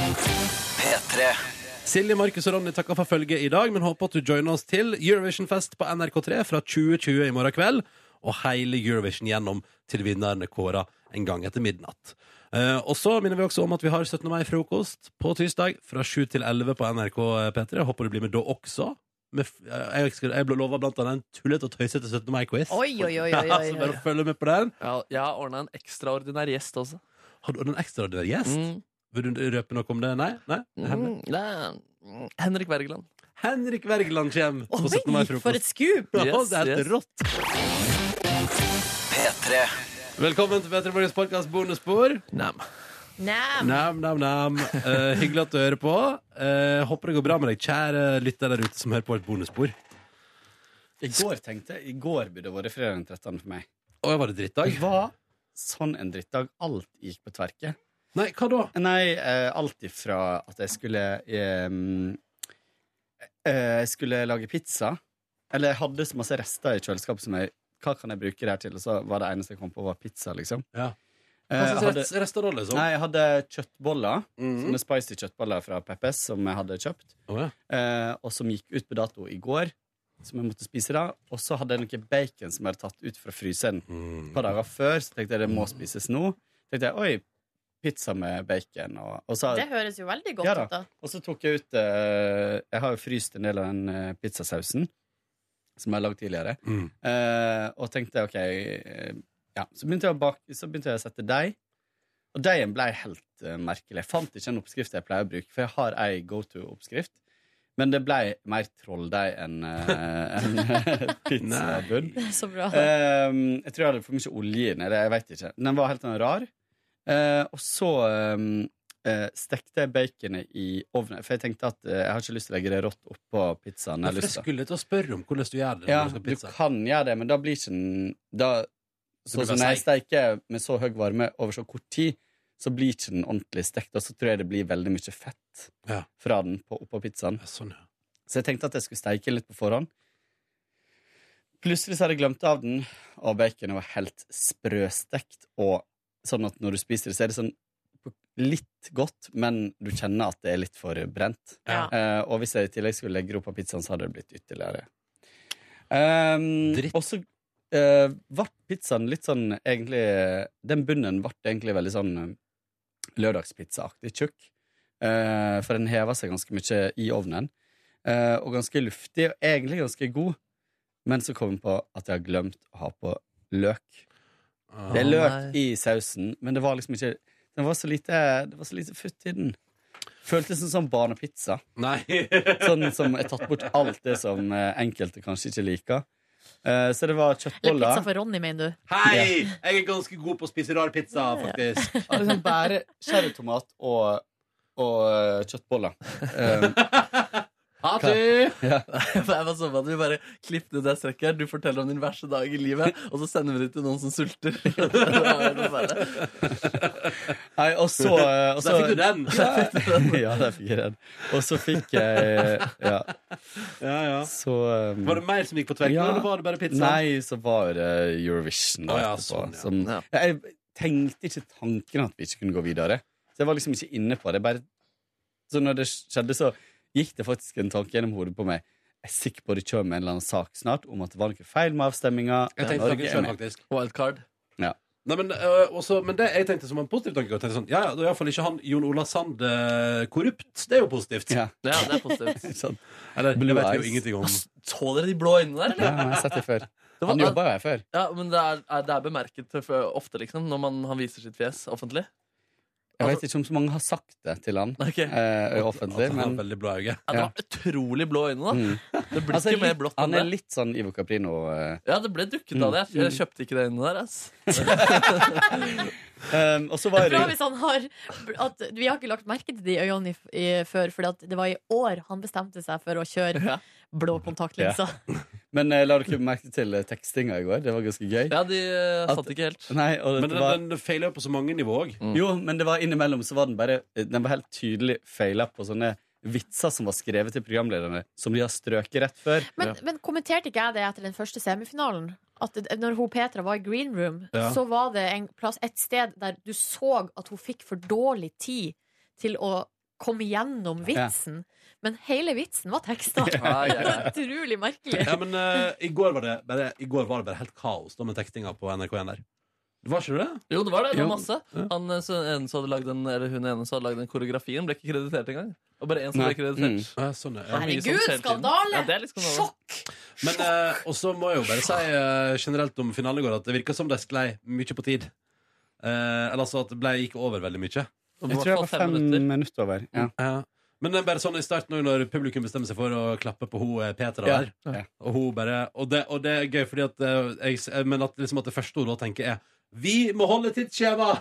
Speaker 1: P3. Silje, Markus og Ronny takker for følget i dag, men håper at du joiner oss til Eurovision-fest på NRK3 fra 2020 i morgen kveld, og hele Eurovision gjennom til vinneren er kåra en gang etter midnatt. Eh, og så minner vi også om at vi har eh, 17. mai-frokost på tirsdag fra 7 til 11 på NRK P3. Håper du blir med da også. med, f- eh, jeg, skal, jeg lova blant annet en tullete og tøysete 17. mai-quiz.
Speaker 2: Oi, oi, oi, oi, oi,
Speaker 1: *laughs* Så bare følg med på den.
Speaker 3: Ja, jeg har ordna en ekstraordinær gjest også.
Speaker 1: Har du en ekstraordinær gjest?
Speaker 3: Mm.
Speaker 1: Vil du røpe noe om det? Nei? Nei?
Speaker 3: Mm, nei. Henrik Wergeland.
Speaker 1: Henrik Wergeland kommer på 17. mai-frokost.
Speaker 2: for et skup!
Speaker 1: Ja,
Speaker 2: Yes,
Speaker 1: det er helt
Speaker 2: yes.
Speaker 1: rått. Velkommen til P3 Morgens podkast bonusspor.
Speaker 2: Nam.
Speaker 1: Nam, nam, nam. Eh, hyggelig at du hører på. Eh, håper det går bra med deg, kjære lytter der ute som hører på et bonusspor.
Speaker 6: I går tenkte jeg, i går burde vært fredag den 13. for meg.
Speaker 1: Og var det drittdag?
Speaker 6: Det var sånn en drittdag. Alt gikk på tverke.
Speaker 1: Nei, hva da?
Speaker 6: Nei, eh, alt ifra at jeg skulle eh, eh, Jeg skulle lage pizza. Eller jeg hadde så masse rester i kjøleskapet som jeg Hva kan jeg bruke det her til? Og så var det eneste jeg kom på, var pizza, liksom.
Speaker 1: Ja.
Speaker 6: Eh,
Speaker 1: Hva slags
Speaker 6: jeg
Speaker 1: rest- rester da, liksom? Mhm.
Speaker 6: Nei, jeg hadde kjøttboller. Sånne spicy kjøttboller fra Peppes som jeg hadde kjøpt. eh, og som gikk ut på dato i går. Som jeg måtte spise da. Og så hadde jeg noe bacon som jeg hadde tatt ut fra fryseren
Speaker 1: Mm.
Speaker 6: et par dager før. Så tenkte jeg det må spises nå. Tenkte jeg, oi, pizza med bacon. Og, og så
Speaker 2: Det høres jo veldig
Speaker 6: Ja
Speaker 2: godt
Speaker 6: da.
Speaker 2: ut, da.
Speaker 6: og så tok jeg ut eh, Jeg har jo fryst en del av den eh, pizzasausen som jeg har lagd tidligere. Eh, og tenkte OK eh, ja. så, begynte jeg å bak, så begynte jeg å sette deig. Og deigen ble helt eh, merkelig. Jeg fant ikke en oppskrift jeg pleier å bruke, for jeg har ei go to-oppskririg. Men det ble mer trolldeig enn eh, *laughs* enn pizzabunn.
Speaker 2: *laughs* Så bra.
Speaker 6: Ehm, jeg tror jeg hadde for mye olje i den. Eller jeg vet ikke. Den var helt sånn rar. Eh, og så ehm, eh, stekte jeg baconet i ovnen. For jeg tenkte at eh, jeg har ikke lyst til å legge det rått oppå pizzaen.
Speaker 1: Nei,
Speaker 6: Jeg har
Speaker 1: for jeg
Speaker 6: lyst til.
Speaker 1: skulle til å spørre om hvordan du gjør det.
Speaker 6: Ja,
Speaker 1: når du skal
Speaker 6: du
Speaker 1: pizza.
Speaker 6: kan gjøre det, men da blir ikke den da,
Speaker 1: Så
Speaker 6: Sånn
Speaker 1: blir
Speaker 6: som
Speaker 1: den
Speaker 6: når jeg steiker med så høy varme over så kort tid, så blir ikke den ordentlig stekt. Og så tror jeg det blir veldig mye fett fra den på, oppå pizzaen.
Speaker 1: sånn,
Speaker 6: Så jeg tenkte at jeg skulle steike litt på forhånd. Plutselig så hadde jeg glemt av den, og baconet var helt sprøstekt. Og sånn at når du spiser det, så er det sånn litt godt, men du kjenner at det er litt for brent.
Speaker 1: Ja.
Speaker 6: Eh, og hvis jeg i tillegg skulle legge det opp på pizzaen, så hadde det blitt ytterligere. Um, og så eh, ble pizzaen litt sånn egentlig Den bunnen ble egentlig veldig sånn eh, lørdagspizzaaktig tjukk. Eh, for den heva seg ganske mye i ovnen. eh, og ganske luftig, og egentlig ganske god. Men så kom jeg på at jeg har glemt å ha på løk.
Speaker 1: Ah.
Speaker 6: Det er løk i sausen, men det var liksom ikke Den var så lite, det var så lite futt i den. Føltes som sånn barnepizza. *laughs* sånn som er tatt bort alt det som eh, enkelte kanskje ikke liker. Eh, så det var
Speaker 2: Eller pizza
Speaker 6: kjøttboller.
Speaker 2: for Ronny, mener du?
Speaker 1: Hei! Jeg er ganske god på å spise rar pizza, faktisk.
Speaker 6: Liksom bare cherrytomat og, og eh, kjøttboller. Eh,
Speaker 3: Ha
Speaker 6: det!
Speaker 3: *laughs* Jeg var sånn at vi bare klippet ut det strekket her. Du forteller om din verste dag i livet, og så sender vi det til noen som sulter. *laughs* Det var helt forferdelig.
Speaker 6: *laughs* Nei, og så eh, og
Speaker 3: Der
Speaker 6: så-
Speaker 3: fikk du den.
Speaker 6: *laughs* Ja,
Speaker 1: *laughs*
Speaker 6: ja, der fikk jeg den. Og så fikk jeg Ja. Så um,
Speaker 1: Var det mer som gikk på tverken, eller var det bare pizza?
Speaker 6: Nei, så var det Eurovision. Da,
Speaker 1: Å ja,
Speaker 6: etterpå,
Speaker 1: sånn, ja.
Speaker 6: som,
Speaker 1: Ja.
Speaker 6: Jeg tenkte ikke tanken at vi ikke kunne gå videre. Så jeg var liksom ikke inne på det. Bare, så når det skjedde, så gikk det faktisk en tanke gjennom hodet på meg. Jeg er sikker på det kommer en eller annen sak snart om at det var noe feil med avstemminga.
Speaker 1: Jeg tenkte tanken selv, faktisk.
Speaker 3: Wildcard.
Speaker 6: Ja.
Speaker 1: Nei, men, øh, også, men det jeg tenkte som en positiv tanke, jeg tenkte sånn, ja, ja, da er iallfall ikke han Jon Ola Sand øh, korrupt. Det er jo positivt.
Speaker 6: Ja,
Speaker 3: det er
Speaker 1: *laughs*
Speaker 3: positivt.
Speaker 6: sånn.
Speaker 1: Eller, det
Speaker 6: Blue
Speaker 1: vet vi
Speaker 6: eyes.
Speaker 1: jo ingenting om.
Speaker 3: Så dere de blå øynene der?
Speaker 6: Ja, jeg har sett det før.
Speaker 3: Det var-
Speaker 6: Han jobba jo her før.
Speaker 3: Ja, men det er, er- det er bemerket før- ofte, liksom, når man, han viser sitt fjes offentlig.
Speaker 6: Jeg
Speaker 3: Altså-
Speaker 6: vet ikke om så mange har sagt det til han eh, offentlig.
Speaker 3: At han har
Speaker 6: men...
Speaker 1: veldig blå øyne.
Speaker 3: Ja, det var utrolig blå øyne, da. Det blir
Speaker 6: Altså,
Speaker 3: ikke mer
Speaker 6: litt-
Speaker 3: blått
Speaker 6: han
Speaker 3: enn
Speaker 6: er
Speaker 3: det.
Speaker 6: litt sånn Ivo Caprino. eh. Mm.
Speaker 3: Ja, det ble dukket av det. Jeg jeg kjøpte ikke det øynene der, ass.
Speaker 6: *laughs* Um, og så
Speaker 2: Det
Speaker 6: var
Speaker 2: er bra
Speaker 6: det
Speaker 2: hvis han har at, Vi har ikke lagt merke til de øynene i, i, før, for det var i år han bestemte seg for å kjøre blå kontaktlinser.
Speaker 3: liksom.
Speaker 6: *laughs* Men eh, la dere merke til eh, tekstinga i går? Det var ganske gøy.
Speaker 3: Ja, de uh, satt ikke helt. Mm.
Speaker 6: Nei, og
Speaker 1: Men
Speaker 6: det
Speaker 1: den,
Speaker 6: var,
Speaker 1: den feiler jo på så mange nivå òg.
Speaker 6: Jo, men det var innimellom så var den bare eh, Den var helt tydelig feila på sånne vitser som var skrevet til programlederne, som de har strøket rett før.
Speaker 2: Men, men kommenterte ikke jeg det etter den første semifinalen? At det- når hun Petra var i green room,
Speaker 6: Ja.
Speaker 2: så var det en plass, et sted der du så at hun fikk for dårlig tid til å komme gjennom vitsen. Men hele vitsen var teksta.
Speaker 1: Ja, ja, ja.
Speaker 2: *laughs* Utrolig merkelig.
Speaker 1: eh, Ja, men øh, i, går var det bare, I går var det bare helt kaos da med tekstinga på NRK1 der. Var ikke det?
Speaker 3: Jo, det var det. det
Speaker 1: Jo.
Speaker 3: var masse Han, eh, så ene som hadde lagd den, eller Hun ene som hadde lagd den koreografien, ble ikke kreditert engang. Og bare én som
Speaker 1: Nei.
Speaker 3: ble kreditert.
Speaker 1: Mm. Ja, sånn er, ja.
Speaker 3: Det er mye
Speaker 2: Herregud,
Speaker 3: sånn hele tiden.
Speaker 2: skandale!
Speaker 3: Ja, det er litt skandale.
Speaker 1: Men eh, Og så må jeg jo bare si eh, generelt om finalen i går at det virka som de sklei mye på tid. Eh, eller altså at det ble, gikk over veldig mye.
Speaker 6: Jeg tror det var fem minutter, over. Mm. Ja.
Speaker 3: Mm.
Speaker 1: Ja. Men det er bare sånn i starten også, når publikum bestemmer seg for å klappe på hun eh, Petra
Speaker 6: Ja.
Speaker 1: der.
Speaker 6: Ja.
Speaker 1: Og, hun bare, og, det, og det er gøy, fordi at, eh, jeg, s- men at, liksom at det første hun da tenker, er Vi må holde tidsskjema!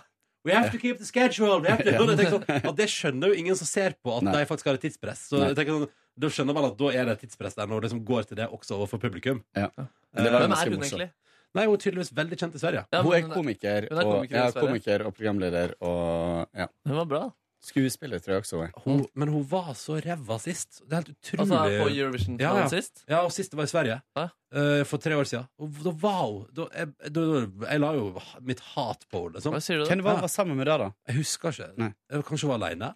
Speaker 1: We have to keep the schedule! We have to,
Speaker 6: Ja.
Speaker 1: og jeg
Speaker 6: *laughs*
Speaker 1: tenker sånn, at det skjønner jo ingen som ser på at
Speaker 6: Nei.
Speaker 1: de faktisk har et tidspress. Så
Speaker 6: Nei.
Speaker 1: jeg tenker sånn, da skjønner man at da er det et tidspress der når det liksom går til det også overfor publikum.
Speaker 6: Men det var
Speaker 1: Hvem
Speaker 6: ganske
Speaker 1: er hun
Speaker 6: morsomt.
Speaker 1: egentlig? Nei, Hun er tydeligvis veldig kjent i Sverige.
Speaker 6: hun er komiker,
Speaker 1: hun er
Speaker 6: og,
Speaker 1: komiker i
Speaker 6: ja,
Speaker 1: Sverige.
Speaker 6: komiker og programleder og ja.
Speaker 3: Hun var bra.
Speaker 6: Skuespiller, tror jeg også hun er.
Speaker 1: Hun, men hun var så ræva sist. Det er helt utrolig.
Speaker 3: Altså, på Eurovision-finalen
Speaker 1: ja, ja.
Speaker 3: sist?
Speaker 1: Ja, og sist det var i Sverige. Eh, for tre år siden. Og da var hun da, jeg, da, da, jeg la jo mitt hat på henne. Liksom.
Speaker 6: Hva sier du da? Hvem var- var sammen med det, da?
Speaker 1: Jeg husker ikke. Jeg kanskje hun var aleine.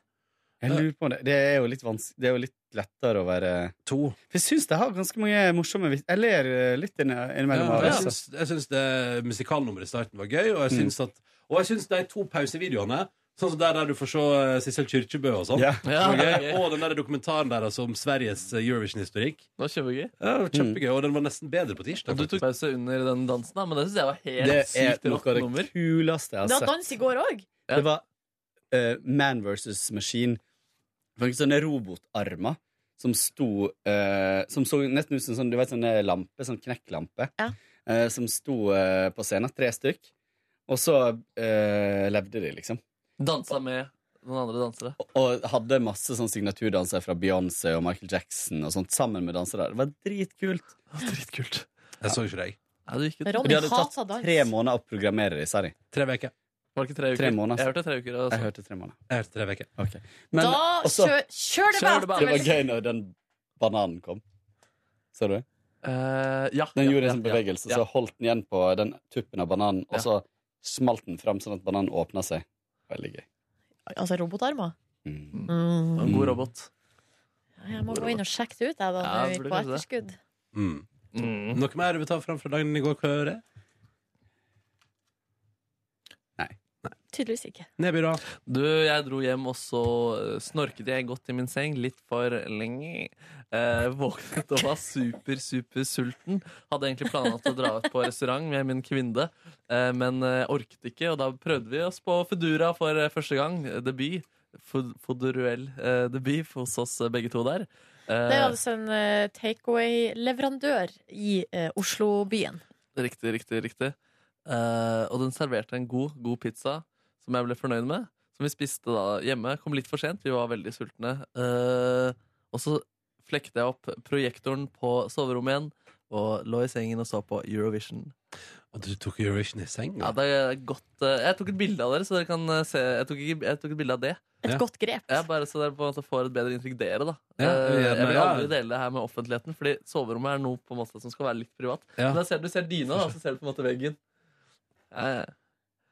Speaker 6: Jeg lurer på om det. Det er jo litt, vans det er jo litt lettere å være
Speaker 1: To.
Speaker 6: For jeg syns det har ganske mange morsomme vits. Jeg ler eh, litt inn- innimellom. av
Speaker 1: Ja,
Speaker 6: det,
Speaker 1: jeg
Speaker 6: altså.
Speaker 1: syns- jeg syns det musikalnummeret i starten var gøy, og jeg
Speaker 6: Mm.
Speaker 1: syns at Og jeg syns de to pausevideoene Sånn som der, der du får se eh, Sissel Kyrkjebø og sånn.
Speaker 6: Ja.
Speaker 1: var
Speaker 3: Ja,
Speaker 1: gøy.
Speaker 3: gøy.
Speaker 1: Og den der dokumentaren deres om Sveriges eh, Eurovision-historikk.
Speaker 3: Det var kjempegøy.
Speaker 1: Ja, det var
Speaker 6: Mm.
Speaker 1: kjempegøy, Og den var nesten bedre på tirsdag.
Speaker 3: Og du tok pause under den dansen, da, men det syns jeg var helt
Speaker 6: Det er
Speaker 3: sykt
Speaker 6: noe
Speaker 3: rått
Speaker 6: av det
Speaker 3: nummer.
Speaker 6: kuleste jeg
Speaker 2: Det
Speaker 1: altså.
Speaker 6: har
Speaker 2: var
Speaker 6: sett.
Speaker 2: dans i går òg.
Speaker 6: Det var eh, Man versus Machine. Det var ikke sånne robotarmer som sto eh, Som så nesten ut som sånn, du vet, sånne lampe, sånn knekklampe, eh, som sto eh, på scenen, tre stykk. Og så eh, levde de, liksom.
Speaker 3: Dansa med noen andre dansere.
Speaker 6: Og hadde masse sånn signaturdanser fra Beyoncé og Michael Jackson og sånt sammen med dansere. Det var dritkult.
Speaker 3: Dritkult.
Speaker 1: Jeg så ikke deg.
Speaker 3: Ja, du gikk ut.
Speaker 6: Og de hadde tatt tre måneder å programmere de, sa de.
Speaker 1: Tre uker.
Speaker 3: Var det ikke tre uker?
Speaker 6: Tre måneder.
Speaker 3: Jeg hørte tre uker. altså.
Speaker 6: Jeg hørte tre måneder.
Speaker 1: Jeg hørte tre uker.
Speaker 6: Ok.
Speaker 2: Da
Speaker 6: også-
Speaker 2: kjør, kjør det
Speaker 6: Det var
Speaker 2: bare!
Speaker 6: gøy når den bananen kom. Så du det?
Speaker 3: Eh, ja,
Speaker 6: den
Speaker 3: ja,
Speaker 6: gjorde
Speaker 3: ja,
Speaker 6: en sånn
Speaker 3: ja,
Speaker 6: bevegelse,
Speaker 3: ja.
Speaker 6: så holdt den igjen på den tuppen av bananen, og så smalt den fram sånn at bananen åpna seg. Veldig gøy.
Speaker 2: Altså robotarmer.
Speaker 1: Mm.
Speaker 2: Mm.
Speaker 3: Det var En
Speaker 6: Mm.
Speaker 3: god robot.
Speaker 2: Jeg må gå inn og sjekke det ut, jeg, da.
Speaker 1: Ja,
Speaker 2: når vi
Speaker 1: burde
Speaker 2: er På
Speaker 1: kanskje
Speaker 2: etterskudd.
Speaker 1: Mm. Noe mer du vil ta fram fra dagen i går? Kåre?
Speaker 2: Tydeligvis ikke.
Speaker 1: Nedby, da?
Speaker 3: Du, jeg dro hjem, og så eh, snorket jeg godt i min seng litt for lenge. Eh, våknet og var super, super sulten. Hadde egentlig planlagt å dra ut på restaurant med min kvinne, eh, men eh, orket ikke, og da prøvde vi oss på Foodora for eh, første gang. eh, Debut. Fod- Fodoruell eh, debut hos oss eh, begge to der. Eh,
Speaker 2: Det er altså en eh, takeaway-leverandør i eh, Oslo-byen.
Speaker 3: Riktig, riktig, riktig. Eh, og den serverte en god, god pizza som jeg ble fornøyd med. Som vi spiste da hjemme. Kom litt for sent, vi var veldig sultne. Eh, og så flekte jeg opp projektoren på soverommet igjen og lå i sengen og så på Eurovision.
Speaker 1: Og du tok Eurovision i seng?
Speaker 3: Ja, det er godt eh, Jeg tok et bilde av dere, så dere kan eh, se. Jeg tok, ikke, jeg tok et bilde av det.
Speaker 1: Et Ja. godt
Speaker 2: grep.
Speaker 3: Ja, bare så dere på en måte får et bedre inntrykk, dere, da.
Speaker 1: Ja,
Speaker 3: Eh,
Speaker 1: ja,
Speaker 3: jeg vil
Speaker 1: ja.
Speaker 3: aldri dele det her med offentligheten, Fordi soverommet er noe på en måte som skal være litt privat.
Speaker 1: Ja.
Speaker 3: Men da ser du ser dyna, da, så ser du på en måte veggen. Ja,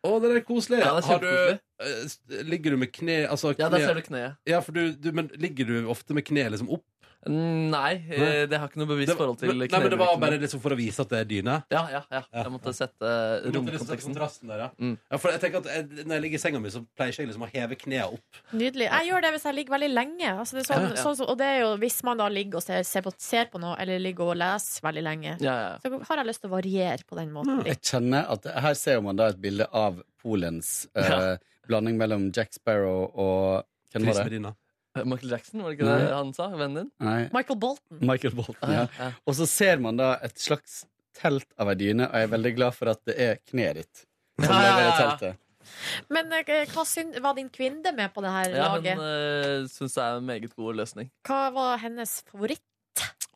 Speaker 1: Å, det er koselig.
Speaker 3: Ja, det er
Speaker 1: Har du,
Speaker 3: kjempekoselig.
Speaker 1: eh, s- ligger du med kne altså,
Speaker 3: Ja, der
Speaker 1: kne-
Speaker 3: ser du kneet.
Speaker 1: Ja, for du, du, men ligger du ofte med kneet liksom opp?
Speaker 3: Nei, eh, det har ikke noe bevisst forhold til
Speaker 1: Nei, men det var
Speaker 3: knebruken.
Speaker 1: bare liksom for å vise at det er dyne?
Speaker 3: Ja, ja, ja. Jeg måtte sette eh,
Speaker 1: Du måtte liksom sette
Speaker 3: romkonteksten.
Speaker 1: kontrasten der, ja.
Speaker 3: mm.
Speaker 1: Ja, for jeg tenker at jeg, Når jeg ligger i senga mi, så pleier ikke jeg liksom å heve knea opp.
Speaker 2: Nydelig. Jeg gjør det hvis jeg ligger veldig lenge. Altså, det er sånn,
Speaker 1: Ja, ja.
Speaker 2: Sånn, som- og det er jo hvis man da ligger og ser, ser, på, ser på noe, eller ligger og leser veldig lenge,
Speaker 3: Ja, ja.
Speaker 2: så har jeg lyst til å variere på den
Speaker 3: Mm.
Speaker 2: måten.
Speaker 6: Jeg kjenner at Her ser man da et bilde av Polens eh, blanding mellom Jack Sparrow og Hvem
Speaker 3: Chris
Speaker 6: var det?
Speaker 1: Medina.
Speaker 3: Eh, *laughs* Michael Jackson, var det ikke
Speaker 6: Nei.
Speaker 3: det han sa? Vennen din?
Speaker 6: Nei.
Speaker 2: Michael Bolton.
Speaker 6: Michael Bolton. Ja.
Speaker 3: Ja.
Speaker 6: Og så ser man da et slags telt av ei dyne, og jeg er veldig glad for at det er kneet ditt som
Speaker 3: Ja, ja,
Speaker 6: lever i
Speaker 3: ja, ja.
Speaker 6: teltet.
Speaker 2: Men eh, hva syn, var din kvinne med på det her
Speaker 3: Ja, hun
Speaker 2: laget?
Speaker 3: uh, syns det er en meget god løsning.
Speaker 2: Hva var hennes favoritt?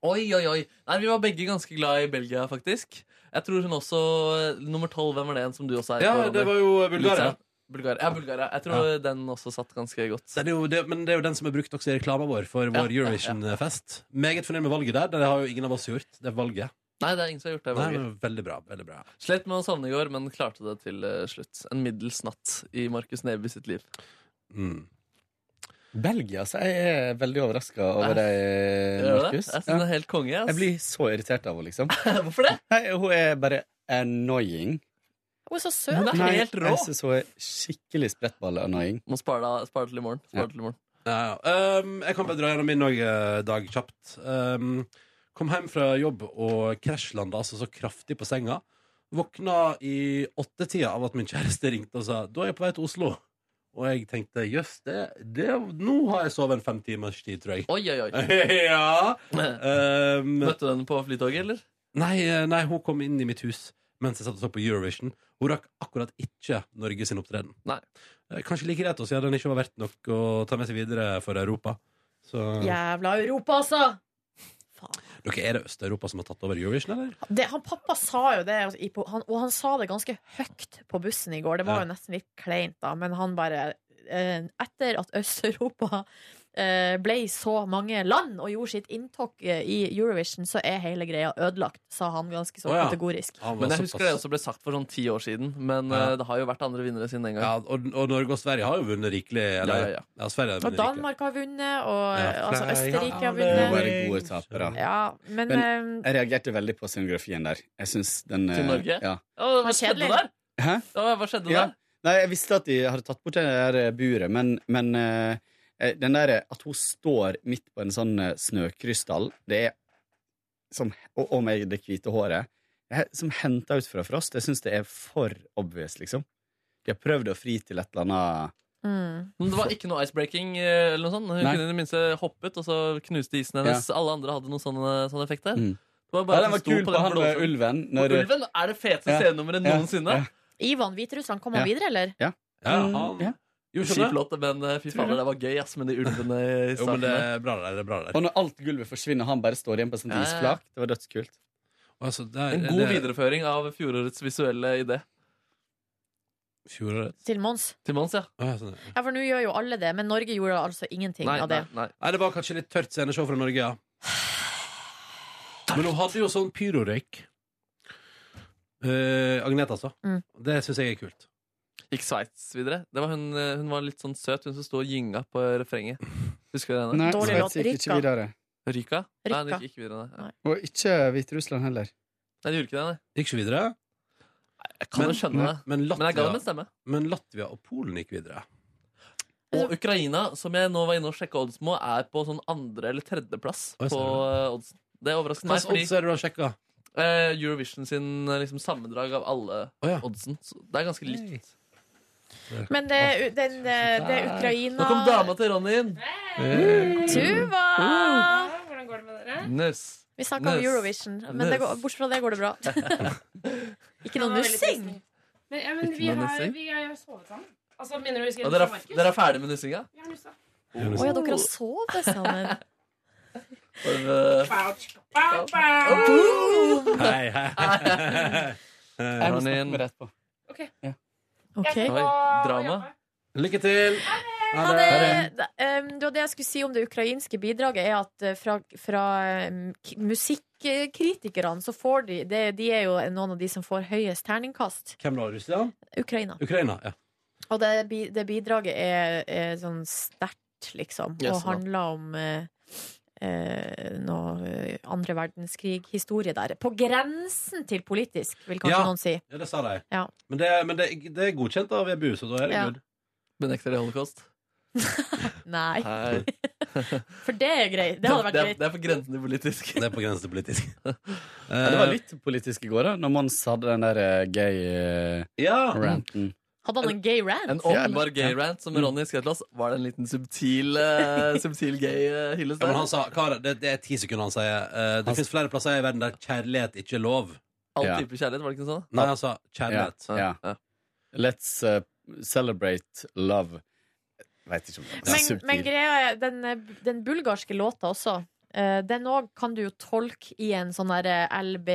Speaker 3: Oi, oi, oi. Nei, vi var begge ganske glad i Belgia, faktisk. Jeg tror hun også eh, Nummer tolv, hvem var det en som du også er?
Speaker 1: Ja,
Speaker 3: Alexander?
Speaker 1: det var jo uh, Bulgaria.
Speaker 3: Lutsen. Bulgaria. Ja, Bulgaria. Jeg tror den også satt ganske godt.
Speaker 1: Det er jo, det, men det er jo den som er brukt også i reklama vår for vår
Speaker 3: ja, ja.
Speaker 1: Eurovision-fest. Meget fornøyd med valget der. Det har jo ingen av oss gjort. Det er valget.
Speaker 3: Nei, det er ingen som har gjort det.
Speaker 1: Nei,
Speaker 3: Valget.
Speaker 1: men veldig bra. veldig bra
Speaker 3: Slet med å sovne i går, men klarte det til eh, slutt. En middels natt i Markus Neby sitt liv.
Speaker 1: Mm.
Speaker 6: Belgia, så jeg er veldig overraska
Speaker 3: Ja.
Speaker 6: over deg,
Speaker 3: Gjør du det?
Speaker 6: Markus.
Speaker 3: Jeg synes det er helt konge. ass. *laughs*
Speaker 6: Jeg blir så irritert av henne, liksom.
Speaker 3: Hvorfor det?
Speaker 6: Nei, hun er bare annoying.
Speaker 2: Hun er så søt.
Speaker 6: Jeg synes hun er skikkelig sprettball-annoying.
Speaker 3: Må spare, da- spare til i morgen. Spare til i morgen.
Speaker 1: Ja, ja. Um, jeg kan bare dra gjennom min òg, eh, dag kjapt. Um, kom hjem fra jobb og krasjlanda altså så kraftig på senga. Våkna i åttetida av at min kjæreste ringte og sa da er jeg på vei til Oslo. Og jeg tenkte jøss, det, det, nå har jeg sovet en fem timers tid, tror jeg.
Speaker 3: Oi, oi, oi.
Speaker 1: *laughs* ja. Um,
Speaker 3: Møtte du henne på flytoget, eller?
Speaker 1: Nei, eh, nei, hun kom inn i mitt hus mens jeg satt og så på Eurovision. Hun rakk akkurat ikke Norge sin opptreden. Eh, Kanskje like greit, siden den ikke var verdt nok å ta med seg videre for Europa. Så
Speaker 2: Jævla Europa, altså!
Speaker 1: dere er det Øst-Europa som har tatt over Eurovision, eller?
Speaker 2: Det, han pappa sa jo det, i på- han, og han sa det ganske høyt på bussen i går. Det var
Speaker 1: Ja.
Speaker 2: jo nesten litt kleint, da, men han bare eh, Etter at Øst-Europa eh, ble så mange land og gjorde sitt inntokk eh, i Eurovision, så er hele greia ødelagt, sa han ganske så
Speaker 3: Å, ja.
Speaker 2: sånn kategorisk.
Speaker 3: Men jeg husker det også ble sagt for sånn ti år siden. Men
Speaker 1: Ja.
Speaker 3: eh, det har jo vært andre vinnere siden den gang.
Speaker 1: Ja, og, og Norge og Sverige har jo vunnet rikelig. Eller?
Speaker 3: Ja, ja, ja.
Speaker 1: Sverige har
Speaker 2: Og
Speaker 1: vunnet rikelig.
Speaker 2: Danmark har vunnet, og eh,
Speaker 1: Ja.
Speaker 2: altså, Østerrike har
Speaker 6: Må være
Speaker 2: vunnet.
Speaker 6: gode tapere.
Speaker 2: Ja, men, eh,
Speaker 6: jeg reagerte veldig på scenografien der. Jeg synes den
Speaker 3: Til
Speaker 6: eh,
Speaker 3: Norge?
Speaker 6: Ja.
Speaker 3: Å, hva
Speaker 2: Det var
Speaker 3: skjedde
Speaker 2: kjedelig.
Speaker 3: der?
Speaker 6: Hæ?
Speaker 3: Å, hva skjedde
Speaker 6: Ja.
Speaker 3: der?
Speaker 6: Nei, jeg visste at de hadde tatt bort det der buret, men, men eh, eh, den der at hun står midt på en sånn eh, snøkrystall, det er som, og, og med det hvite håret, det er som henta ut fra frost. Jeg syns det er for obvious, liksom. De har prøvd å fri til et eller annet
Speaker 5: Mm.
Speaker 3: Men det var ikke noe icebreaking eh, eller noe sånt. Hun
Speaker 6: Nei.
Speaker 3: kunne i det minste hoppet, og så knuste isen hennes. Alle andre hadde sånn, eh, noen sånne, sånne effekter.
Speaker 6: Mm.
Speaker 3: Det var
Speaker 6: Ja,
Speaker 3: bare
Speaker 6: den
Speaker 3: at
Speaker 6: var
Speaker 3: sto
Speaker 6: kul på
Speaker 3: den
Speaker 6: han med
Speaker 3: blåsen.
Speaker 6: ulven.
Speaker 3: Og Ulven er det feteste
Speaker 6: Ja.
Speaker 3: scenenummeret
Speaker 6: Ja.
Speaker 3: noensinne.
Speaker 2: eh, Ivan Hviterussland, kom han
Speaker 3: Ja.
Speaker 2: videre, eller?
Speaker 6: Ja.
Speaker 1: han
Speaker 6: Gjorde
Speaker 3: Kjip
Speaker 6: det?
Speaker 3: låt, men eh, fy fader, det var gøy ass, med de ulvene i
Speaker 6: Jo, men
Speaker 3: starten.
Speaker 6: det
Speaker 1: er bra der. det er bra der
Speaker 6: Og når alt gulvet forsvinner, han bare står igjen på et sånt
Speaker 3: Ja, ja, ja.
Speaker 6: isflak. Det var dødskult.
Speaker 1: altså,
Speaker 3: En god videreføring av fjorårets visuelle idé.
Speaker 1: Fjorårets?
Speaker 2: Til Mons.
Speaker 3: Til Mons, ja.
Speaker 1: sånn,
Speaker 2: Ja, for nå gjør jo alle det, men Norge gjorde altså ingenting av det.
Speaker 1: nei. det var kanskje litt tørt sceneshow fra Norge, ja. Men hun hadde jo sånn pyrorøyk. Eh, Agnete, altså.
Speaker 2: Mm.
Speaker 1: Det syns jeg er kult.
Speaker 3: Gikk Sveits videre? Det var hun, eh, hun var litt sånn søt, hun som sto og gynga på refrenget. Husker du henne?
Speaker 6: Nei, Dårlig Sveits låt. gikk ikke Rikka. videre.
Speaker 3: Ryka? Nei,
Speaker 6: Rykka.
Speaker 3: det gikk ikke videre. Nei,
Speaker 6: Og ikke Hviterussland heller.
Speaker 3: nei det gjorde ikke det, nei.
Speaker 1: Gikk ikke videre?
Speaker 3: Jeg kan jo skjønne det.
Speaker 1: Men, Latvia,
Speaker 3: Men jeg ga dem en stemme.
Speaker 1: Men Latvia og Polen gikk videre.
Speaker 3: Og Ukraina, som jeg nå var inne og sjekka odds med, er på sånn andre- eller tredjeplass
Speaker 1: Oi,
Speaker 3: på eh, oddsen. Det overrasker meg.
Speaker 1: Hvilke odds er det du har sjekka?
Speaker 3: eh, Eurovision sin eh, liksom, sammendrag av alle oddsen. Så det er ganske likt.
Speaker 2: Men det, den, det, Eh, det er Ukraina
Speaker 3: Nå kom dama til Ronny inn.
Speaker 2: Tuva!
Speaker 6: Uh.
Speaker 12: Hvordan går det med dere?
Speaker 3: Nuss.
Speaker 2: Vi snakka om
Speaker 3: Nuss.
Speaker 2: Eurovision, men det går, bortsett fra det
Speaker 12: *laughs*
Speaker 2: går det bra. Ikke noe
Speaker 12: Det var veldig
Speaker 2: nussing!
Speaker 12: Men, ja, men
Speaker 3: Ikke
Speaker 12: vi,
Speaker 3: noe
Speaker 12: har,
Speaker 3: nussing?
Speaker 12: vi har jo sovet sammen. Altså, minner du husker
Speaker 3: Og dere,
Speaker 12: Markus?
Speaker 3: er- dere er ferdig med nussinga?
Speaker 12: Vi har nussa.
Speaker 2: Å ja, dere har sovet
Speaker 12: *laughs*
Speaker 2: sammen.
Speaker 3: Var
Speaker 12: Bow, bow.
Speaker 3: det- *laughs*
Speaker 1: Hei, hei.
Speaker 3: Jeg må snakke med
Speaker 6: rett på.
Speaker 12: Ok.
Speaker 2: Ok.
Speaker 3: Oi, drama.
Speaker 1: Lykke til!
Speaker 2: Ha det. Um, det var det jeg skulle si om det ukrainske bidraget, er at eh, fra, fra um, k- musikkritikerne så får de, det, De er jo noen av de som får høyest terningkast.
Speaker 1: Hvem da? Russland?
Speaker 2: Ukraina.
Speaker 1: Ukraina, ja.
Speaker 2: Og det, bi- det bidraget er, er sånn sterkt, liksom,
Speaker 1: Yes,
Speaker 2: og
Speaker 1: da.
Speaker 2: handler om eh, eh, noe eh, andre verdenskrig-historie der. På grensen til politisk, vil kanskje
Speaker 1: ja.
Speaker 2: noen si.
Speaker 1: Ja, det sa de.
Speaker 2: Ja.
Speaker 1: Men, det, men det, det er godkjent av EBU, så da er det
Speaker 2: Ja.
Speaker 1: good.
Speaker 3: Benekter de holocaust?
Speaker 2: Nei.
Speaker 3: Hei.
Speaker 2: *laughs* For det er greit. Det hadde vært
Speaker 3: er,
Speaker 2: greit.
Speaker 3: det er på grensen til politisk. Eh,
Speaker 1: Det er på grensen til
Speaker 3: *laughs*
Speaker 1: politisk.
Speaker 6: Ja, det var litt politisk i går, da når Mons hadde den der eh, gay eh, ranten.
Speaker 2: Hadde han en gay rant?
Speaker 3: En åpenbar gay rant som Ronny skrev til oss. Var det en liten subtil, eh, subtil gay eh, hyllest
Speaker 1: Ja,
Speaker 3: der?
Speaker 1: men han sa, Kara, det, det er ti sekunder han sier. eh, det finnes flere plasser i verden der kjærlighet ikke er lov.
Speaker 3: All
Speaker 1: Ja.
Speaker 3: type kjærlighet, var det ikke sånn?
Speaker 1: Nei, han sa kjærlighet.
Speaker 6: Ja. ja. Let's eh, celebrate love. Jeg Vet ikke om det er
Speaker 2: Men, men
Speaker 6: subtil.
Speaker 2: greia er, den, den bulgarske låta også eh, den òg kan du jo tolke i en sånn der LB,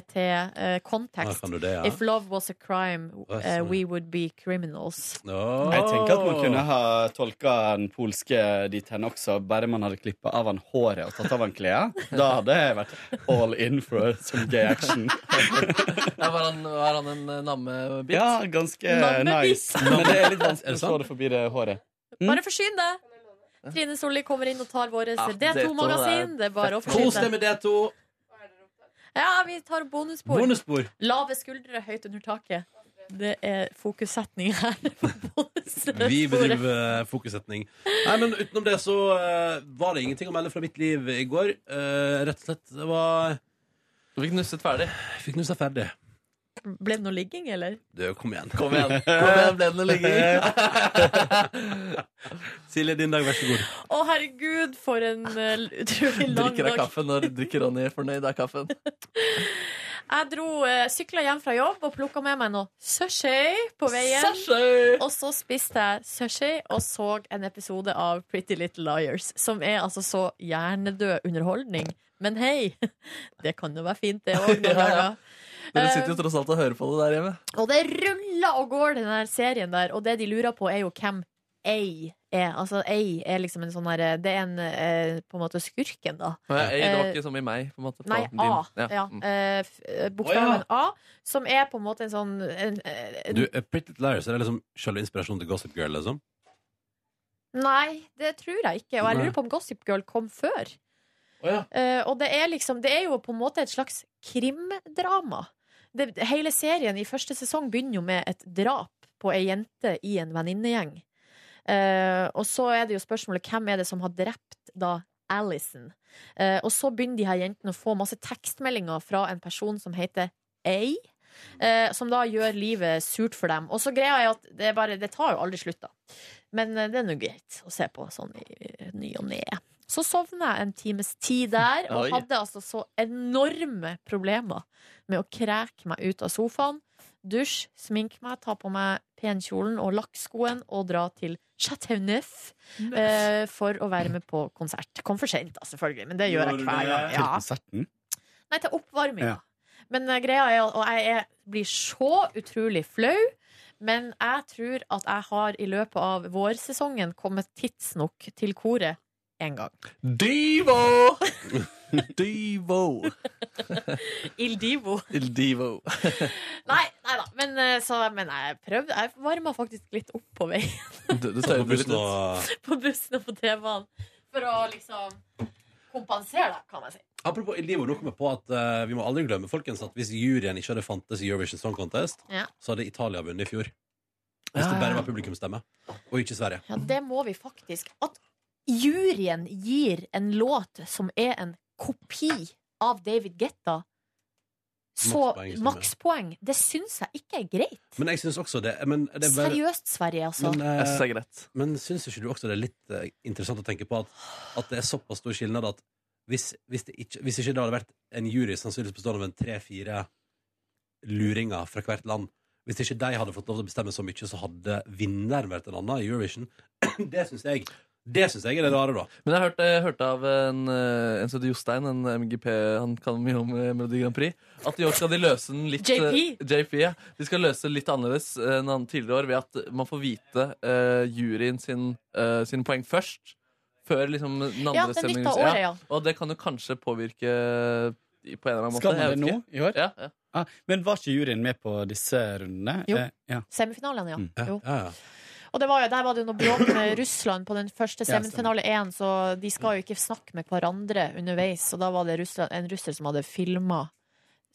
Speaker 1: Ja,
Speaker 2: LHBT-kontekst.
Speaker 1: kan du det, ja?
Speaker 2: eh, If love was a crime,
Speaker 6: Å,
Speaker 2: eh,
Speaker 6: sånn.
Speaker 2: we would be criminals.
Speaker 6: Jeg tenker at man kunne ha tolka den polske dit hen også, bare man hadde klippa av han håret og tatt av han klærne. Da hadde jeg vært all in for some gay action.
Speaker 3: Ja, var, han, var han en eh, nammebit?
Speaker 6: Ja, ganske nice.
Speaker 3: Nammebit.
Speaker 6: Men det er litt vanskelig å se det forbi det håret.
Speaker 2: Bare forsyn deg! Trine
Speaker 3: Ah,
Speaker 2: Solli kommer inn og tar vår
Speaker 6: Ja,
Speaker 2: D2-magasin. Det er bare å
Speaker 1: Kos
Speaker 2: forsyne
Speaker 1: deg
Speaker 2: deg.
Speaker 1: med D2.
Speaker 2: Ja, vi tar bonusspor.
Speaker 1: Bonusspor.
Speaker 2: Lave skuldre høyt under taket. *laughs* Det er fokussetning her. på bonussporet. *laughs*
Speaker 1: Vi bedriver fokussetning. Nei, men utenom det så eh, var det ingenting å melde fra mitt liv i går. Eh, rett og slett. Det var
Speaker 3: Du fikk nusset ferdig?
Speaker 1: Fikk nussa ferdig.
Speaker 2: Ble det noe ligging, eller?
Speaker 1: Du, kom igjen.
Speaker 3: Kom igjen. Kom igjen, ble det noe
Speaker 1: ligging? Silje, din dag, vær så god.
Speaker 2: Å, herregud, for en eh, utrolig lang
Speaker 3: Drikker av
Speaker 2: dag.
Speaker 3: kaffen når drikker Ronny fornøyd av kaffen.
Speaker 2: *laughs* Jeg dro eh, sykla hjem fra jobb og plukka med meg noe sushi på veien. Og så spiste jeg sushi og så en episode av Pretty Little Liars, som er altså så hjernedød underholdning. Men hei, *laughs* det kan jo være fint, det Eh, òg.
Speaker 3: *laughs* Ja, ja. Dere sitter jo tross alt og hører på det der hjemme.
Speaker 2: Og det ruller og går, den der serien der. Og det de lurer på, er jo hvem A er. Altså A er liksom en sånn derre Det er en eh, på en måte skurken, da.
Speaker 3: Og jeg, jeg, det var
Speaker 2: Eh,
Speaker 3: ikke som i meg. på en måte på
Speaker 2: Nei,
Speaker 3: din.
Speaker 2: A.
Speaker 3: Ja.
Speaker 2: Ja.
Speaker 3: Mm.
Speaker 2: Eh, f- eh, bokstaven A, som er på en måte en sånn en, eh,
Speaker 1: *laughs* Du, eh, Pretty Little Liars, er det liksom selve inspirasjonen til Gossip Girl, liksom?
Speaker 2: Nei, det tror jeg ikke. Og jeg
Speaker 1: Nei.
Speaker 2: lurer på om Gossip Girl kom før. Eh, og det er, liksom, det er jo på en måte et slags krimdrama. Det, det- hele serien i første sesong begynner jo med et drap på ei jente i en venninnegjeng. Eh, og så er det jo spørsmålet hvem er det som har drept da Alison? Eh, og så begynner de her jentene å få masse tekstmeldinger fra en person som heter A. Eh, som da gjør livet surt for dem. Og så greia er at det, er bare, det tar jo aldri slutt, da. Men eh, det er nå greit å se på sånn i i ny og ne. Så sovna jeg en times tid der, og
Speaker 11: Oi.
Speaker 2: hadde altså så enorme problemer med å kreke meg ut av sofaen. Dusj, sminke meg, ta på meg penkjolen og lakkskoen og dra til Chateau Neuf eh, for å være med på konsert. Kom for seint, da, selvfølgelig, men det gjør jeg hver gang.
Speaker 6: Til
Speaker 2: Ja.
Speaker 6: konserten?
Speaker 2: Nei, til oppvarminga.
Speaker 6: Ja.
Speaker 2: Men eh, greia er, og jeg er, blir så utrolig flau, men jeg tror at jeg har i løpet av vårsesongen kommet tidsnok til koret én gang.
Speaker 1: *laughs*
Speaker 3: Divo! Divo.
Speaker 2: Il Divo.
Speaker 3: Il
Speaker 1: *laughs*
Speaker 3: Divo.
Speaker 2: Nei, nei da. Men, eh, så, men jeg prøvde. Jeg varma faktisk litt opp på vei
Speaker 3: Du, du tøyde litt ut.
Speaker 2: *laughs* på bussen og på T-banen for å liksom kompensere, da, kan man si.
Speaker 1: Apropos Elivo, nå kom jeg på at eh, vi må aldri glemme folkens at hvis juryen ikke hadde fantes i Eurovision Song Contest,
Speaker 2: Ja.
Speaker 1: så hadde Italia vunnet i fjor. Hvis det bare var publikumsstemme, og ikke Sverige.
Speaker 2: Ja, det må vi faktisk. At juryen gir en låt som er en kopi av David Getta, så
Speaker 1: Makspoeng, stemmer.
Speaker 2: makspoeng, det syns jeg ikke er greit.
Speaker 1: Men jeg syns også det, men det er bare,
Speaker 2: Seriøst, Sverige, altså.
Speaker 1: Men, eh, Jeg synes det
Speaker 3: greit.
Speaker 1: Men syns ikke du også det er litt eh, interessant å tenke på at, at det er såpass stor skilnad at hvis, hvis, det ikke, hvis ikke det hadde vært en jury sannsynligvis bestående av en tre-fire luringer fra hvert land Hvis ikke de hadde fått lov til å bestemme så mye, så hadde vinneren vært en annen i Eurovision. *clears throat* Det syns jeg. Det syns jeg er det rare, da.
Speaker 3: Men jeg hørte, jeg hørte av en, eh, en som heter Jostein, en MGP, han kan mye om eh, Melodi Grand Prix, at i år skal de løse den litt
Speaker 11: JP.
Speaker 3: eh, JP, ja. De skal løse det litt annerledes eh, enn an- tidligere år ved at man får vite eh, juryen sin, eh, sine poeng først. Før liksom den andre
Speaker 2: Ja, den
Speaker 3: stemmingen-
Speaker 2: bytta året, ja.
Speaker 3: Og det kan jo kanskje påvirke i- på en eller annen måte.
Speaker 6: Skal man
Speaker 3: jeg
Speaker 6: det
Speaker 3: vet
Speaker 6: nå
Speaker 3: ikke.
Speaker 6: i år?
Speaker 3: Ja, ja.
Speaker 6: Ah, men var ikke juryen med på disse rundene?
Speaker 2: Jo.
Speaker 6: Eh, ja.
Speaker 2: Semifinalene, ja.
Speaker 6: Mm.
Speaker 2: Jo.
Speaker 1: Ja, ja.
Speaker 2: Og det var jo, der var det jo noe bråk
Speaker 6: *coughs*
Speaker 2: med Russland på den første
Speaker 6: Ja, stemmer.
Speaker 2: semifinale én, så de skal jo ikke snakke med hverandre underveis. Og da var det Russland, en russer som hadde filma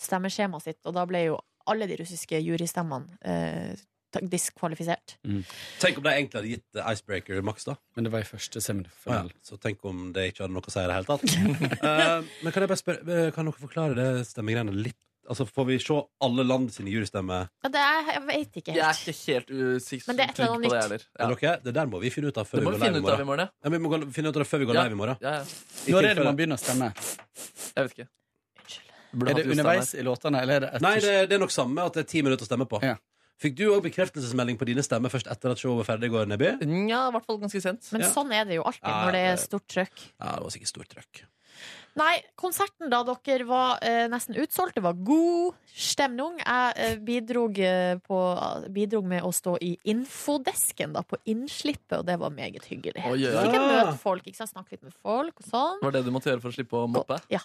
Speaker 2: stemmeskjemaet sitt, og da ble jo alle de russiske jurystemmene eh, ta- diskvalifisert.
Speaker 1: Tenk om de egentlig hadde gitt eh, Icebreaker maks, da.
Speaker 6: Men det var i første
Speaker 1: Ah,
Speaker 6: semifinal.
Speaker 1: ja. Så tenk om det ikke hadde noe å si i det hele
Speaker 6: *laughs*
Speaker 1: tatt. Eh, men kan jeg bare spørre, eh, kan dere forklare det stemmegreiene litt? Altså, Får vi se alle land sine jurystemmer?
Speaker 2: Ja, det er, jeg vet ikke
Speaker 3: Jeg er
Speaker 2: helt.
Speaker 3: ikke helt usikker
Speaker 2: Men det er et eller annet nytt.
Speaker 1: Men dere, det der må vi finne ut av før
Speaker 3: Det må
Speaker 1: vi går
Speaker 3: vi
Speaker 1: live
Speaker 3: finne ut
Speaker 1: i
Speaker 3: av i
Speaker 1: morgen.
Speaker 3: morgen, ja.
Speaker 1: Ja, vi må gå- finne ut av det før vi går
Speaker 3: Ja.
Speaker 1: live i morgen.
Speaker 3: Ja, ja.
Speaker 1: I
Speaker 6: Når er det
Speaker 1: tilfelle-
Speaker 6: man begynner å stemme?
Speaker 3: Jeg vet ikke. Burde
Speaker 6: Er
Speaker 3: hatt
Speaker 6: det
Speaker 3: Jostein
Speaker 6: underveis
Speaker 3: her.
Speaker 6: i låtene, eller er det etter?
Speaker 1: Nei, det, det er nok samme at det er ti minutter å stemme på. Fikk du òg bekreftelsesmelding på dine stemmer først etter at showet var ferdig i går, Neby?
Speaker 3: Nja, i hvert fall ganske sent.
Speaker 2: Men sånn er det jo alltid
Speaker 1: Ja,
Speaker 2: når det
Speaker 1: det-
Speaker 2: er stort trøkk.
Speaker 1: Ja, det var sikkert stort trøkk.
Speaker 2: Nei, konserten da dere var eh, nesten utsolgt, det var god stemning. Jeg eh, bidrog, eh, på, bidrog med å stå i infodesken da, på innslippet, og det var meget hyggelig.
Speaker 3: Oi, oi, oi.
Speaker 2: Så fikk jeg
Speaker 1: Ah.
Speaker 3: Ja.
Speaker 2: møte folk, ikke sant? snakke litt med folk og sånn.
Speaker 3: Var det du måtte gjøre for å slippe å moppe? Mm.
Speaker 2: Ja.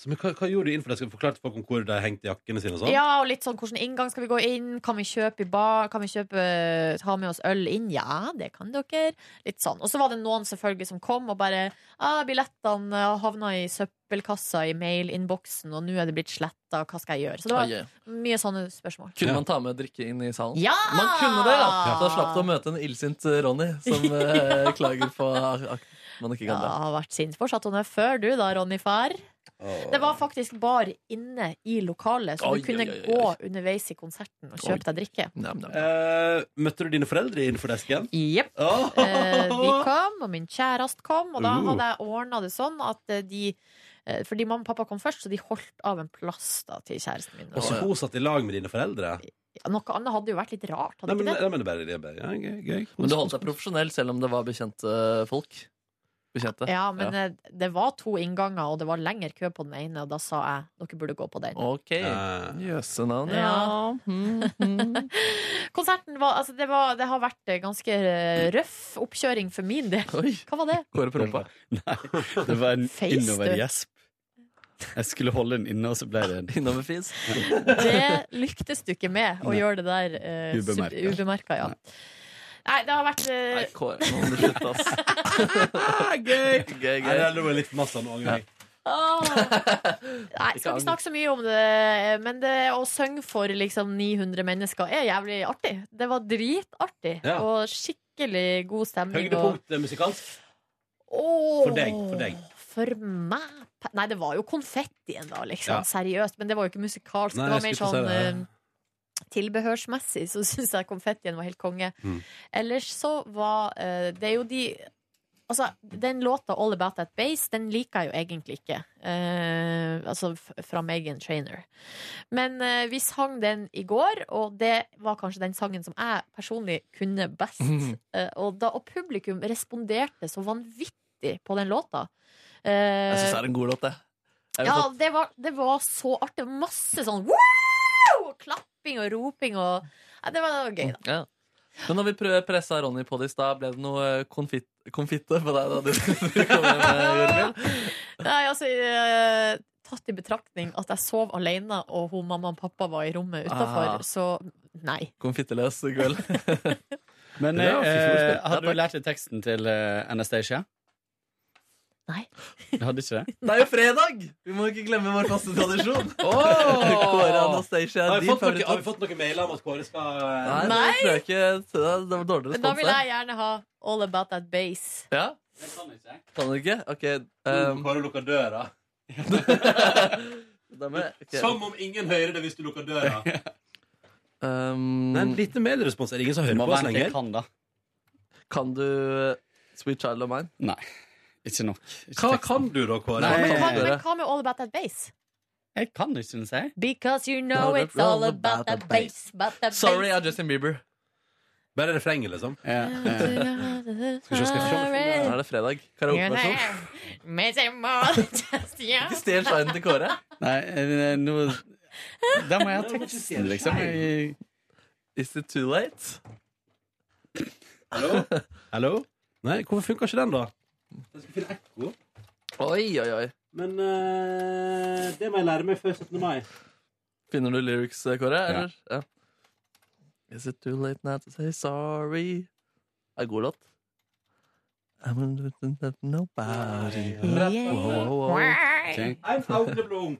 Speaker 1: Så, men hva, hva gjorde du innenfor det? Skal vi forklare til folk om hvor de hengte jakkene sine og sånn?
Speaker 2: Ja, og litt sånn hvordan inngang skal vi gå inn? Kan vi kjøpe i bar? Kan vi kjøpe, eh, ha med oss øl inn? Ja, det kan dere. Litt sånn. Og så var det noen selvfølgelig som kom og bare ah, 'Billettene ja, havna i søppelkassa i mailinnboksen, og nå er det blitt sletta, hva skal jeg gjøre? Så det var
Speaker 3: Oi, ja.
Speaker 2: mye sånne spørsmål.
Speaker 3: Kunne man ta med drikke inn i salen?
Speaker 2: Ja!
Speaker 3: Man kunne det, ja! Da slapp du å møte en illsint eh, Ronny som eh, *laughs* klager på at man ikke
Speaker 2: Ja,
Speaker 3: kan dra.
Speaker 2: har vært sint for satt henne før, du da, Ronny far. Det var faktisk bar inne i lokalet, så
Speaker 1: Oi,
Speaker 2: du kunne
Speaker 1: oi, oi, oi.
Speaker 2: gå underveis i konserten og kjøpe deg drikke.
Speaker 1: Eh, møtte du dine foreldre innenfor desken?
Speaker 2: Jepp.
Speaker 1: Oh.
Speaker 2: Eh,
Speaker 1: *laughs*
Speaker 2: de kom, og min kjæreste kom, og da
Speaker 1: Uh.
Speaker 2: hadde jeg ordna det sånn at eh, de eh, Fordi mamma og pappa kom først, så de holdt av en plass da til kjæresten min.
Speaker 1: Og så hun satt i lag med dine foreldre?
Speaker 2: Ja, Noe annet hadde jo vært litt rart, hadde
Speaker 1: Nei, men,
Speaker 2: ikke det?
Speaker 1: nei, men det er bare, det er bare ja, gøy, gøy.
Speaker 3: Men du holdt deg profesjonell selv om det var bekjente folk? Bekjente.
Speaker 2: Ja, men eh, det var to innganger, og det var lengre kø på den ene, og da sa jeg dere burde gå på den.
Speaker 3: Ok. Jøsse navn, ja.
Speaker 2: Ja. *laughs* Konserten var Altså, det, var, det har vært eh, ganske eh, røff oppkjøring for min del. Hva var det?
Speaker 3: Kåre Prompa.
Speaker 6: Nei, det var *laughs* en
Speaker 2: Face, du.
Speaker 6: innovergjesp. Jeg skulle holde den inne, og så ble det en
Speaker 3: Innoverfis.
Speaker 2: Det lyktes du ikke med å
Speaker 6: Nei.
Speaker 2: gjøre det der eh, sub-
Speaker 6: Ubemerket.
Speaker 2: ubemerka. Ja. Nei, det har vært eh,
Speaker 3: Kåre, nå må du slutte, ass.
Speaker 1: *laughs* gøy!
Speaker 3: gøy,
Speaker 1: Nei, det lå litt masse nå. angrer jeg.
Speaker 2: åh. Nei, skal ikke snakke så mye om det, men det å synge for liksom 900 mennesker er jævlig artig. Det var dritartig
Speaker 1: Ja.
Speaker 2: og skikkelig god stemning. Og,
Speaker 1: Høydepunkt eh, musikalsk?
Speaker 2: Åh,
Speaker 1: For deg. For deg.
Speaker 2: for meg Nei, det var jo konfettien, da, liksom.
Speaker 1: Ja.
Speaker 2: Seriøst. Men det var jo ikke musikalsk.
Speaker 1: Nei,
Speaker 2: det var
Speaker 1: jeg
Speaker 2: mer
Speaker 1: skulle til å
Speaker 2: sånn
Speaker 1: si det,
Speaker 2: eh, Tilbehørsmessig så *laughs* syns jeg konfettien var helt konge.
Speaker 1: Mm.
Speaker 2: Ellers så var eh, Det er jo de Altså, den låta All About That Base, den liker jeg jo egentlig ikke. Eh, altså f fra Megan Trainer. Men eh, vi sang den i går, og det var kanskje den sangen som jeg personlig kunne best.
Speaker 11: Mhm.
Speaker 2: Eh, og, da, og publikum responderte så vanvittig på den låta. Eh,
Speaker 3: Jeg syns det er en god låt, det. Jeg vet
Speaker 2: ja,
Speaker 3: at-
Speaker 2: det var, det var så artig. Masse sånn wow! Og klapping og roping og Nei, Det var gøy, da.
Speaker 3: Ja. Men når vi prø- pressa Ronny på det i stad, ble det noe eh, konfit konfitte på deg da du *laughs* du kom hjem? eh, Jørgen?
Speaker 2: Nei, altså eh, Tatt i betraktning at jeg sov alene, og hun mamma og pappa var i rommet utafor,
Speaker 3: Ah.
Speaker 2: så nei.
Speaker 3: Konfitteløs i kveld.
Speaker 6: *laughs* Men
Speaker 3: Det var fint
Speaker 6: eh,
Speaker 3: ordspill.
Speaker 6: hadde du lært deg teksten til eh, Anastacia?
Speaker 2: Nei.
Speaker 6: Du hadde ikke det?
Speaker 3: Det er jo fredag! Vi må ikke glemme vår faste *laughs* tradisjon. Kåre
Speaker 1: Åh!
Speaker 3: Anastacia,
Speaker 1: Har vi
Speaker 3: din
Speaker 1: fått noe- har vi
Speaker 3: favorittlåt.
Speaker 1: fått noen mailer om at Kåre skal eh,
Speaker 3: Nei,
Speaker 2: Nei.
Speaker 3: Det, tror jeg ikke, det var dårlig
Speaker 2: Men da
Speaker 3: respons
Speaker 2: vil jeg
Speaker 3: der.
Speaker 2: gjerne ha All About That Base.
Speaker 3: Ja? Kan du ikke? Ok. Um,
Speaker 1: Kåre lukker døra.
Speaker 3: *laughs* da må jeg, ok.
Speaker 1: Som om ingen hører det hvis du lukker
Speaker 3: *laughs*
Speaker 1: døra.
Speaker 3: um,
Speaker 1: Nei, en liten mailrespons. Er det ingen som
Speaker 3: Det
Speaker 1: hører
Speaker 3: må
Speaker 1: på oss
Speaker 3: være
Speaker 1: lenger?
Speaker 3: ikke kan, Kan du eh, Sweet Child of Mine?
Speaker 6: Nei. Ikke nok.
Speaker 1: Hva kan du da, Kåre?
Speaker 6: Nei,
Speaker 2: Men hva, men hva med All About That Base?
Speaker 6: jeg kan ikke, synes jeg.
Speaker 2: Because you
Speaker 3: All
Speaker 2: know it's all about that base, about that
Speaker 3: Sorry,
Speaker 2: base.
Speaker 3: jeg er Justin Bieber.
Speaker 1: Bare refrenget, liksom?
Speaker 3: Skal vi se, skal vi se. Nå er det fredag. Karaokeversjon.
Speaker 2: Make it more *laughs* than just you.
Speaker 3: Ikke stjel shinen til Kåre.
Speaker 6: Nei, eh, nå Da må jeg ha teksten, liksom. Jeg,
Speaker 3: Is it too late?
Speaker 1: Hallo? *laughs* Hallo? Nei, hvorfor funka ikke den, da? Jeg skulle finne ekko.
Speaker 3: Oi, oi, oi.
Speaker 1: Men eh, det må jeg lære meg før 17. mai.
Speaker 3: Finner du lyrics, eh, Kåre? Eller? Ja. Is it too late now to say sorry? Det er god
Speaker 1: *laughs*
Speaker 3: låt. I'm a little bit nobody.
Speaker 2: Yeah.
Speaker 3: Wow, wow, wow.
Speaker 2: Wow. I'm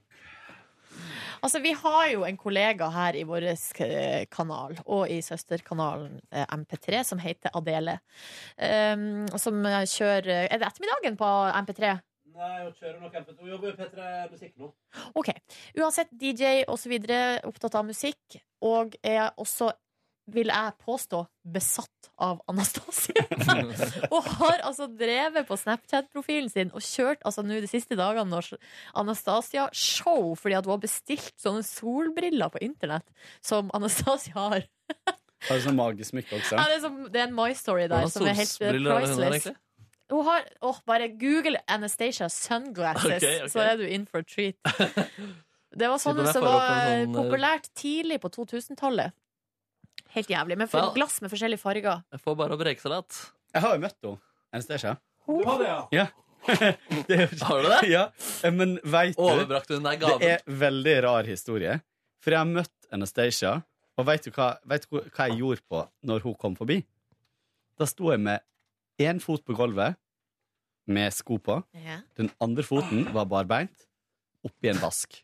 Speaker 2: Altså, vi har jo en kollega her i vår eh, kanal, og i søsterkanalen eh, MP3, som heter Adele. Um, og som eh, kjører Er det ettermiddagen på MP3?
Speaker 1: Nei, hun kjører nok MP2. Hun jobber jo P3 Musikk nå.
Speaker 2: OK. Uansett DJ og så videre, opptatt av musikk, og er også vil jeg påstå besatt av Anastasia. og har altså drevet på Snapchat-profilen sin og kjørt altså nå de siste dagene når Anastasia-show fordi at hun har bestilt sånne solbriller på internett som Anastasia har.
Speaker 6: har du sånn magesmykke
Speaker 2: Ja,
Speaker 6: også?
Speaker 2: det, er som, det er en My Story der som er helt eh,
Speaker 6: Solbriller, er det hun har,
Speaker 2: priceless.
Speaker 6: egentlig?
Speaker 2: Hun har, åh, bare Google Anastasia sunglasses,
Speaker 3: Ok, ok.
Speaker 2: så er du in for a
Speaker 6: *laughs*
Speaker 2: treat. Det var
Speaker 3: Sitter
Speaker 2: sånne
Speaker 3: der
Speaker 2: som
Speaker 3: for å
Speaker 2: var
Speaker 3: få sånn, eh,
Speaker 2: populært tidlig på 2000-tallet. Helt jævlig. Men for
Speaker 3: Vel.
Speaker 2: glass med forskjellige farger.
Speaker 3: Jeg får bare brekesalat.
Speaker 6: Jeg har jo møtt henne. Anastacia.
Speaker 1: Du har det, ja.
Speaker 6: Ja.
Speaker 3: *laughs*
Speaker 6: Det er jo ikke-
Speaker 3: Har du det?
Speaker 6: Ja. Eh, Men veit du
Speaker 3: Overbrakte hun deg gaven?
Speaker 6: Det er veldig rar historie. For jeg har møtt Anastacia, og vet du hva, vet du hva jeg gjorde på når hun kom forbi? Da sto jeg med én fot på gulvet med sko på.
Speaker 2: Ja.
Speaker 6: Den andre foten var barbeint oppi en vask.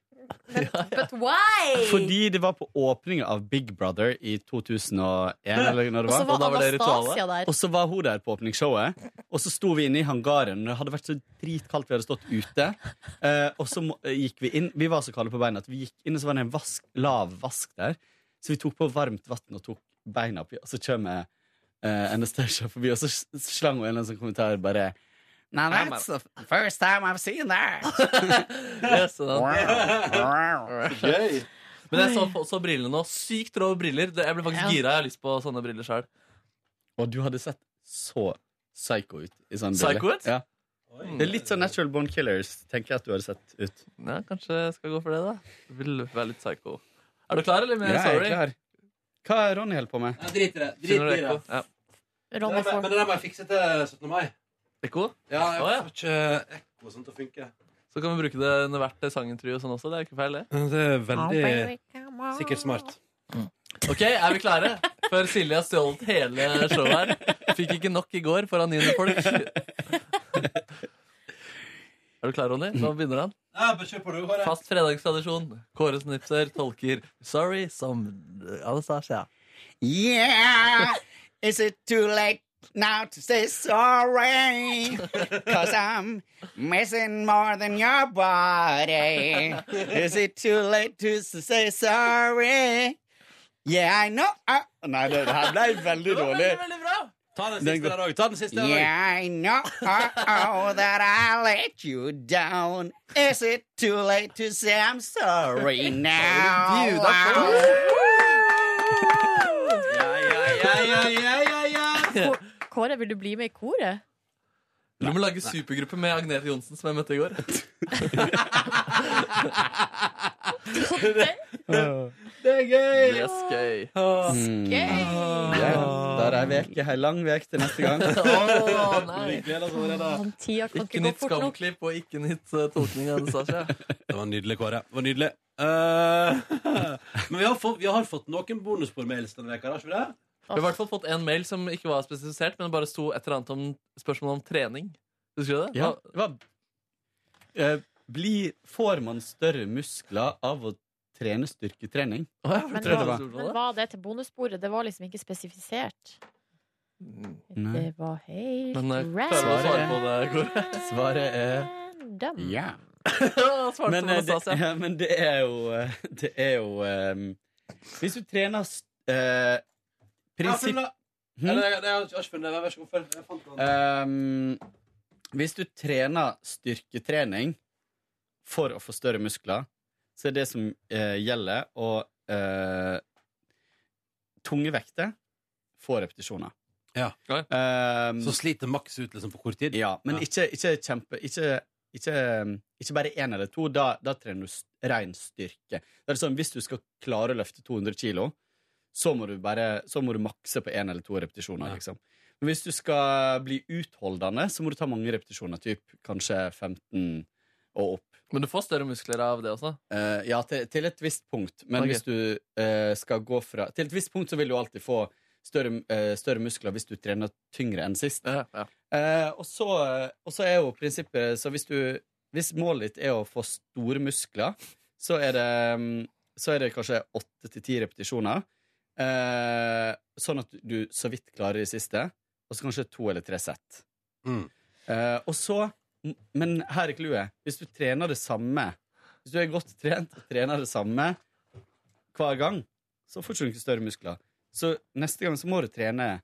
Speaker 2: But why?
Speaker 6: *laughs* Fordi det var på åpningen av Big Brother i 2001. Eller når det
Speaker 2: Og
Speaker 6: var.
Speaker 2: så var
Speaker 6: da det
Speaker 2: Anastasia
Speaker 6: ritualet.
Speaker 2: der.
Speaker 6: Og så var hun der på åpningsshowet. Og så sto vi inne i hangaren. Det hadde vært så dritkaldt, vi hadde stått ute. Eh, og så må- gikk vi inn. Vi var så kalde på beina at vi gikk inn, og så var det en vask, lav vask der. Så vi tok på varmt vann og tok beina oppi, og så kommer eh, Anastasia forbi, og så s- slang hun en eller annen sånn kommentar bare Now that's the first time I've seen that.
Speaker 3: Yes, sånn.
Speaker 6: Gøy.
Speaker 3: Men jeg så, så brillene nå. Sykt rå briller. Det- Jeg ble faktisk
Speaker 6: Ja.
Speaker 3: gira. Jeg har lyst på sånne briller sjøl.
Speaker 6: Og du hadde sett så psycho ut i sånne briller.
Speaker 3: Psycho ut?
Speaker 6: Ja. Det er litt sånn Natural Born Killers, tenker jeg at du hadde sett ut.
Speaker 3: Ja, kanskje jeg skal gå for det, da. Vil *laughs* være litt psycho. Er du klar, eller? Men,
Speaker 6: Ja, jeg er
Speaker 3: sorry.
Speaker 6: klar. Hva er Ronny holder på med?
Speaker 1: Jeg driter i det. Drit
Speaker 3: Finner du
Speaker 1: i det.
Speaker 3: ekko? Ja.
Speaker 1: Men det der må- men det der må jeg fikse til 17. mai.
Speaker 3: Ekko?
Speaker 1: Ja, jeg
Speaker 3: Å, ja.
Speaker 1: får ikke ekko og sånt til å funke.
Speaker 3: Så kan vi bruke det under hvert sangintervju og sånn også. Det er ikke feil, det.
Speaker 1: Det er veldig sikkert smart.
Speaker 3: Ok, er vi klare? Før Silje har stjålet hele showet her. Fikk ikke nok i går foran 900 folk. Er du klar, Ronny? Nå begynner han.
Speaker 1: Ja, bare kjør på, du. Håre.
Speaker 3: Fast fredagstradisjon. Kåre Snipser tolker 'Sorry' som Anastasia.
Speaker 13: Yeah, is it too late now to say sorry? Cause I'm missing more than your body. Is it too late to s- say sorry? Yeah, I know. uh-, I... Nei, det det her ble veldig dårlig.
Speaker 1: Ta den
Speaker 13: Den
Speaker 1: siste
Speaker 13: går-
Speaker 1: der òg. Ta den siste der òg.
Speaker 13: Yeah, I know oh, oh, that I let you down. Is it too late to say I'm sorry
Speaker 1: *laughs*
Speaker 13: now?
Speaker 11: bjuda på.
Speaker 2: Kå- Kåre, vil du bli med i koret?
Speaker 3: Du må lage supergruppe med Agnete Johnsen, som jeg møtte i går.
Speaker 1: Det er gøy!
Speaker 3: Det er skøy.
Speaker 6: Mm. Ja, der er veke, ei lang vek til neste
Speaker 1: *laughs*
Speaker 6: gang.
Speaker 3: Å, nei.
Speaker 2: Tida kan
Speaker 3: Ikke
Speaker 2: ikke gå
Speaker 3: nytt
Speaker 2: fort nok.
Speaker 3: skamklipp og ikke nytt eh, tolkning av Anastasia.
Speaker 1: *laughs* Det var nydelig, Kåre. Det var nydelig. Eh, *laughs* men vi har, fått, vi har fått noen bonusbordmails denne veka, har ikke vi det?
Speaker 3: Vi har i hvert fall fått en mail som ikke var spesifisert, men bare sto et eller annet om spørsmål om trening. Husker du det?
Speaker 6: Ja, det var, eh, bli, får man større muskler av å trene styrketrening?
Speaker 2: Men,
Speaker 6: Tror jeg det
Speaker 2: var,
Speaker 6: var.
Speaker 2: men var det til bonusbordet? Det var liksom ikke spesifisert. Det var helt
Speaker 6: Men, eh,
Speaker 2: random.
Speaker 6: svaret- *laughs* Svaret er ja.
Speaker 3: svarte
Speaker 6: men, eh, det,
Speaker 3: Anastasia.
Speaker 6: ja, men det er jo eh, *laughs* Det er jo eh, Hvis du trener s- eh,
Speaker 1: Jeg
Speaker 6: Prinsipp
Speaker 1: har funnet-
Speaker 6: Hm?
Speaker 1: Eller, jeg, jeg har ikke funnet det. Vær så god. følg. Jeg fant den.
Speaker 6: Ehm, hvis du trener styrketrening for å få større muskler, så er det som eh, gjelder å eh, Tunge vekter, få repetisjoner. Ehm,
Speaker 1: så sliter maks ut liksom, på kort tid?
Speaker 6: Ja, men
Speaker 1: Ja.
Speaker 6: Ikke, ikke kjempe ikke, ikke, ikke bare én eller to. Da, da trener du s- ren styrke. Det er sånn, Hvis du skal klare å løfte 200 kilo, så må du, bare, så må du makse på én eller to repetisjoner. liksom. Men hvis du skal bli utholdende, så må du ta mange repetisjoner. Typ, kanskje 15 og opp.
Speaker 3: Men du får større muskler av det også.
Speaker 6: Eh, ja, til, til et visst punkt. Men
Speaker 3: Ok.
Speaker 6: hvis du eh, skal gå fra Til et visst punkt så vil du alltid få større, eh, større muskler hvis du trener tyngre enn sist. Eh, og, så, og så er jo prinsippet Så hvis, du, hvis målet ditt er å få store muskler, så er det, mm, så er det kanskje åtte til ti repetisjoner. Eh, sånn at du så vidt klarer de siste. Og så kanskje to eller tre sett.
Speaker 1: Mm.
Speaker 6: Eh, og så Men her er clouet. Hvis du trener det samme Hvis du er godt trent og trener det samme hver gang, så får du ikke større muskler. Så neste gang så må du trene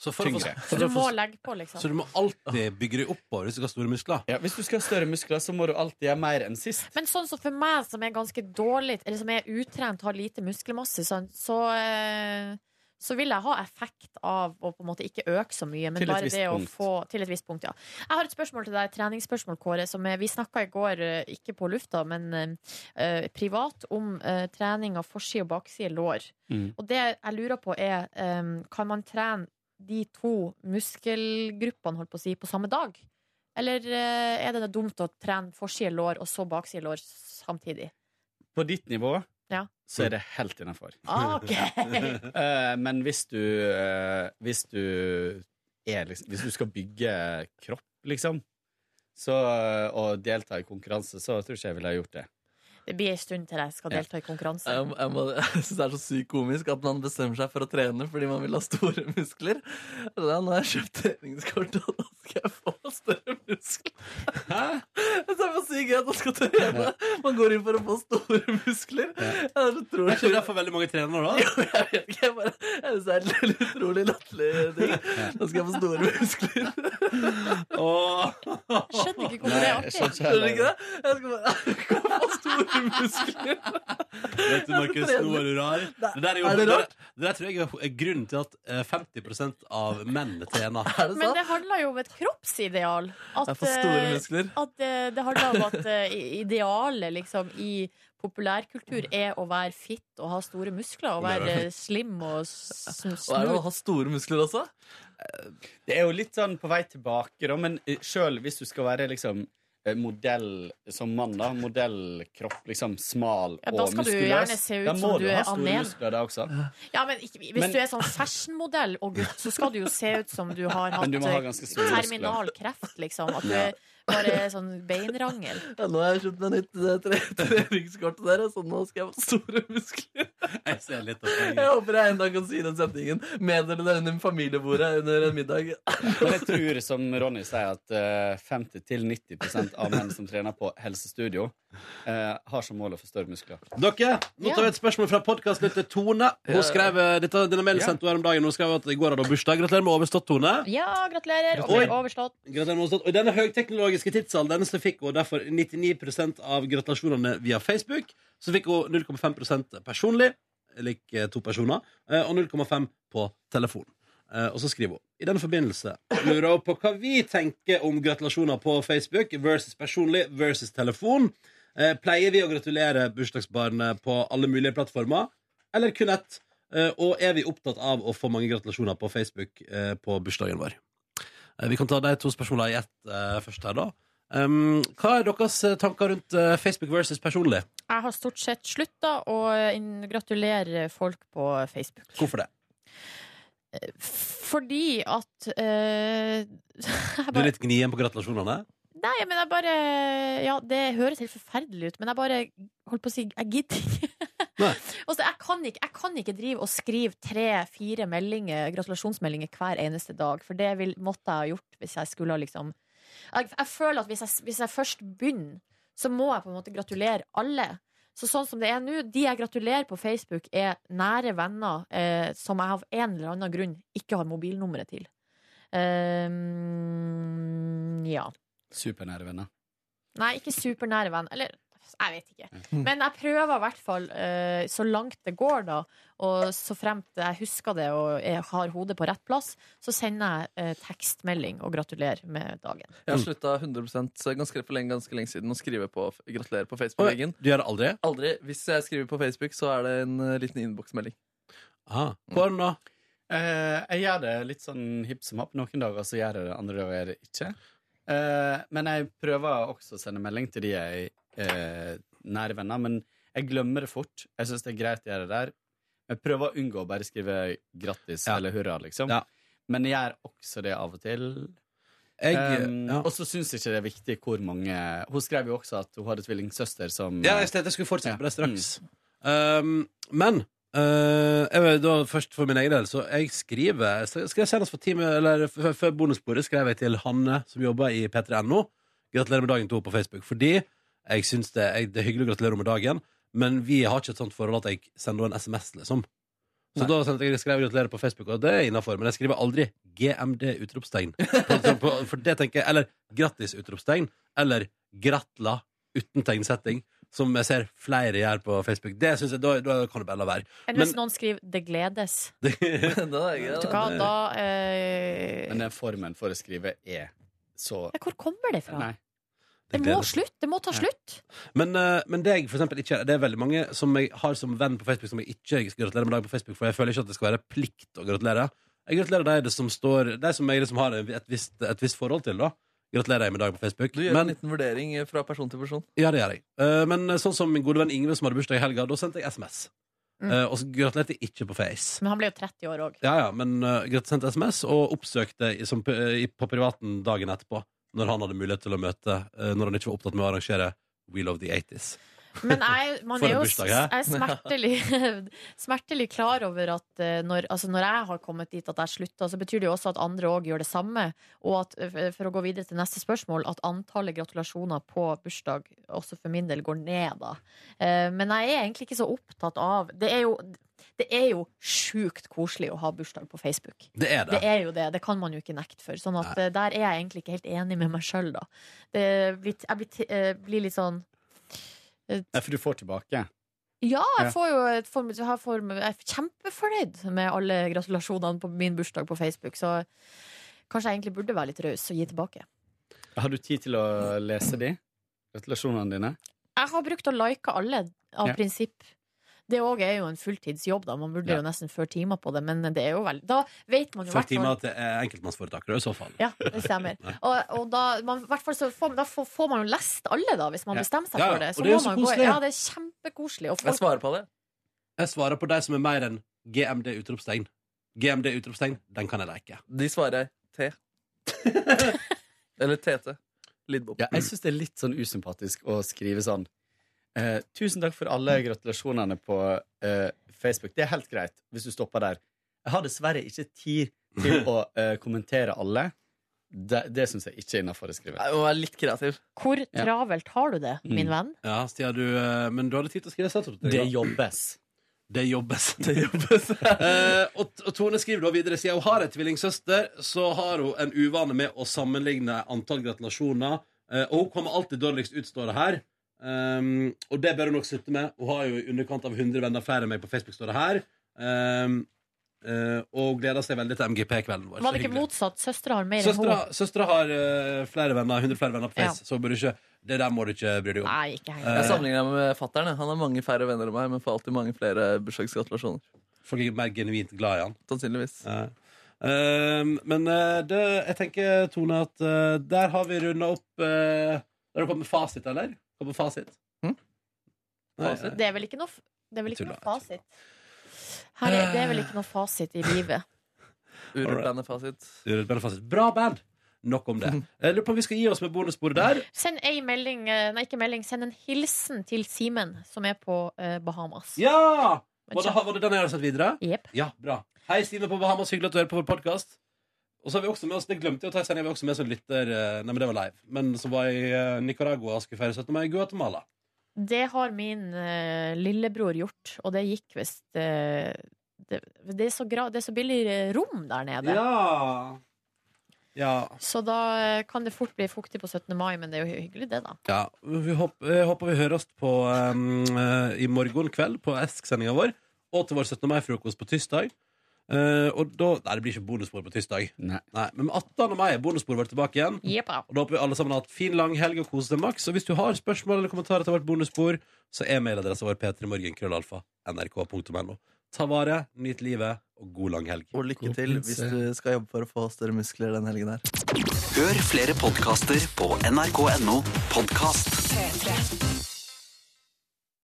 Speaker 1: for å få-
Speaker 6: tyngre.
Speaker 2: Så du må legge på, liksom.
Speaker 1: Så du må alltid bygge deg oppover hvis du skal ha store muskler?
Speaker 6: Ja, hvis du skal ha større muskler, så må du alltid gjøre mer enn sist.
Speaker 2: Men sånn som for meg, som er ganske dårlig, eller som er utrent, har lite muskelmasse, sant, så, eh, så vil jeg ha effekt av å på en måte ikke øke så mye, men
Speaker 14: Til et
Speaker 2: bare
Speaker 14: visst
Speaker 2: det å
Speaker 14: punkt.
Speaker 2: få Til et visst punkt, ja. Jeg har et spørsmål til deg, et treningsspørsmål, Kåre, som er, vi snakka i går, eh, ikke på lufta, men eh, privat, om eh, trening av forside og bakside lår.
Speaker 11: Mm.
Speaker 2: Og det jeg lurer på, er eh, kan man trene de to muskelgruppene, holdt på å si, på samme dag? Eller eh, er det dumt å trene forside lår og så bakside lår samtidig?
Speaker 6: På ditt nivå
Speaker 2: Ja.
Speaker 6: så er det helt *laughs* innafor.
Speaker 2: Ah, ok.
Speaker 6: men hvis eh, du eh, Hvis du er liksom Hvis du skal bygge kropp, liksom, så, og delta i konkurranse, så tror ikke jeg ville ha gjort det.
Speaker 2: Det blir en stund til jeg skal
Speaker 6: Ja.
Speaker 2: delta i konkurranse.
Speaker 3: Jeg, jeg, må, *laughs* jeg synes det er så sykt komisk at man bestemmer seg for å trene fordi man vil ha store *laughs* muskler. Så da, nå har jeg kjøpt treningskort, og da skal jeg få større muskler. Hæ? Jeg synes *laughs* det er for sykt gøy at man skal trene. Man går inn for å få store muskler. *laughs* Jeg er så
Speaker 1: Det
Speaker 3: tror
Speaker 1: er ikke derfor veldig mange trener nå, da.
Speaker 3: Jeg synes det er en helt utrolig latterlig ting. Nå skal jeg få store muskler.
Speaker 11: skjønner ikke hvorfor
Speaker 3: Nei,
Speaker 11: det er artig.
Speaker 3: jeg skjønner ikke heller. ikke det? Jeg skal bare *laughs* Hvorfor få store muskler?
Speaker 1: Vet du, Markus, nå er du rar. Det der, er jo,
Speaker 3: Er det rart?
Speaker 1: det der tror jeg er grunnen til at eh, 50 av menn
Speaker 3: *laughs*
Speaker 1: trener.
Speaker 2: Men det handler jo om et kroppsideal. At,
Speaker 1: Jeg får store
Speaker 2: eh,
Speaker 1: muskler.
Speaker 2: At eh, det handler om at eh, i- idealet liksom, i populærkultur er å være fit og ha store muskler og være eh, slim og s-
Speaker 3: Og er det noe å
Speaker 2: smooth.
Speaker 3: ha store muskler også?
Speaker 6: Eh, Det er jo litt sånn på vei tilbake, da, men sjøl hvis du skal være liksom eh, modell som mann, da. Modellkropp, liksom smal
Speaker 2: Ja,
Speaker 6: og
Speaker 2: da skal
Speaker 6: muskuløs.
Speaker 2: du gjerne se ut
Speaker 6: da må
Speaker 2: som
Speaker 6: du
Speaker 2: du
Speaker 6: ha
Speaker 2: er
Speaker 6: store
Speaker 2: annen.
Speaker 6: muskler, da også.
Speaker 2: Ja, men ikke, hvis
Speaker 6: Men-
Speaker 2: du er sånn fashionmodell og gutt, så skal du jo se ut som du har
Speaker 6: *laughs* Men
Speaker 2: hatt
Speaker 6: du må ha
Speaker 2: eh,
Speaker 6: ganske store muskler.
Speaker 2: terminal kreft, liksom. At du
Speaker 3: Ja.
Speaker 2: er bare er sånn beinrangel.
Speaker 6: *laughs*
Speaker 3: Ja, nå har jeg kjøpt meg nytt eh, tre *laughs* treningskort der, så nå skal jeg få store muskler.
Speaker 1: Jeg ser litt av
Speaker 3: Jeg håper jeg en dag kan si den setningen. Meddele det under familiebordet under en middag.
Speaker 6: Men jeg tror, som Ronny sier, at eh, 50-90 av menn som trener på helsestudio, eh, har som mål å få større muskler.
Speaker 1: Dere, nå tar vi et spørsmål fra podkastlytter Tone.
Speaker 6: Ja.
Speaker 1: Hun skrev eh, dette, denne mailen
Speaker 6: Ja.
Speaker 1: sendte hun her om dagen. Hun skrev at i går hadde hun bursdag. Gratulerer med overstått, Tone.
Speaker 2: Ja, gratulerer. Og
Speaker 1: Oi.
Speaker 2: blir overstått.
Speaker 1: Gratulerer med overstått. Og i denne høyteknologiske tidsalderen så fikk hun derfor 99 av gratulasjonene via Facebook. Så fikk hun 0,5 personlig, lik eh, to personer, eh, og 0,5 på telefon. Eh, Og så skriver hun i den forbindelse lurer hun på hva vi tenker om gratulasjoner på Facebook versus personlig versus telefon. Eh, Pleier vi å gratulere bursdagsbarnet på alle mulige plattformer, eller kun ett? Eh, Og er vi opptatt av å få mange gratulasjoner på Facebook eh, på bursdagen vår? Eh, Vi kan ta de to spørsmålene i ett eh, først her, da. Um, hva er deres eh, tanker rundt eh, Facebook versus personlig?
Speaker 2: Jeg har stort sett slutta å inn- gratulere folk på Facebook. Eh,
Speaker 1: Hvorfor det?
Speaker 2: Fordi at eh, jeg
Speaker 1: Du
Speaker 2: bare,
Speaker 1: er litt gnien på gratulasjonene?
Speaker 2: Nei, men jeg bare Ja, det høres helt forferdelig ut, men jeg bare holdt på å si Jeg gidder ikke. *laughs* Altså, jeg, kan ikke, jeg kan ikke drive og skrive tre-fire meldinger, gratulasjonsmeldinger hver eneste dag, for det vil, måtte jeg ha gjort hvis jeg skulle ha liksom jeg, jeg føler at hvis jeg, hvis jeg først begynner, så må jeg på en måte gratulere alle. Så sånn som det er nå, de jeg gratulerer på Facebook, er nære venner eh, som jeg av en eller annen grunn ikke har mobilnummeret til. Ehm, ja.
Speaker 6: Supernære venner.
Speaker 2: Nei, ikke supernære venn. Eller jeg vet ikke. Men jeg prøver i hvert fall eh, så langt det går, da. Og så fremt jeg husker det og jeg har hodet på rett plass, så sender jeg eh, tekstmelding og gratulerer med dagen.
Speaker 3: Jeg har slutta 100 ganske for lenge, ganske lenge siden å skrive på f- gratulerer på Facebook-veggen.
Speaker 1: Du gjør det aldri?
Speaker 3: Aldri. Hvis jeg skriver på Facebook, så er det en eh, liten innboksmelding.
Speaker 1: Hvordan da?
Speaker 6: Eh, jeg gjør det litt sånn hipp som happ. Noen dager så gjør jeg det, andre dager gjør jeg det ikke. Eh, men jeg prøver også å sende melding til de jeg er nære venner, men jeg glemmer det fort. Jeg syns det er greit å gjøre det der. Jeg prøver å unngå å bare skrive grattis eller hurra, liksom. Men jeg gjør også det av og til.
Speaker 1: Jeg-
Speaker 6: Em,
Speaker 1: ja.
Speaker 6: Og så syns jeg ikke det er viktig hvor mange Hun skrev jo også at hun hadde tvillingsøster som Mm.
Speaker 1: Ja, jeg, tenkte jeg skulle fortsette på det straks. Um, men eh, jeg vil da først for min egen del, så jeg skriver så Skal jeg senest for time, eller f- f- før bonusbordet skrev jeg til Hanne, som jobber i p3.no, gratulerer med dagen to på Facebook. Fordi jeg syns det, jeg, det er hyggelig å gratulere med dagen, men vi har ikke et sånt forhold at jeg sender henne en SMS, liksom. Så da sendte jeg skrev jeg gratulerer på Facebook, og det er innafor. Men jeg skriver aldri GMD utropstegn. På- på- For det tenker jeg Eller grattis utropstegn. Eller gratla uten tegnsetting. Som jeg ser flere gjør på Facebook. Det synes jeg, Da, da kan det bare la være.
Speaker 2: Eller hvis noen skriver *laughs* 'det gledes'. Vet du hva, da eh,
Speaker 6: Men den formen for å skrive er så
Speaker 2: Hvor kommer det fra?
Speaker 6: Nei.
Speaker 2: Det må slutt! Det må ta
Speaker 1: Ja.
Speaker 2: slutt!
Speaker 1: Men, eh, men det jeg for eksempel ikke Det er veldig mange som jeg har som venn på Facebook, som jeg ikke gratulerer med dag på Facebook, for jeg føler ikke at det skal være plikt å gratulere. Jeg gratulerer de som står De som jeg liksom har et visst, et visst forhold til, da. Gratulerer jeg med dag på Facebook.
Speaker 3: Du gjør
Speaker 1: Men-
Speaker 3: en liten vurdering eh, fra person til person.
Speaker 1: Ja, det gjør jeg. Eh, Men sånn som min gode venn Ingve, som hadde bursdag i helga, da sendte jeg SMS.
Speaker 2: Mm.
Speaker 1: Eh, og så gratulerte jeg ikke på Face.
Speaker 2: Men han ble jo 30 år òg.
Speaker 1: Ja, ja, men uh, Grete sendte SMS og oppsøkte i, som, eh, i, på privaten dagen etterpå, når han hadde mulighet til å møte, eh, når han ikke var opptatt med å arrangere We Love the 80s.
Speaker 2: Men jeg, man
Speaker 1: For
Speaker 2: er
Speaker 1: en
Speaker 2: jo
Speaker 1: bursdag, hæ?
Speaker 2: jeg er smertelig, *laughs* smertelig klar over at eh, når, altså når jeg har kommet dit at jeg slutta, så betyr det jo også at andre òg gjør det samme. Og at, eh, for å gå videre til neste spørsmål, at antallet gratulasjoner på bursdag også for min del går ned, da. Eh, Men jeg er egentlig ikke så opptatt av Det er jo, det er jo sjukt koselig å ha bursdag på Facebook.
Speaker 1: Det er det.
Speaker 2: Det er jo det. Det kan man jo ikke nekte for. Sånn at eh, der er jeg egentlig ikke helt enig med meg sjøl, da. Det blir, jeg blir, t- eh, blir litt sånn
Speaker 6: Nei, for du får tilbake.
Speaker 2: ja, jeg,
Speaker 6: Ja.
Speaker 2: får jo et form, jeg, har form, jeg er kjempefornøyd med alle gratulasjonene på min bursdag på Facebook, så kanskje jeg egentlig burde være litt raus og gi tilbake.
Speaker 6: Har du tid til å lese de? Gratulasjonene dine?
Speaker 2: Jeg har brukt å like alle av
Speaker 6: Ja.
Speaker 2: prinsipp. Det òg er jo en fulltidsjobb, da. Man burde
Speaker 1: Ja.
Speaker 2: jo nesten før timer på det, men det er jo vel Da vet man jo
Speaker 1: Før
Speaker 2: hvert fall-
Speaker 1: timer til eh, enkeltmannsforetakere, i så fall.
Speaker 2: Ja, *laughs* det
Speaker 1: *laughs*
Speaker 2: stemmer. Og, og da, man, i hvert fall så får, da får, får man jo lest alle, da, hvis man
Speaker 1: Ja.
Speaker 2: bestemmer seg
Speaker 1: Ja, ja,
Speaker 2: for det.
Speaker 1: og det er jo
Speaker 2: må
Speaker 1: så
Speaker 2: man gå-
Speaker 1: koselig.
Speaker 2: Ja, det er kjempekoselig. Og folk
Speaker 3: på det.
Speaker 1: Jeg svarer på de som er mer enn GMD utropstegn. GMD utropstegn, den kan jeg like.
Speaker 3: De svarer T. Eller TT. Lidbom.
Speaker 6: Ja, jeg syns det er litt sånn usympatisk å skrive sånn eh, Tusen takk for alle gratulasjonene på eh, Facebook. Det er helt greit hvis du stopper der. Jeg har dessverre ikke tid
Speaker 3: *laughs*
Speaker 6: til å eh, kommentere alle. Det, det syns jeg ikke er innafor å skrive.
Speaker 3: Jeg må være litt kreativ.
Speaker 2: Hvor travelt har du det,
Speaker 1: Mm.
Speaker 2: min venn?
Speaker 1: Ja, Stia, du, eh, men du hadde tid til å skrive setup
Speaker 6: Mm.
Speaker 1: til
Speaker 6: Det jobbes.
Speaker 1: Det jobbes.
Speaker 6: *laughs*
Speaker 1: Det jobbes. eh, og, og Tone skriver da videre siden hun har en tvillingsøster, så har hun en uvane med å sammenligne antall gratulasjoner. Eh, og hun kommer alltid dårligst ut, står det her. Um, og det bør hun nok slutte med. Hun har jo i underkant av 100 venner flere enn meg på Facebook, står det her. Um, eh, og gleder seg veldig til MGP-kvelden
Speaker 2: Var
Speaker 1: vår. Så
Speaker 2: det ikke
Speaker 1: hyggelig.
Speaker 2: motsatt? Søstera har mer enn
Speaker 1: Søstera,
Speaker 2: hun.
Speaker 1: søstera har eh, flere venner, 100 flere venner på
Speaker 2: Ja.
Speaker 1: Face, så bør du ikke, det der må du ikke bry deg om. Eh,
Speaker 2: Nei, ikke heller.
Speaker 3: Jeg sammenligner meg med fattern. jeg. Han har mange færre venner enn meg, men får alltid mange flere bursdagsgratulasjoner.
Speaker 1: Folk er mer genuint glad i han.
Speaker 3: Sannsynligvis.
Speaker 1: Ehm, men eh, det, jeg tenker, Tone, at eh, der har vi runda opp eh, Der har du kommet med fasit, eller? Kommet med fasit? Nei, eh,
Speaker 2: Det er vel ikke noe, f- det er vel ikke
Speaker 1: Jeg
Speaker 2: noe fasit? Her er, det er vel ikke noe fasit i livet.
Speaker 3: Urbandet fasit.
Speaker 1: Urbandet fasit. Bra band! Nok om det. Jeg lurer på om vi skal gi oss med bonusbordet der.
Speaker 2: Send ei melding, eh, nei, ikke melding, send en hilsen til Simen, som er på eh, Bahamas.
Speaker 1: Ja! Var det, var det den jeg har sendt videre?
Speaker 2: Yep.
Speaker 1: Ja, bra. Hei, Stine på Bahamas. Hyggelig at du hører på vår podkast. Og så har vi også med oss, det glemte jeg å ta i sending, vi har også med oss en lytter eh, Nei, men det var live. Men som var i eh, Nicaragua og skulle feire 17. mai i Guatemala.
Speaker 2: Det har min eh, lillebror gjort, og det gikk visst eh, det, det, er så gra, det er så billig eh, rom der nede.
Speaker 1: Ja. Ja.
Speaker 2: Så da eh, kan det fort bli fuktig på 17. mai, men det er jo hyggelig, det, da.
Speaker 1: Ja, vi håper, jeg håper vi hører oss på, um, eh, i morgen kveld på Esk-sendinga vår. Og til vår 17. mai-frokost på tirsdag. Eh, og da, nei, det blir ikke bonusspor på tirsdag.
Speaker 6: Nei.
Speaker 1: men 18. mai er bonussporet vårt tilbake igjen.
Speaker 2: Jeppa.
Speaker 1: Og da håper vi alle sammen har hatt fin, lang helg og kos deg maks. Og hvis du har spørsmål eller kommentarer til vårt bonusspor, så er mailadressen vår p3morgenkrøllalfa.nrk.no. Ta vare, nyt livet, og god lang helg.
Speaker 3: Og lykke til hvis
Speaker 1: eh,
Speaker 3: du skal jobbe for å få større muskler den helgen her.
Speaker 14: Hør flere podkaster på nrk.no podkast.
Speaker 11: P3.